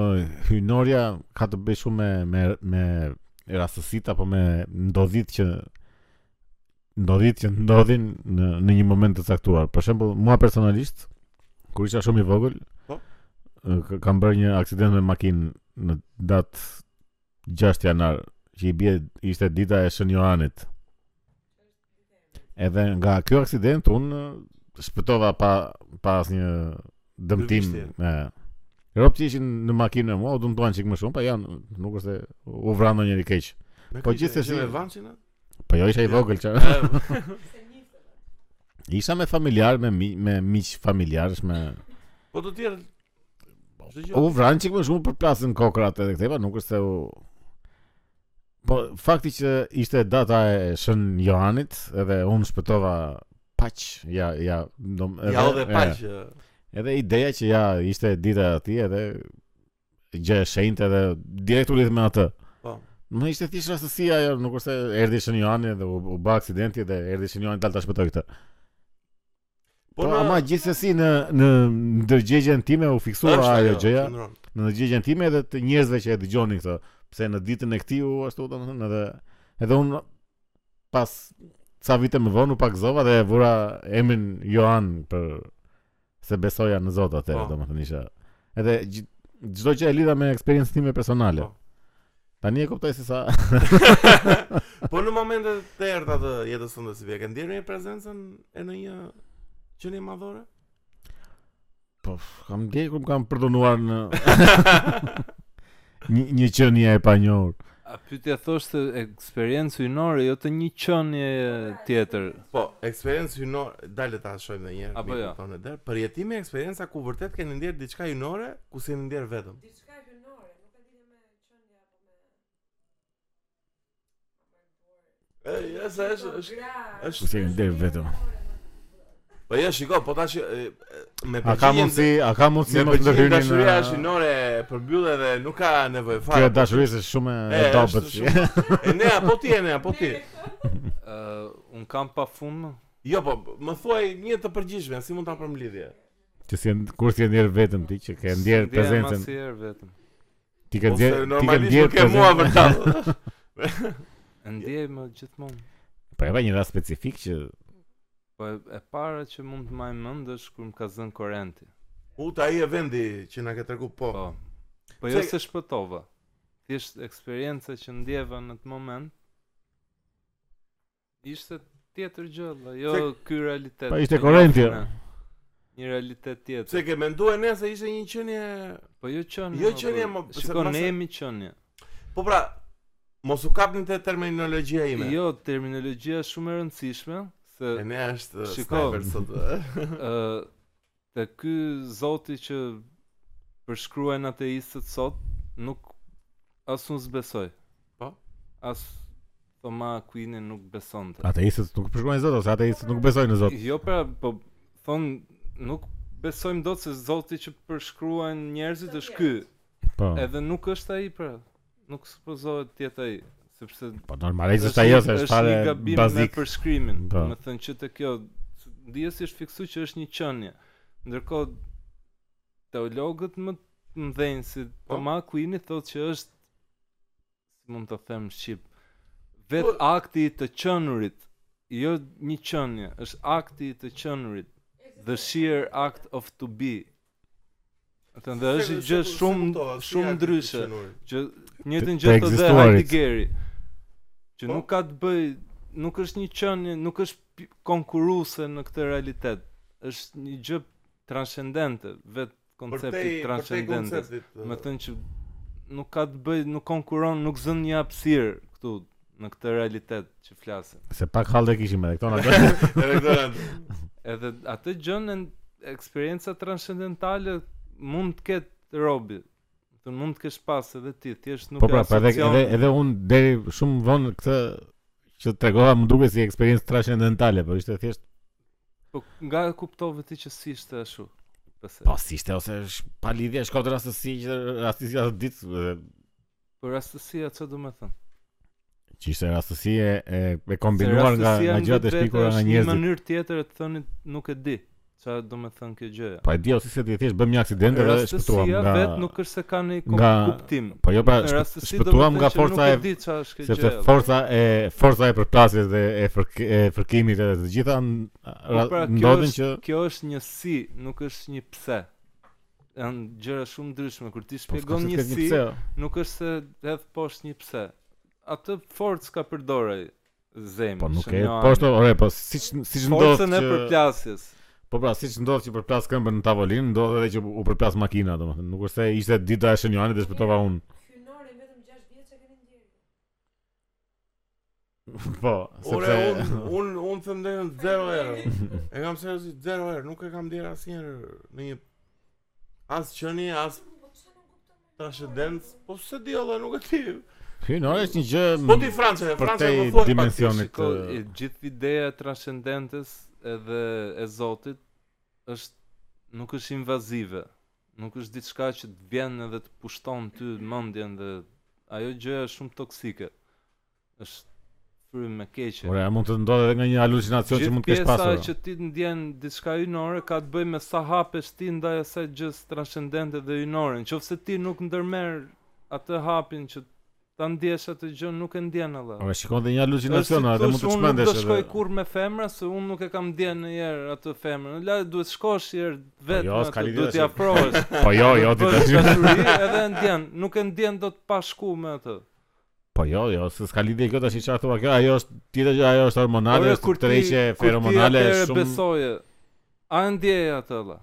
Speaker 2: hyjnoria ka të bëjë shumë me me me rastësitë apo me ndodhit që ndodhit që ndodhin në në një moment të caktuar. Për shembull, mua personalisht kur isha shumë i vogël,
Speaker 1: Po?
Speaker 2: ë, k- kam bërë një aksident me makinë në datë 6 janar, që i bie ishte dita e Shën Johanit. Edhe nga kjo aksident unë shpëtova pa pa asnjë dëmtim.
Speaker 1: Dy
Speaker 2: Ë. Ropt që ishin në makinë e mua, u dëmtuan çik më shumë, pa janë, nuk është se u vran ndonjëri keq.
Speaker 1: Me
Speaker 2: Po
Speaker 1: kujtë,
Speaker 2: gjithsesi-
Speaker 1: ishe me Vançin, a?
Speaker 2: Po jo isha i
Speaker 1: Ja.
Speaker 2: vogël çfarë.
Speaker 4: Se njifte.
Speaker 2: Isha me familjar, me mi, me miq familjarësh, me
Speaker 1: Po të tjerë Çdo gjë.
Speaker 2: U vranë qikë më shumë për plasën kokrat edhe këtej, pa nuk është se u... Po, fakti që ishte data e shën Johanit, edhe unë shpëtova paq, ja, ja, do,
Speaker 1: Ja u dhe paq.
Speaker 2: e, Edhe ideja që ja, ishte dita e atij edhe gjë e shenjtë edhe direkt u lidh me atë.
Speaker 1: Po.
Speaker 2: Më ishte thjesht rastësi ajo, nuk është se erdhi shën Johani dhe u, u bë aksidenti dhe erdhi shën Johani dal ta shpëtoi këtë. Po,
Speaker 1: në-
Speaker 2: ama gjithsesi në në ndërgjegjen time u fiksua
Speaker 1: është
Speaker 2: ajo
Speaker 1: ajo,
Speaker 2: gjëja
Speaker 1: qëndron.
Speaker 2: në ndërgjegjen time edhe të njerëzve që e dëgjonin këtë, pse në ditën e këtij u ashtu domethënë edhe edhe unë pas ca vite më vonë u pakzova dhe vura emrin Johan për se besoja në Zot atë,
Speaker 1: Po.
Speaker 2: domethënë isha. Edhe gjith- çdo gjë e lidha me eksperiencën time personale.
Speaker 1: Po.
Speaker 2: Tani e kuptoj se sa
Speaker 1: Po në momentet të errta të jetës tënde si vjen, ndjer një prezencën e në një qenie madhore?
Speaker 2: po kam ndjekur më kam përdonuar në një një qenie e panjohur.
Speaker 3: A pyetja thoshte eksperiencë hynore, jo të një qenie tjetër.
Speaker 1: Po, eksperiencë hynore, dale ta shohim edhe një herë.
Speaker 3: Apo
Speaker 1: miku
Speaker 3: jo.
Speaker 1: tonë e der. Përjetimi eksperienca ku vërtet keni ndjer diçka hynore, ku si keni ndjer vetëm.
Speaker 4: Diçka hynore, nuk e di me çëndja apo me
Speaker 1: E, ja, se është është
Speaker 2: Ku
Speaker 1: është
Speaker 2: si e ndjer vetëm.
Speaker 1: Po ja, shiko, po tash e, e, me
Speaker 2: A ka
Speaker 1: përgjigjen-
Speaker 2: mundsi, a ka mundsi
Speaker 1: Me
Speaker 2: mos të
Speaker 1: përgjigjen
Speaker 2: hyrin
Speaker 1: dashuria është
Speaker 2: në-
Speaker 1: hynore e përmbyllë dhe nuk ka nevojë fare.
Speaker 2: Kjo dashuri është shumë e
Speaker 1: E,
Speaker 2: dobët.
Speaker 1: është shumë- E ne, po ti, e ne, po ti.
Speaker 3: Ë, un kam pa fund. më?
Speaker 1: Jo, po, më thuaj një të përgjithshme, si mund ta përmlidhje?
Speaker 2: Që si e- kur ti e ndjer veten ti që ke ndjer
Speaker 3: Ndjehem
Speaker 2: prezencën,
Speaker 3: asnjëherë vetëm.
Speaker 2: ti ke ndjer
Speaker 1: Ose
Speaker 2: ti ke
Speaker 1: normalisht
Speaker 2: ndjer
Speaker 1: nuk e mua vërtet.
Speaker 3: Ndjej më gjithmonë.
Speaker 2: Po e ka një rast specifik që
Speaker 3: Po e, e para që mund të maj mend është kur më ka zënë korrenti.
Speaker 1: U ta i e vendi që na ke tregu po.
Speaker 3: Po. Po jo
Speaker 1: Se-
Speaker 3: se shpëtova. Thjesht eksperienca që ndjeva në atë moment ishte tjetër gjë, valla, jo ky realitet.
Speaker 2: Po, ishte
Speaker 3: që
Speaker 2: korrenti,
Speaker 3: jafun ne. Një realitet tjetër.
Speaker 1: Pse ke menduar ne se ishte një qenie?
Speaker 3: Po jo qënë.
Speaker 1: Jo qenie, mo, se
Speaker 3: Shiko,
Speaker 1: masa-
Speaker 3: ne jemi qënje.
Speaker 1: Po pra, mos u kapni te terminologjia ime.
Speaker 3: Jo, terminologjia është shumë e rëndësishme, se
Speaker 1: E ne është
Speaker 3: Shiko.
Speaker 1: sniper sot.
Speaker 3: ë të ky zoti që përshkruajnë ateistët sot, nuk as unë zbesoj.
Speaker 1: Po?
Speaker 3: As Thoma Aquini nuk besonte.
Speaker 2: ateistët nuk përshkruajnë Zot ose ateistët nuk besojnë në Zot.
Speaker 3: Jo pra, po thon nuk besojmë dot se zoti që përshkruajnë njerëzit është ky.
Speaker 2: Po.
Speaker 3: Edhe nuk është ai pra. Nuk supozohet të jetë ai, sepse
Speaker 2: Po normalisht është ajo se është fare
Speaker 3: një gabim
Speaker 2: bazik.
Speaker 3: me përshkrimin.
Speaker 2: Po.
Speaker 3: Do të thënë që të kjo ndihet si është fiksuar që është një qenie. Ndërkohë teologët më të mdhenjë si
Speaker 1: Po.
Speaker 3: Toma Aquini thotë që është si mund të them në shqip vetë
Speaker 1: Po.
Speaker 3: akti i të qenurit, jo një qenie, është akti i të qenurit, the sheer act of to be. Atë dhe është gjë shumë shumë ndryshe që njëtën
Speaker 2: Të- të
Speaker 3: gjë të dhe
Speaker 2: ekzistuarit.
Speaker 3: Heideggeri që
Speaker 1: Po.
Speaker 3: nuk ka të bëj nuk është një qenie, nuk është pi- konkuruese në këtë realitet. Është një gjë transcendente, vetë koncepti transcendente. Më
Speaker 1: konceptit.
Speaker 3: thënë që nuk ka të bëj, nuk konkuron, nuk zën një hapësirë këtu në këtë realitet që flasim.
Speaker 2: Se pak hall e kishim edhe këto na
Speaker 1: Edhe këto
Speaker 3: Edhe atë gjën e eksperienca transcendentale mund të ketë robi. Do mund të kesh pas edhe ti, thjesht nuk
Speaker 2: Po pra, pa edhe
Speaker 3: asocion-
Speaker 2: edhe edhe un deri shumë vonë këtë që tregova më duket si eksperiencë trascendentale, po ishte thjesht
Speaker 3: Po nga e kuptove ti që si ishte ashtu? Pse?
Speaker 2: po si ishte ose sh- pa lidhje shkot rastësi që rastësi atë ditë e,
Speaker 3: Po rastësia çfarë do të thënë?
Speaker 2: që ishte rastësi e, e, e kombinuar nga nga gjërat e shpikura nga
Speaker 3: Në
Speaker 2: njerëzit.
Speaker 3: mënyrë tjetër e të thoni nuk e di. Çfarë do të thënë kjo gjë?
Speaker 2: Po e di ose se ti thjesht bëm një aksident dhe shpëtuam
Speaker 3: Rastësia
Speaker 2: nga
Speaker 3: vetë nuk është se ka një kom-
Speaker 2: nga-
Speaker 3: kuptim.
Speaker 2: Po jo pra
Speaker 3: Në
Speaker 2: shpë-
Speaker 3: rastësi do të
Speaker 2: shpëtuam
Speaker 3: thënë
Speaker 2: nga
Speaker 3: që
Speaker 2: forca
Speaker 3: nuk
Speaker 2: e
Speaker 3: e di çfarë është kjo
Speaker 2: sepse
Speaker 3: gjë.
Speaker 2: forca e forca e përplasjes dhe e fërk- e fërkimit edhe të gjitha n- ra-
Speaker 3: pra, kjo
Speaker 2: ndodhin që
Speaker 3: Kjo është një si, nuk është një pse. Janë gjëra shumë ndryshme kur
Speaker 2: Po,
Speaker 3: ti
Speaker 2: s'ka
Speaker 3: shpjegon
Speaker 2: se
Speaker 3: një
Speaker 2: t'ket
Speaker 3: si,
Speaker 2: pse, o.
Speaker 3: nuk është se hedh poshtë një pse. Atë forcë ka përdorë zemra.
Speaker 2: Po nuk e
Speaker 3: shënjoani.
Speaker 2: po është ore po siç siç ndodh
Speaker 3: Forcën e
Speaker 2: që
Speaker 3: përplasjes.
Speaker 2: po pra siç ndodh që përplas këmbën në tavolinë ndodh edhe që u përplas makina domethënë nuk është se ishte dita e shënjanit dhe shpëtova unë.
Speaker 4: Hynore vetëm 6 vjeç e keni ndjerë.
Speaker 2: Po,
Speaker 1: Ore,
Speaker 2: sepse
Speaker 1: un un un them deri në 0 herë. E kam seriozisht 0 herë, nuk e kam ndjer asnjëherë në një as qenie, as Transcendence, po se di olla, nuk e di.
Speaker 2: Hyjnore është një gjë
Speaker 1: Po ti Francë,
Speaker 2: për
Speaker 1: Francë
Speaker 2: te
Speaker 1: më thuaj pak ti.
Speaker 2: dimensionit
Speaker 3: Shiko,
Speaker 2: të-
Speaker 3: e gjithë ideja e transcendentes edhe e Zotit është nuk është invazive. Nuk është diçka që të vjen edhe të pushton ty mendjen dhe ajo gjë është shumë toksike. Është frymë e keqe.
Speaker 2: Ora, mund të ndodhë edhe nga një halucinacion që
Speaker 3: Gjithë
Speaker 2: mund të kesh pasur.
Speaker 3: Pjesa që ti ndjen diçka hynore ka të bëjë me sa hapesh ti ndaj asaj gjës transcendente dhe hynore. Nëse ti nuk ndërmerr atë hapin që ta ndjesh atë gjë, nuk e ndjen alla.
Speaker 2: Ora, Po, shikon dhe një halucinacion, edhe mund të
Speaker 3: Unë
Speaker 2: shmendesh
Speaker 3: nuk do
Speaker 2: edhe.
Speaker 3: shkoj kur me femra, se unë nuk e kam ndjen në herë atë femrën. La duhet shkosh një herë vetë,
Speaker 2: jo,
Speaker 3: me
Speaker 2: s'ka
Speaker 3: atë,
Speaker 2: lidhje
Speaker 3: duhet
Speaker 2: se-
Speaker 3: i afrohesh.
Speaker 2: Po jo, jo, ti
Speaker 3: Bësh
Speaker 2: tash.
Speaker 3: dashuri edhe e ndjen, nuk e ndjen dot pa shku me atë.
Speaker 2: Po jo, jo, se s'ka lidhje kjo tash çfarë thua kjo, ajo është tjetër gjë, ajo është hormonale,
Speaker 3: Ore,
Speaker 2: është tërheqje
Speaker 3: Po, jo, kur ti
Speaker 2: feromonale,
Speaker 3: atëherë
Speaker 2: shumë.
Speaker 3: besoje. A e ndjeje atë alla?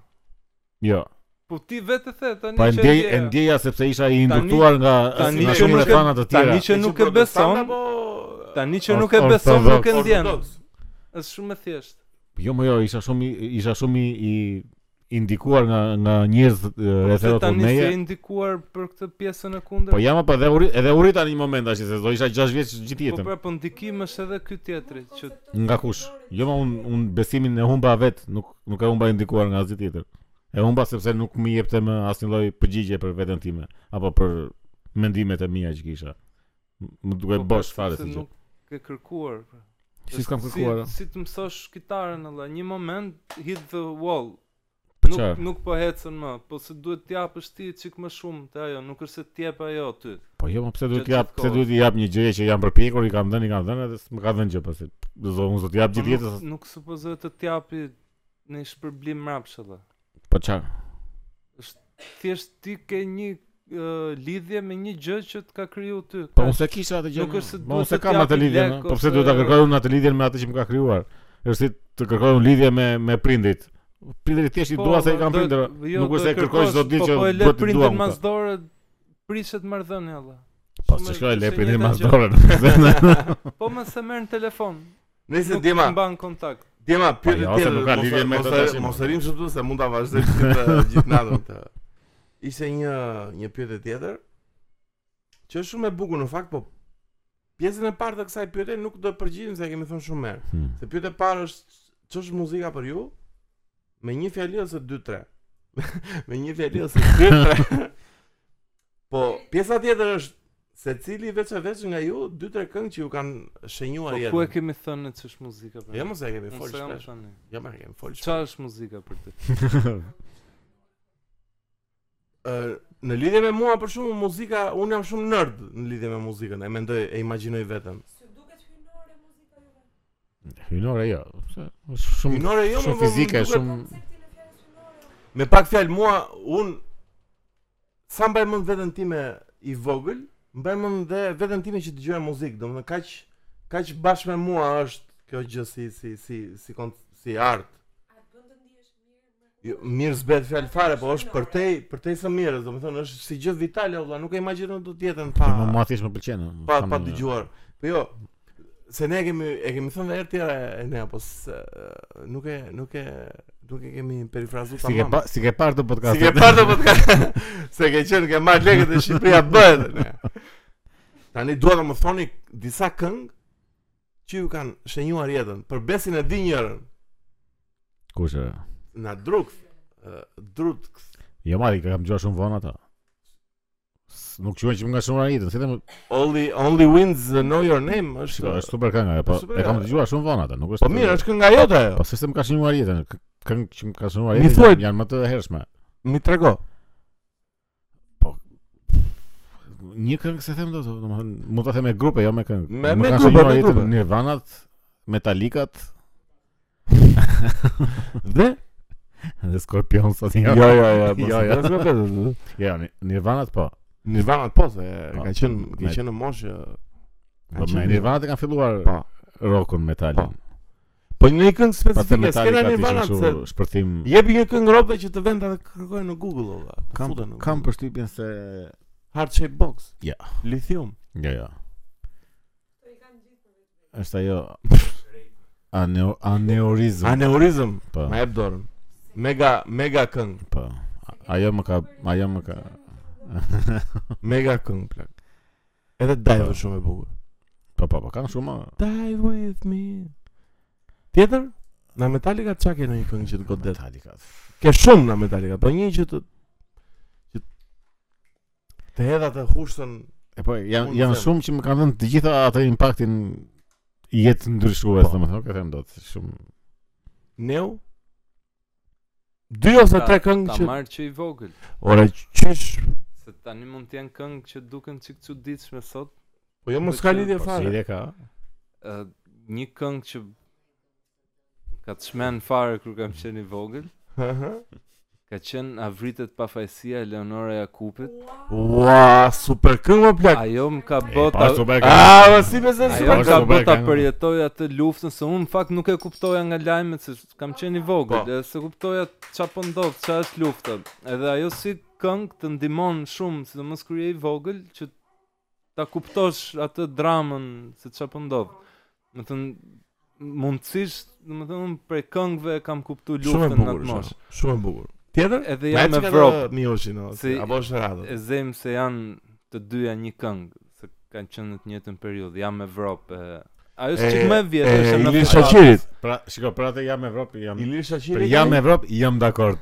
Speaker 2: Jo.
Speaker 3: Po ti vetë the tani
Speaker 2: Po e
Speaker 3: që
Speaker 2: ndjej, e
Speaker 3: ndjeja.
Speaker 2: ndjeja sepse isha i
Speaker 3: Tani-
Speaker 2: induktuar nga
Speaker 3: tani
Speaker 2: nga
Speaker 3: që
Speaker 2: shumë
Speaker 3: nuk e-
Speaker 2: refana të tjera.
Speaker 3: tani që nuk e
Speaker 1: protestant
Speaker 3: beson,
Speaker 1: apo
Speaker 3: Tani që
Speaker 2: Or-
Speaker 3: nuk e beson, nuk e
Speaker 2: ortodoks.
Speaker 3: ndjen.
Speaker 1: ortodoks?
Speaker 3: Është shumë e thjeshtë.
Speaker 2: Jo, më jo, isha shumë i- isha shumë i i- indikuar nga nga njerëz e,
Speaker 3: Se
Speaker 2: rrethot
Speaker 3: Po, tani
Speaker 2: meje.
Speaker 3: se indikuar për këtë pjesën e kundër.
Speaker 2: Po jam apo edhe uri, edhe uri tani një moment tash se do isha 6 vjeç gjithë
Speaker 3: po
Speaker 2: jetën.
Speaker 3: pra po ndikim është edhe ky tjetri që
Speaker 2: Nga kush? Jo, ma un un besimin e humba vet, nuk nuk e humba e ndikuar nga asgjë tjetër. E humba sepse nuk më jepte më asnjë lloj përgjigje për veten time apo për mendimet e mia që kisha. M- Më duke
Speaker 3: po, pra,
Speaker 2: bosh fare
Speaker 3: sepse
Speaker 2: si gjë.
Speaker 3: Nuk e kërkuar. pra.
Speaker 2: Si s'kam
Speaker 3: Është
Speaker 2: kërkuar.
Speaker 3: Si, si të mësosh kitaren alla, një moment hit the wall.
Speaker 2: Për
Speaker 3: Nuk
Speaker 2: çfarë?
Speaker 3: nuk po ecën më, po se duhet të japësh ti çik më shumë te ajo, nuk është se të jep ajo ty.
Speaker 2: Po jo, më pse duhet
Speaker 3: Gjatë
Speaker 2: të jap,
Speaker 3: gjithë
Speaker 2: pse
Speaker 3: kohës.
Speaker 2: duhet i jap një gjë që jam përpjekur, i kam dhënë, i kam dhënë, edhe s'më ka dhënë gjë po pasi. Do të unë do të jap
Speaker 3: Po
Speaker 2: gjithë jetës.
Speaker 3: Nuk, nuk supozohet të të japi në shpërblim mbrapsht alla.
Speaker 2: Po çfarë?
Speaker 3: Thjesht ti ke një ë, lidhje me një gjë që të ka kriju ty.
Speaker 2: Po
Speaker 3: Ka-
Speaker 2: unë se kisha atë gjë.
Speaker 3: Nuk
Speaker 2: më-
Speaker 3: është se
Speaker 2: po,
Speaker 3: duhet
Speaker 2: unë se
Speaker 3: të
Speaker 2: kam
Speaker 3: t'japi
Speaker 2: atë lidhje,
Speaker 3: lek
Speaker 2: më, po pse
Speaker 3: ose-
Speaker 2: duhet ta kërkoj unë atë lidhje me atë që më ka krijuar? Është si të kërkoj unë lidhje me me prindrit. Prindrit thjesht i dua se i kam
Speaker 3: Po, do-
Speaker 2: prindër.
Speaker 3: jo,
Speaker 2: Nuk
Speaker 3: do
Speaker 2: është se kërkoj çdo ditë që
Speaker 3: po, po e le
Speaker 2: duhet të dua.
Speaker 3: prindër mas
Speaker 2: unë ta.
Speaker 3: dorë prishet marrëdhënia alla.
Speaker 2: Po
Speaker 3: Shumë
Speaker 2: se
Speaker 3: e-
Speaker 2: shkoj le
Speaker 3: është e
Speaker 2: prindrit
Speaker 3: njëjta
Speaker 2: mas
Speaker 3: gjë.
Speaker 2: dorë.
Speaker 3: Po më se merr në telefon.
Speaker 1: Nëse
Speaker 3: Nuk Po,
Speaker 1: Dima,
Speaker 3: mban kontakt.
Speaker 1: Djema, pyetje
Speaker 2: jo, se
Speaker 1: tjetër,
Speaker 2: nuk ka
Speaker 1: mos-
Speaker 2: lidhje me
Speaker 1: mos
Speaker 2: këtë
Speaker 1: e-
Speaker 2: tash,
Speaker 1: Mos
Speaker 2: mo.
Speaker 1: e rim sot se mund ta vazhdoj gjithë gjithë natën këtë. Ishte një një pyetje tjetër që është shumë e bukur në fakt, po pjesën e parë të kësaj pyetje nuk do të përgjigjem se e kemi thënë shumë herë.
Speaker 2: Hmm.
Speaker 1: Se pyetja e parë është ç'është muzika për ju? Me një fjalë ose dy tre. me një fjalë ose dy tre. po pjesa tjetër është se cili veç e veç nga ju dy tre këngë që ju kanë
Speaker 3: Po
Speaker 1: shenjuar
Speaker 3: ku e kemi thënë në ç'është muzika për?
Speaker 1: Jo mos e kemi
Speaker 3: Unë
Speaker 1: fol
Speaker 3: se jam
Speaker 1: shpesh.
Speaker 3: tani.
Speaker 1: Jo më kemi fol shpesh.
Speaker 3: Çfarë është muzika për ty?
Speaker 1: Ë, në lidhje me mua për shumë muzika, unë jam shumë nerd në lidhje me muzikën. E mendoj, e imagjinoj veten.
Speaker 4: Sy duket hynore muzika juve.
Speaker 2: Hynore jo. pse, është Shumë
Speaker 1: Minore jo,
Speaker 2: shumë
Speaker 1: më- më-
Speaker 2: fizike,
Speaker 1: më duket-
Speaker 2: shumë
Speaker 4: Koncepti në fjalës hynore.
Speaker 1: Me pak fjalë mua unë sa mbaj mend veten time i vogël, mbaj mend dhe veten time që dëgjoja muzikë, domethënë kaq kaq bashkë me mua është kjo gjë si si si si kon, si art.
Speaker 4: A të bën të ndihesh mirë me
Speaker 1: Jo, mirë zbet fjalë fare, po është përtej, përtej së mirës, domethënë është si gjë vitale valla, nuk e imagjinoj dot jetën pa.
Speaker 2: Po më mua thjesht më pëlqen. unë
Speaker 1: pa
Speaker 2: kam-
Speaker 1: pa dëgjuar. Po jo, se ne e kemi e kemi thënë herë tjera e ne apo s- e, nuk e nuk e nuk e kemi perifrazuar
Speaker 2: Si ke
Speaker 1: tamam.
Speaker 2: pa, si ke parë të
Speaker 1: Si
Speaker 2: podcastet.
Speaker 1: ke parë të podcast. Se ke qenë ke marrë lekët e Shqipëria bëhet. ne. Tani dua të më thoni disa këngë që ju kanë shenjuar jetën për besin e dinjërën.
Speaker 2: Kush? e?
Speaker 1: Na druk drut
Speaker 2: Jo, mari, kam dëgjuar shumë vonë ata. S- Nuk quhen që më nga shumë ritën, si të më
Speaker 1: Only Only Wins the Know Your Name është
Speaker 2: Shiko, është super kënga, po
Speaker 1: super
Speaker 2: e kam
Speaker 1: kënga.
Speaker 2: dëgjuar shumë vonë atë, nuk është.
Speaker 1: Po mirë, është kënga jote ajo.
Speaker 2: Po se se më ka shënuar jetën, k- këngë që më ka shënuar
Speaker 1: Mi
Speaker 2: jetën
Speaker 1: thuaj-
Speaker 2: janë- janë më të hershme.
Speaker 1: Mi trego.
Speaker 2: Një këngë se them dot, domethënë, mund ta them me grupe, jo me këngë.
Speaker 1: Me-
Speaker 2: Më
Speaker 1: me
Speaker 2: kanë
Speaker 1: grupe,
Speaker 2: shënuar
Speaker 1: me
Speaker 2: jetën
Speaker 1: grupe.
Speaker 2: Nirvanat, Metallicat
Speaker 1: Dhe?
Speaker 2: dhe Scorpions aty.
Speaker 1: Jo, jo, jo.
Speaker 2: Jo,
Speaker 1: Jo,
Speaker 2: jo.
Speaker 1: jo.
Speaker 2: Jo, Ni- Nirvanat po.
Speaker 1: Nirvana po se
Speaker 2: Po,
Speaker 1: ka qenë
Speaker 2: me-
Speaker 1: ka qenë në moshë
Speaker 2: Po me Nirvanat e kanë filluar
Speaker 1: Po.
Speaker 2: rockun metalin.
Speaker 1: Po. Po një këngë
Speaker 2: Pastaj
Speaker 1: specifike, s'kena
Speaker 2: Metallica
Speaker 1: Nirvana
Speaker 2: ishin
Speaker 1: se
Speaker 2: kështu shpërthim.
Speaker 1: jepi një këngë robe që të vend ta kërkojnë në Google olla. të
Speaker 2: Kam
Speaker 1: futen në
Speaker 2: kam
Speaker 1: Google.
Speaker 2: përshtypjen se
Speaker 1: Hard Shape Box.
Speaker 2: Ja.
Speaker 1: Lithium.
Speaker 2: jo, jo.
Speaker 4: Të i kanë gjithë për vetë.
Speaker 2: Është ajo Aneo, aneurizm.
Speaker 1: Aneurizm.
Speaker 2: Po.
Speaker 1: Ma jep dorën. Mega mega këngë.
Speaker 2: Po. Ajo më ka, ajo më ka.
Speaker 1: Mega këngë plak. Edhe dive është shumë e bukur.
Speaker 2: Po po po, kanë shumë.
Speaker 1: Dive with me. Tjetër? Na Metallica çka ke në një këngë që të godet?
Speaker 2: Metallica.
Speaker 1: Ke shumë na Metallica, po një që të që të hedha të hushtën
Speaker 2: E po, janë
Speaker 1: Unë
Speaker 2: janë
Speaker 1: them.
Speaker 2: shumë që më kanë dhënë të gjitha atë impaktin jetë ndryshues,
Speaker 1: Po.
Speaker 2: domethënë, nuk e them dot, shumë.
Speaker 1: neu. Dy ose tre këngë
Speaker 3: Ta
Speaker 1: që
Speaker 3: marrë që i vogël.
Speaker 1: ora qysh.
Speaker 3: Se tani mund të jenë këngë që duken çik çuditshme sot.
Speaker 1: Po jo mos
Speaker 3: Po
Speaker 1: ka
Speaker 3: që-
Speaker 1: lidhje
Speaker 3: po
Speaker 2: Si
Speaker 1: fare.
Speaker 2: ide ka?
Speaker 3: ë, një këngë që ka të shmen fare kur kam qenë i vogël,
Speaker 1: Aha.
Speaker 3: ka qenë Avritet pafajësia e Leonora Jakupit.
Speaker 1: Ua, super këngë më plak.
Speaker 3: Ajo më ka
Speaker 2: E,
Speaker 3: bota
Speaker 2: Po, super ka.
Speaker 1: Ah, mos si besoj
Speaker 3: Ajo
Speaker 1: super
Speaker 3: më
Speaker 2: është
Speaker 3: ka
Speaker 1: këngë.
Speaker 2: super
Speaker 3: bota
Speaker 2: këngë.
Speaker 3: përjetoj atë luftën se unë në fakt nuk e kuptoja nga lajmet se kam qenë i vogël,
Speaker 1: Po.
Speaker 3: e se kuptoja çfarë po ndodh, çfarë është lufta. Edhe ajo si këngë të ndihmon shumë, sidomos kur je i vogël që ta kuptosh atë dramën se çfarë po ndodh. Do të thënë mundësisht, do të thënë unë prej këngëve e kam kuptuar
Speaker 1: Shumë e
Speaker 3: luftën në
Speaker 1: bukur.
Speaker 3: atë moshë.
Speaker 1: shumë, Shumë e bukur. Tjetër?
Speaker 3: Edhe
Speaker 1: Ja
Speaker 3: jam
Speaker 1: me
Speaker 3: me vrop,
Speaker 1: vrop Mioshin ose
Speaker 3: Si-
Speaker 1: apo është Radha.
Speaker 3: e zem se janë të dyja një këngë, se kanë qenë në të njëjtën periudhë, jam me vrop. E... Ajo është
Speaker 1: E-
Speaker 3: çik më e vjetër,
Speaker 1: e
Speaker 3: është në
Speaker 1: Ilir
Speaker 3: fund.
Speaker 1: Shaqirit.
Speaker 2: Pra, shiko, pra te jam Evropë, jam.
Speaker 1: Ilir
Speaker 2: Për
Speaker 1: Shaqiri.
Speaker 2: jam Evropë, jam dakord.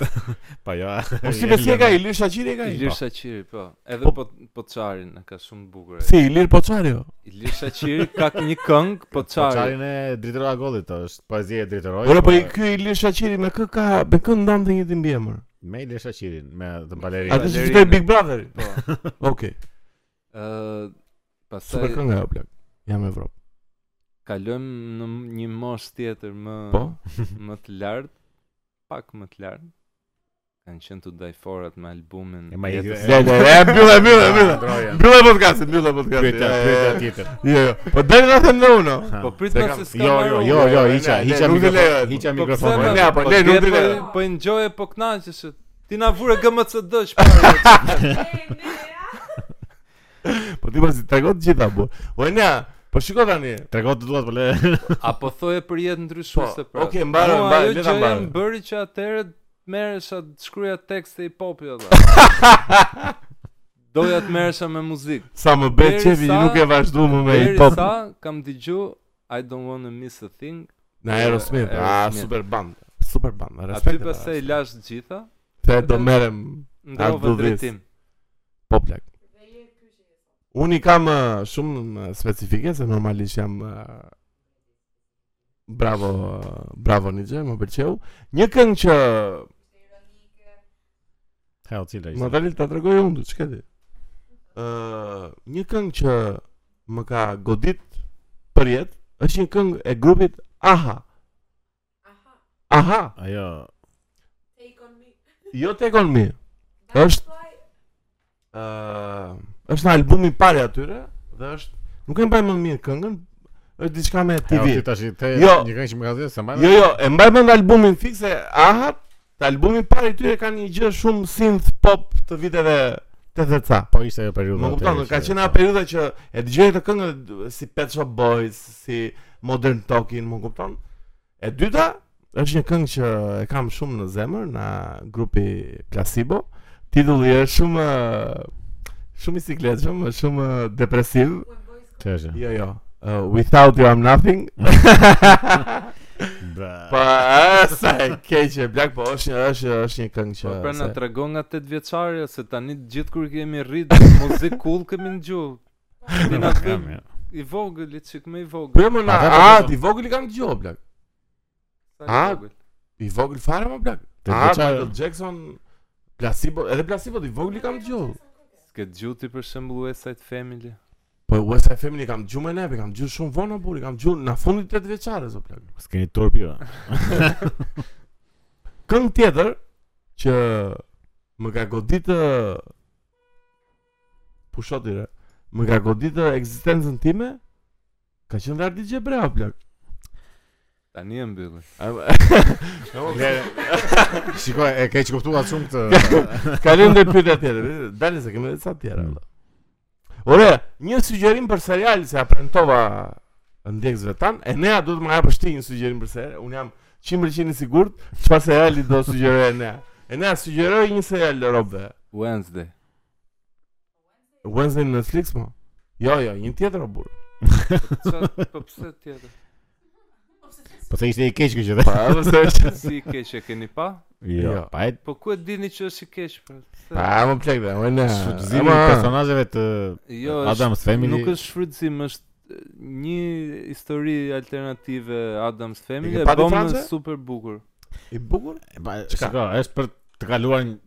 Speaker 2: Po jo.
Speaker 1: Po si besi e ka Ilir Shaqiri e ka?
Speaker 3: Ilir
Speaker 1: Po.
Speaker 3: Shaqiri, po. Edhe
Speaker 1: Po-
Speaker 3: po po çarin e ka shumë bukur. ai.
Speaker 1: Si Ilir Poçario.
Speaker 3: Ilir Shaqiri ka një këngë po çarin.
Speaker 2: Çarin e drejtëroa gollit, ta, është poezi e drejtëroi.
Speaker 1: Ora po i ky Ilir Shaqiri me kë ka me kë ndante një tim emër.
Speaker 2: me Ilir Shaqirin, me të balerin.
Speaker 1: Atë që
Speaker 3: Valerina.
Speaker 1: fitoi Big Brother.
Speaker 3: Po.
Speaker 1: Okej,
Speaker 3: Ë pastaj
Speaker 1: super kënga ajo plak. Jam në Evropë.
Speaker 3: kalojmë në m- një moshë tjetër më
Speaker 1: Po.
Speaker 3: më të lartë, pak më të lartë. Kanë qenë të dajforat me albumin
Speaker 2: E ma i-
Speaker 3: jetës.
Speaker 1: Le le le mbyllë mbyllë mbyllë.
Speaker 2: Ah, droja.
Speaker 1: Mbyllë podcastin, mbyllë podcastin. Ja,
Speaker 2: Pyetja,
Speaker 1: ja,
Speaker 2: pyetja
Speaker 1: ja.
Speaker 2: tjetër.
Speaker 1: Jo, jo. Po deri na them në unë.
Speaker 2: Ha.
Speaker 3: Po prit
Speaker 1: Se
Speaker 3: na
Speaker 1: kam-
Speaker 3: se s'ka
Speaker 2: Jo, jo, jo, jo,
Speaker 1: Ne,
Speaker 2: hiqa, hiqa
Speaker 1: ne, nuk të
Speaker 2: mikrofonin.
Speaker 1: lejohet.
Speaker 2: Hiqa
Speaker 3: Po pse
Speaker 2: mikrofonin.
Speaker 1: na- Ja, po, le, nuk
Speaker 3: tje-
Speaker 1: i lejo.
Speaker 3: Po enjoy po kënaqesh. se Ti na vure GMCD shpara.
Speaker 1: Po ti pasi tregon të gjitha po. O ne, po shiko tani.
Speaker 2: Trego të duat, po le.
Speaker 3: Apo thoje për jetë ndryshuese
Speaker 1: Po,
Speaker 3: pra.
Speaker 1: okej, mbarë,
Speaker 3: Mua
Speaker 1: mbarë,
Speaker 3: ajo
Speaker 1: le ta
Speaker 3: gjë
Speaker 1: mbarë.
Speaker 3: jam bëri që atëherë merresha të shkruaja tekste i popi olla. Doja të merresha me muzikë.
Speaker 1: Sa më bëj
Speaker 3: Deri
Speaker 1: çefi,
Speaker 3: sa-
Speaker 1: nuk e vazhdu më me
Speaker 3: Deri
Speaker 1: hip hop.
Speaker 3: sa kam dëgju I don't wanna miss a thing.
Speaker 1: Në Aerosmith. Ah,
Speaker 3: Aerosmith.
Speaker 1: super band. Super band.
Speaker 3: Aty
Speaker 1: Respekt.
Speaker 3: pastaj lash të gjitha,
Speaker 1: Te do merrem
Speaker 3: ndrova
Speaker 1: do this.
Speaker 3: drejtim.
Speaker 1: po plak. Unë i kam ë, shumë ë, specifike se normalisht jam ë, Bravo, ë, bravo Nixhe, më pëlqeu. Një këngë që
Speaker 2: Ha, u cila
Speaker 1: më
Speaker 2: ishte.
Speaker 1: tani ta tregoj unë, çka di. Ë, një këngë që më ka godit për jetë, është një këngë e grupit Aha. Aha,
Speaker 2: Ajo,
Speaker 1: jo Take On Me. Është- Ë, është në albumi i parë atyre dhe është nuk e mbaj më mirë këngën, është diçka me
Speaker 2: ha, u
Speaker 1: TV.
Speaker 2: ti tash i the
Speaker 1: Jo.
Speaker 2: një këngë që më ka dhënë se më.
Speaker 1: Jo, jo, e mbaj mend albumin fikse Ahat, të albumi i parë i tyre kanë një gjë shumë synth pop të viteve 80-ca.
Speaker 2: Po ishte ajo periudha.
Speaker 1: Më kupton,
Speaker 2: atëherë
Speaker 1: ka
Speaker 2: që-
Speaker 1: qenë ajo periudha që e dëgjoj të këngët si Pet Shop Boys, si Modern Talking, më kupton? E dyta është një këngë që e kam shumë në zemër nga grupi Placebo. Titulli është shumë shumë i sikletshëm, është shumë depresiv.
Speaker 2: Që është?
Speaker 1: Jo, jo. Uh, without you I'm nothing.
Speaker 2: Bra.
Speaker 1: Po, a, sa e keq e blak, po është është është një këngë që
Speaker 3: Po pra na
Speaker 1: se-
Speaker 3: tregon nga 8 vjeçarja se tani gjithë kur kemi rrit muzikë cool kemi ndju. Ti na
Speaker 2: Kam,
Speaker 3: vë-
Speaker 2: jo.
Speaker 3: i vogël, i çik më i vogël.
Speaker 1: Po më na,
Speaker 2: Pa, po, po,
Speaker 1: a
Speaker 2: po.
Speaker 1: ti vogël i kam dëgjuar blak.
Speaker 3: Sa i
Speaker 1: a,
Speaker 3: vogël.
Speaker 1: I vogël fare më blak.
Speaker 2: Te
Speaker 1: A
Speaker 2: vjeçar-
Speaker 1: Ah, Michael Jackson Placebo, edhe Placebo ti vogël i kam dëgjuar.
Speaker 3: Ke gjuti për shembull West Side Family.
Speaker 1: Po West Side Family kam dëgjuar më ne, e kam dëgjuar shumë vonë por i kam dëgjuar në fundit të 8 vjeçares o blak.
Speaker 2: S'keni turpi. jo.
Speaker 1: Këngë tjetër që më ka goditë pushotire, më ka goditë ekzistencën time, ka qenë Ardi Xhebrea blak.
Speaker 3: Tani e mbylli. Jo, po-
Speaker 2: Le- Shiko, e ke që kuptuat shumë këtë.
Speaker 1: Kalojmë ndër pyetja tjetër. Dalë se kemi edhe sa tjera.
Speaker 2: Mm.
Speaker 1: valla. Ore, një sugjerim për serial se aprentova ndjekësve tan, e nea duhet më japësh ti një sugjerim për serial. Un jam 100% i sigurt çfarë seriali do sugjeroj e nea. E nea sugjeroj një serial robë.
Speaker 3: Wednesday.
Speaker 1: Wednesday në Netflix mo. Jo, jo, një tjetër o burr.
Speaker 3: Qa- Po pse tjetër?
Speaker 2: Po se ishte i keq kjo që dhe.
Speaker 1: Pa, pse është?
Speaker 3: Si i keq e keni pa?
Speaker 2: Jo,
Speaker 1: Jo.
Speaker 2: pa e
Speaker 3: Po ku e dini që është i keq? pra? Pse?
Speaker 1: Pa, më plek dhe, më ne.
Speaker 2: shfrytëzimi i personazheve të
Speaker 3: Jo, është
Speaker 2: Adams Family.
Speaker 3: nuk është shfrytëzim, është e, një histori alternative Adams Family
Speaker 1: ke
Speaker 3: e
Speaker 1: pati
Speaker 3: bëm
Speaker 1: Franze?
Speaker 3: super bukur.
Speaker 1: i bukur.
Speaker 2: Pa,
Speaker 1: Çka?
Speaker 2: shiko, është për të kaluar një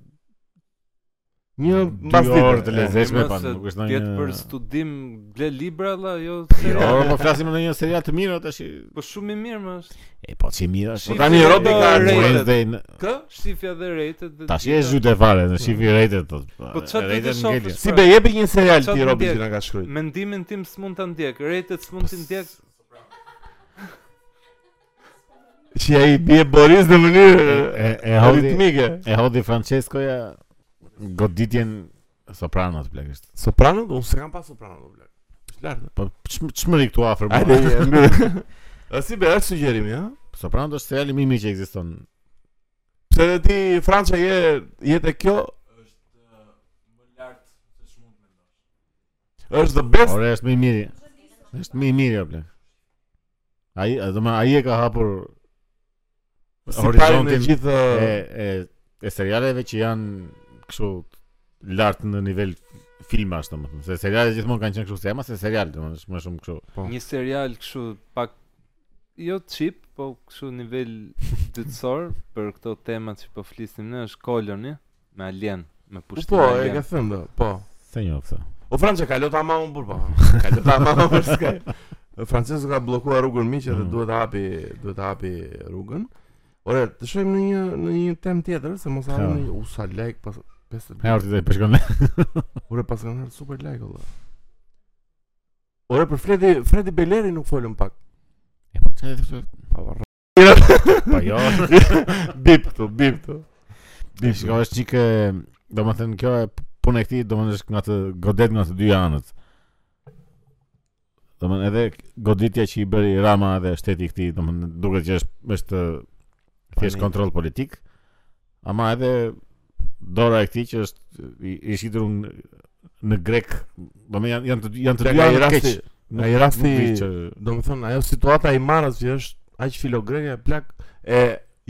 Speaker 3: Jo,
Speaker 1: Një
Speaker 2: dy
Speaker 1: mbas
Speaker 2: orë të
Speaker 1: ditë. e.
Speaker 2: lezetshme
Speaker 3: E,
Speaker 2: pa,
Speaker 3: mos,
Speaker 2: nuk është
Speaker 3: Tjetë
Speaker 2: ndonjë.
Speaker 3: për studim, ble libra la, jo.
Speaker 2: Jo,
Speaker 3: serial.
Speaker 2: po flasim në një serial të mirë tash. E
Speaker 3: Po shumë i mirë më është.
Speaker 2: po si mirë është.
Speaker 1: Po tani Robi ka
Speaker 3: Rated.
Speaker 2: Wednesday në-
Speaker 3: Kë? Shifja dhe rated dhe
Speaker 2: tash e
Speaker 3: gjitha.
Speaker 2: zhyte fare, në shifi rated po.
Speaker 3: Po çfarë do të
Speaker 2: rated
Speaker 3: shohësh?
Speaker 2: ngelje.
Speaker 1: Si be jepi një serial
Speaker 3: Qa
Speaker 1: ti
Speaker 3: të
Speaker 1: Robi
Speaker 3: ndjek?
Speaker 1: që na ka shkruajt.
Speaker 3: Mendimin tim s'mund ta ndjek, rated s'mund ti ndjek.
Speaker 1: Që ai bie Boris në mënyrë
Speaker 2: E
Speaker 1: e,
Speaker 2: e hodhi
Speaker 1: ritmike.
Speaker 2: e hodhi Francescoja goditjen Sopranos blek është.
Speaker 1: Soprano, unë s'kam pas Soprano do blek. Është lart.
Speaker 2: Po çm- çmëri këtu afër po. mua.
Speaker 1: Hajde, e mbyll. A si be është sugjerimi, ha?
Speaker 2: Sopranos është seriali më i mirë që ekziston.
Speaker 1: Pse dhe ti Franca je je te kjo është më lart se ç'mund mendosh. Është the best.
Speaker 2: Ore është më i miri. Është më i miri o blek. Ai, do më ai e ka hapur
Speaker 1: Si pari në
Speaker 2: horizontin
Speaker 1: gjithë
Speaker 2: e e e serialeve që janë kështu lart në nivel filmash domethënë. Se serialet gjithmonë kanë qenë kështu sema se serial domethënë është më shumë kështu.
Speaker 1: Po.
Speaker 3: Një serial kështu pak jo cheap, po kështu nivel dytësor për këto temat që po flisim ne është Colony me Alien, me
Speaker 1: U,
Speaker 3: pushtim
Speaker 1: Po, e
Speaker 3: alien.
Speaker 1: ka thënë do, po.
Speaker 2: Se një opsa.
Speaker 1: O Franca ka lota ama unë burpa. Ka lota ama unë për skaj. Francesco ka bllokuar rrugën miqe dhe
Speaker 2: Mm.
Speaker 1: duhet të hapi, duhet të hapi rrugën. Ore, të shojmë në një në një temë tjetër se mos
Speaker 2: Ha.
Speaker 1: harim në u sa like pas 50.
Speaker 2: Ne orti të përshkon.
Speaker 1: Ore pas kanë ardhur super like olla. Ore për Fredi Fredi Beleri nuk folëm pak. Pa varro.
Speaker 2: Po jo.
Speaker 1: bip këtu, bip këtu.
Speaker 2: Dhe shiko është çike, domethënë kjo e punë e këtij domethënë është nga të godet nga të dy anët. Domethënë edhe goditja që i bëri Rama dhe shteti i këtij, domethënë duket që është është thjesht
Speaker 1: Panik.
Speaker 2: kontroll politik. Ama edhe dora e këtij që është i, i shitur në, në grek, domethënë janë janë të dy- janë të
Speaker 1: Nga
Speaker 2: dy
Speaker 1: i
Speaker 2: anët
Speaker 1: rasti,
Speaker 2: keq.
Speaker 1: nga i rasti-
Speaker 2: nuk vi që
Speaker 1: do më thonë ajo situata e Imanës që është aq filogreke plak e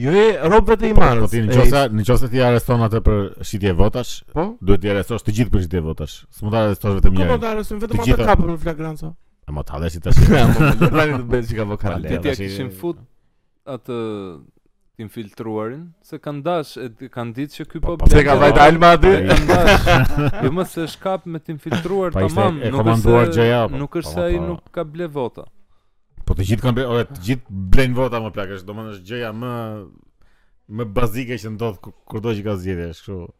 Speaker 1: jo e robëve të Imanës.
Speaker 2: Po ti
Speaker 1: e-
Speaker 2: në qoftë në qoftë ti arreston atë për shitje votash,
Speaker 1: po
Speaker 2: duhet t'i arrestosh të gjithë për shitje votash. S'mund ta arrestosh vetëm
Speaker 1: Ku
Speaker 2: njërin.
Speaker 1: po ta arrestojnë vetëm
Speaker 2: Të
Speaker 1: atë
Speaker 2: gjitha-
Speaker 1: kapën në flagrancë.
Speaker 2: E mo t'ha dhe si të shi
Speaker 1: Tani po, të bëj çka vokal.
Speaker 2: Ale.
Speaker 3: Ti
Speaker 2: Ja,
Speaker 3: t'ja
Speaker 2: tash i-
Speaker 3: kishin fut atë infiltruarin, se kanë dash, e kanë ditë që ky po
Speaker 2: po,
Speaker 1: Se ka
Speaker 3: blen-
Speaker 1: vajt Alma aty.
Speaker 3: E kam dash. Jo më se shkap me të infiltruar
Speaker 2: Pa Po, ishte
Speaker 3: tamam,
Speaker 2: e
Speaker 3: nuk
Speaker 2: komanduar
Speaker 3: është
Speaker 2: gjëja,
Speaker 3: se
Speaker 2: po.
Speaker 3: nuk është
Speaker 2: Po,
Speaker 3: se ai
Speaker 2: po.
Speaker 3: nuk ka ble vota.
Speaker 2: Po të gjithë kanë ble- Ore të gjithë blejnë vota më plak është Do më është gjëja më Më bazike që ndodh ku- kurdo që ka zgjedhje është kështu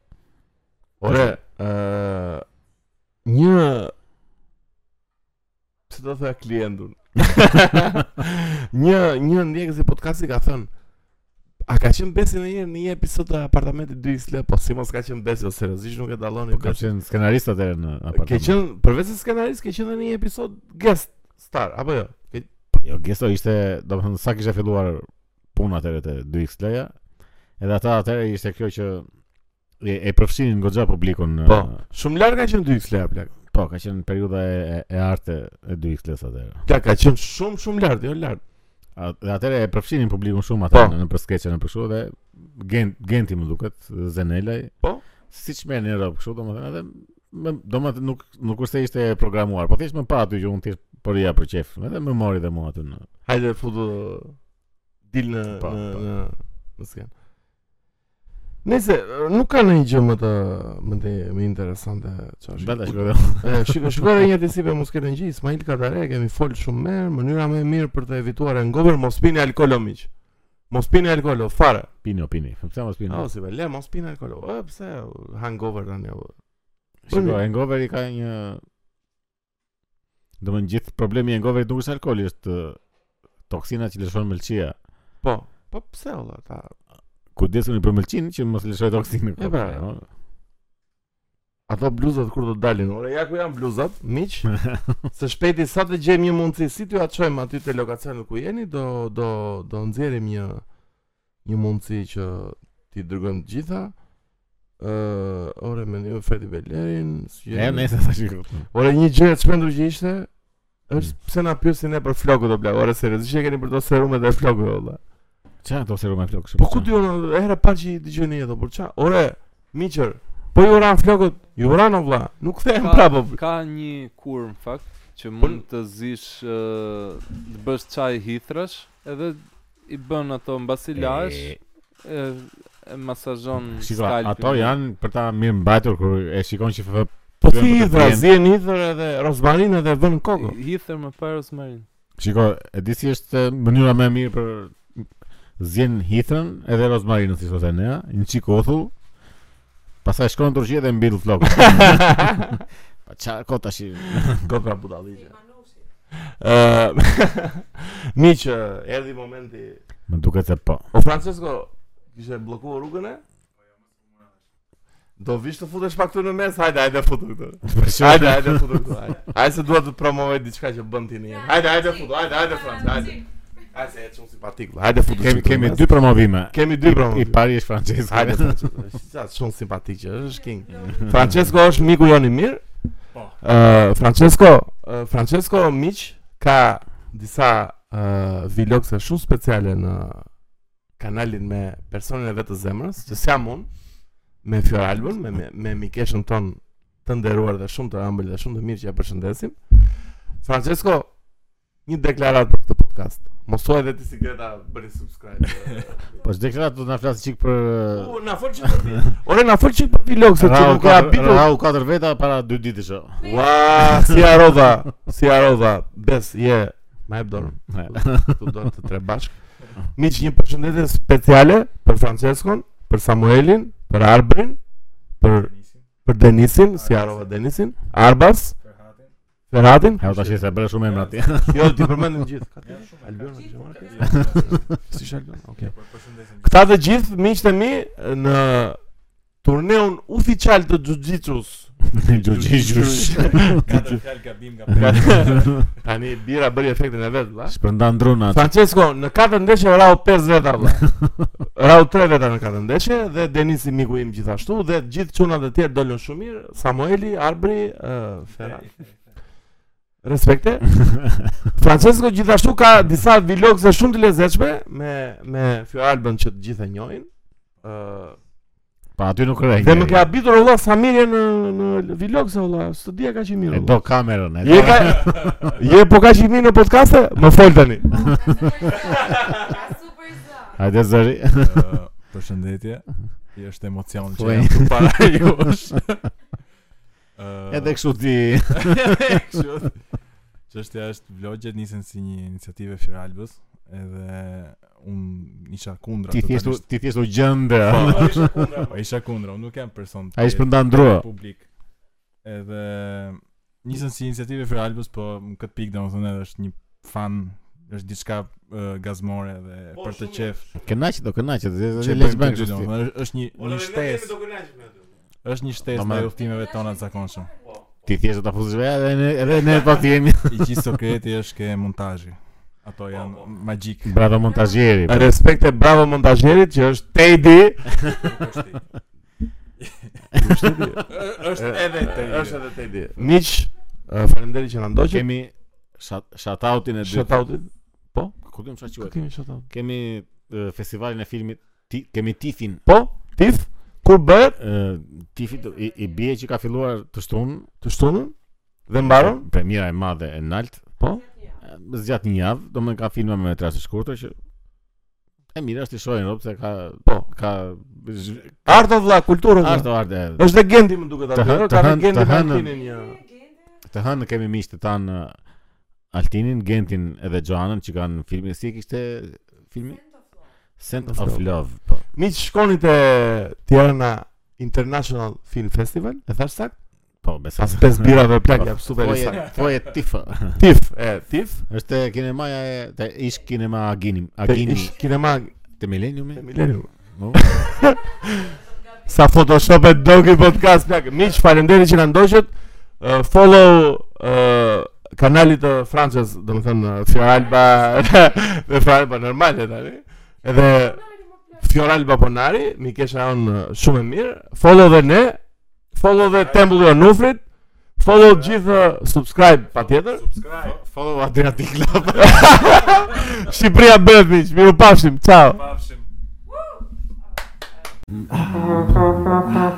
Speaker 2: Po,
Speaker 1: Ore, ë një pse do thoya klientun. një një ndjekës i podcastit ka thënë A ka qenë besi në një në një episod të apartamentit 2 Isle, po si mos ka qenë besi, o seriozisht nuk e dalloni
Speaker 2: Po ka
Speaker 1: besi.
Speaker 2: qenë skenarist atëherë në
Speaker 1: Ke
Speaker 2: apartament
Speaker 1: qenë përveç se skenarist, ke qenë edhe në një episod guest star apo jo? Ke-
Speaker 2: Po jo, gesto ishte Do më thënë sa kishe filluar punë atëherë të 2x leja Edhe ata atëherë ishte kjo që E, e përfshinin goxha publikun në-
Speaker 1: Po, shumë larg ka qenë 2 Isle apo plak.
Speaker 2: po, ka qenë periudha e, e, e arte e 2x les atëherë.
Speaker 1: Plak ka qenë shumë shumë larg, jo larg.
Speaker 2: A- Dhe atëherë e përfshinin publikun shumë ata
Speaker 1: Po.
Speaker 2: në, në për skeqe në për kështu dhe gen, Genti më duket, Zenelaj.
Speaker 1: Po.
Speaker 2: Siç merr në Europë kështu domethënë edhe më domethënë nuk nuk është se ishte e programuar, po thjesht më pa aty që unë thjesht po rija për qef. Edhe më mori dhe mua aty në.
Speaker 1: Hajde futu dil në
Speaker 2: Po,
Speaker 1: në
Speaker 2: po.
Speaker 1: në në skenë. Nëse nuk ka ndonjë gjë më të më të më interesante çfarë.
Speaker 2: Bata shkoj dhe.
Speaker 1: Shikoj shikoj edhe një herë si për mos ketë ngjë, Ismail Katare kemi fol shumë mirë, mënyra më e mirë për të evituar e ngopër mos pini alkool o miq. Mos pini alkool o, fare.
Speaker 2: Pini, o, pini. Pse mos pini?
Speaker 1: Ah, si be, le mos pini alkool. o. E pse o, hangover tani apo?
Speaker 2: Shiko, hangoveri ka një Domethënë gjithë problemi i hangoverit nuk është alkooli, është eh, toksina që lëshon mëlçia.
Speaker 1: Po. Po pse olla ta?
Speaker 2: Kujdesuni për mëlçin që mos lëshoj po, toksinën.
Speaker 1: E pra. Ato bluzat kur do dalin? Ore, ja ku janë bluzat, miq. Se shpejti sa të gjejmë një mundësi, si t'ju atë aty te lokacionin ku jeni, do do do nxjerrim një një mundësi që t'i dërgojmë të gjitha Ë, ore mendiu Fedi Belerin, si
Speaker 2: E,
Speaker 1: jeni?
Speaker 2: nëse tash. i-
Speaker 1: Ore një gjë e çmendur që ishte është pse na pyesin ne për flokët o bla, ore seriozisht që keni për to serumet e flokëve o bla.
Speaker 2: Çfarë do serum me flok kështu?
Speaker 1: Po ku di unë herë e parë që i dëgjoj në jetë, por ç'a? Ore, miqër, po ju ran flokët, ju ran o vlla, nuk kthehem
Speaker 3: Ka-
Speaker 1: prapë. o bla.
Speaker 3: Ka një kur në fakt që mund të zish ë, të bësh çaj hithrash edhe i bën ato mbasi lash
Speaker 2: E,
Speaker 3: e, e masazhon
Speaker 2: Shiko,
Speaker 3: skalpin.
Speaker 2: ato janë për ta mirë mbajtur kur e shikon që FF
Speaker 1: Po
Speaker 2: Ky
Speaker 1: si
Speaker 2: janë
Speaker 1: hidra,
Speaker 2: të
Speaker 1: zien hidër edhe rozmarin edhe vën kokë.
Speaker 3: Hither me paros marin.
Speaker 2: Shiko, e di si është e, mënyra më e mirë për zjen hithrën edhe rozmarinën si thotë Nea, një çik othull. Pastaj shkon në Turqi dhe mbil flokët. pa çfarë kot tash? i-
Speaker 1: Kokra budalliqe.
Speaker 4: Si manushi.
Speaker 1: Ë Miq, ë, erdhi momenti.
Speaker 2: Më duket se po.
Speaker 1: O Francesco, kishe bllokuar rrugën e? Do vish të futesh pak këtu në mes, hajde, hajde futu këtu.
Speaker 2: Për shkak-
Speaker 1: Hajde, hajde futu këtu, hajde. Hajde se dua të promovoj diçka që bën ti në jetë. Hajde, hajde futu, hajde, hajde Franc, hajde. Hajde se e çon simpatik. vlla. Hajde futu.
Speaker 2: Kemi kemi dy promovime.
Speaker 1: kemi dy
Speaker 2: I
Speaker 1: promovim.
Speaker 2: pari është Francesco.
Speaker 1: Hajde Francesco, sa shumë simpatik që është King.
Speaker 2: Mhm.
Speaker 1: Francesco është miku jon i mirë. Po. Ë Francesco, ë, Francesco miq ka disa ë vlogse shumë speciale në kanalin me personin e vetë të zemrës, që s'jam unë, me Fioralbën, me me, me mikeshën ton të nderuar dhe shumë të ëmbël dhe shumë të mirë që ja përshëndesim. Francesco, një deklaratë për këtë podcast. Mos thuaj edhe ti si Greta bëri subscribe.
Speaker 2: Po çdo këtë do të na flasë çik për
Speaker 1: Po, na fol çik për vi- Ore na fol çik për vlog se ti
Speaker 2: Rau
Speaker 1: nuk ka
Speaker 2: katër-
Speaker 1: habitur.
Speaker 2: Rau 4 veta para 2 ditësh. o.
Speaker 1: Ua, si arodha, si arodha. Bes, je. Ma jep dorën.
Speaker 2: Ναι.
Speaker 1: Tu do të tre bashk. Miq, një përshëndetje speciale për Franceskon, për Samuelin, për Arbrin, për për Denisin, si arova Denisin, Arbas, Ferhatin.
Speaker 2: Ja u tash se bëre shumë emra ti.
Speaker 1: Jo, ti përmendëm gjithë. Ka të shumë Albion, Si Albion? Okej. Këta të gjithë miqtë e mi në turneun oficial të jiu-jitsus.
Speaker 2: Gjugjish.
Speaker 5: Katër fjalë gabim nga
Speaker 1: Tani bira bëri efektin e vet, valla.
Speaker 2: Shpërndan drona.
Speaker 1: Francesco në katër ndeshje rau 5 veta valla. Rau 3 veta në katër ndeshje dhe Denisi miku im gjithashtu dhe gjithë çunat e tjerë dolën shumë mirë. Samueli, Arbri, uh, Ferra. Respekte. Francesco gjithashtu ka disa vlogse shumë të lezetshme me me Fioralbën që të gjithë e njohin. ë
Speaker 2: Pa aty nuk rrej.
Speaker 1: Dhe më ka habitur valla Samirja në në vlogse valla, s'të dia kaq i mirë.
Speaker 2: E
Speaker 1: valla.
Speaker 2: do kamerën. e do-
Speaker 1: Je ka Je po kaq i mirë në podcaste? Më fol tani.
Speaker 4: A super zë.
Speaker 2: Hajde zëri.
Speaker 5: Ë, Përshëndetje. I është emocion që
Speaker 2: Thuaj.
Speaker 5: jam këtu para jush. Ë,
Speaker 2: Edhe kështu ti.
Speaker 5: Edhe kështu. Çështja është vlogjet nisen si një iniciativë e Firalbës, edhe unë isha kundra
Speaker 2: Ti thjesht u-
Speaker 5: totalisht.
Speaker 2: ti thjesht u gjendë.
Speaker 5: Po, isha kundra. Po isha kundra, unë nuk jam person.
Speaker 2: Ai
Speaker 5: të-
Speaker 2: shpërndan ndrua.
Speaker 5: publik. Edhe nisën si iniciativë e Albës, po në këtë pikë domethënë edhe është një fan, është diçka uh, gazmore dhe për të qef.
Speaker 2: Kënaqë do kënaqë.
Speaker 5: që
Speaker 2: Dhe
Speaker 5: bëjmë
Speaker 2: lesh bank
Speaker 5: këtë gjë,
Speaker 2: kështu.
Speaker 5: domethënë, është- është një një shtesë, është një shtesë
Speaker 2: Domethënë-
Speaker 5: ndaj udhëtimeve tona të zakonshme.
Speaker 2: Ti thjesht do ta fuzësh vetë edhe ne edhe ne po ti jemi.
Speaker 5: I gjithë Sokrati është ke montazhi. Ato janë magjik.
Speaker 2: Bravo montazhieri. po.
Speaker 1: Respekt e bravo montazherit që është Teddy.
Speaker 5: Është edhe te.
Speaker 1: Është edhe Teddy. Miq, eh, faleminderit që na ndoqët.
Speaker 2: Kemi shat- shout-outin e dytë.
Speaker 1: Shoutoutit.
Speaker 2: Ku dimë çfarë quhet?
Speaker 1: Kemi shoutout.
Speaker 2: Kemi e, festivalin e filmit Ti- kemi Tifin.
Speaker 1: Po, Tif, kur bëhet
Speaker 2: Ë, Tifi do- i, i bie që ka filluar të shtunën,
Speaker 1: të shtunën dhe mbaron?
Speaker 2: premiera e madhe e nalt,
Speaker 1: Po.
Speaker 2: E, zgjat një javë, domethënë ka filma me metra të shkurtër që e mirë është të shohin rob se ka
Speaker 1: Po.
Speaker 2: ka zh-
Speaker 1: Art of la kulturë. vëlla.
Speaker 2: arto arte.
Speaker 1: Është dhe Gendi më duket
Speaker 2: Të
Speaker 1: aty.
Speaker 2: hë-
Speaker 1: Ka
Speaker 2: të
Speaker 1: dhe
Speaker 2: hënë-
Speaker 1: Gendi
Speaker 2: të
Speaker 1: me
Speaker 2: hënën.
Speaker 1: Altinin një.
Speaker 2: Të hënë kemi miqtë tan e, Altinin, Gentin edhe Joanën që kanë filmin si e kishte filmi Scent
Speaker 1: Of
Speaker 2: of
Speaker 1: Love.
Speaker 2: Love. Po.
Speaker 1: Miq, shkoni te Tirana International Film Festival, e thash sakt?
Speaker 2: Po, besoj. Po
Speaker 1: Pas pesë birave plak jap super i
Speaker 2: Thuaje
Speaker 1: sakt.
Speaker 2: thuaje tifa.
Speaker 1: Tif, e Tif.
Speaker 2: Është kinemaja e te ish kinema Agini,
Speaker 1: Te
Speaker 2: Agini
Speaker 1: ish kinema
Speaker 2: te e? Millenniumi.
Speaker 1: te Millennium.
Speaker 2: Po.
Speaker 1: Sa Photoshop e dogi podcast plak. Miq, faleminderit që na ndoqët. Uh, follow uh, kanalit të Francës, domethënë uh, Fioralba dhe Fioralba normale tani. Edhe Fjoral Baponari, mi kesh aon uh, shumë e mirë. Follow dhe ne, follow dhe Tempulli i Onufrit, follow gjithë uh, subscribe patjetër.
Speaker 5: Subscribe.
Speaker 1: Follow Adriatic Club. Shqipëria bëhet miq, miru pafshim. Ciao.
Speaker 5: Pafshim.
Speaker 4: Bye.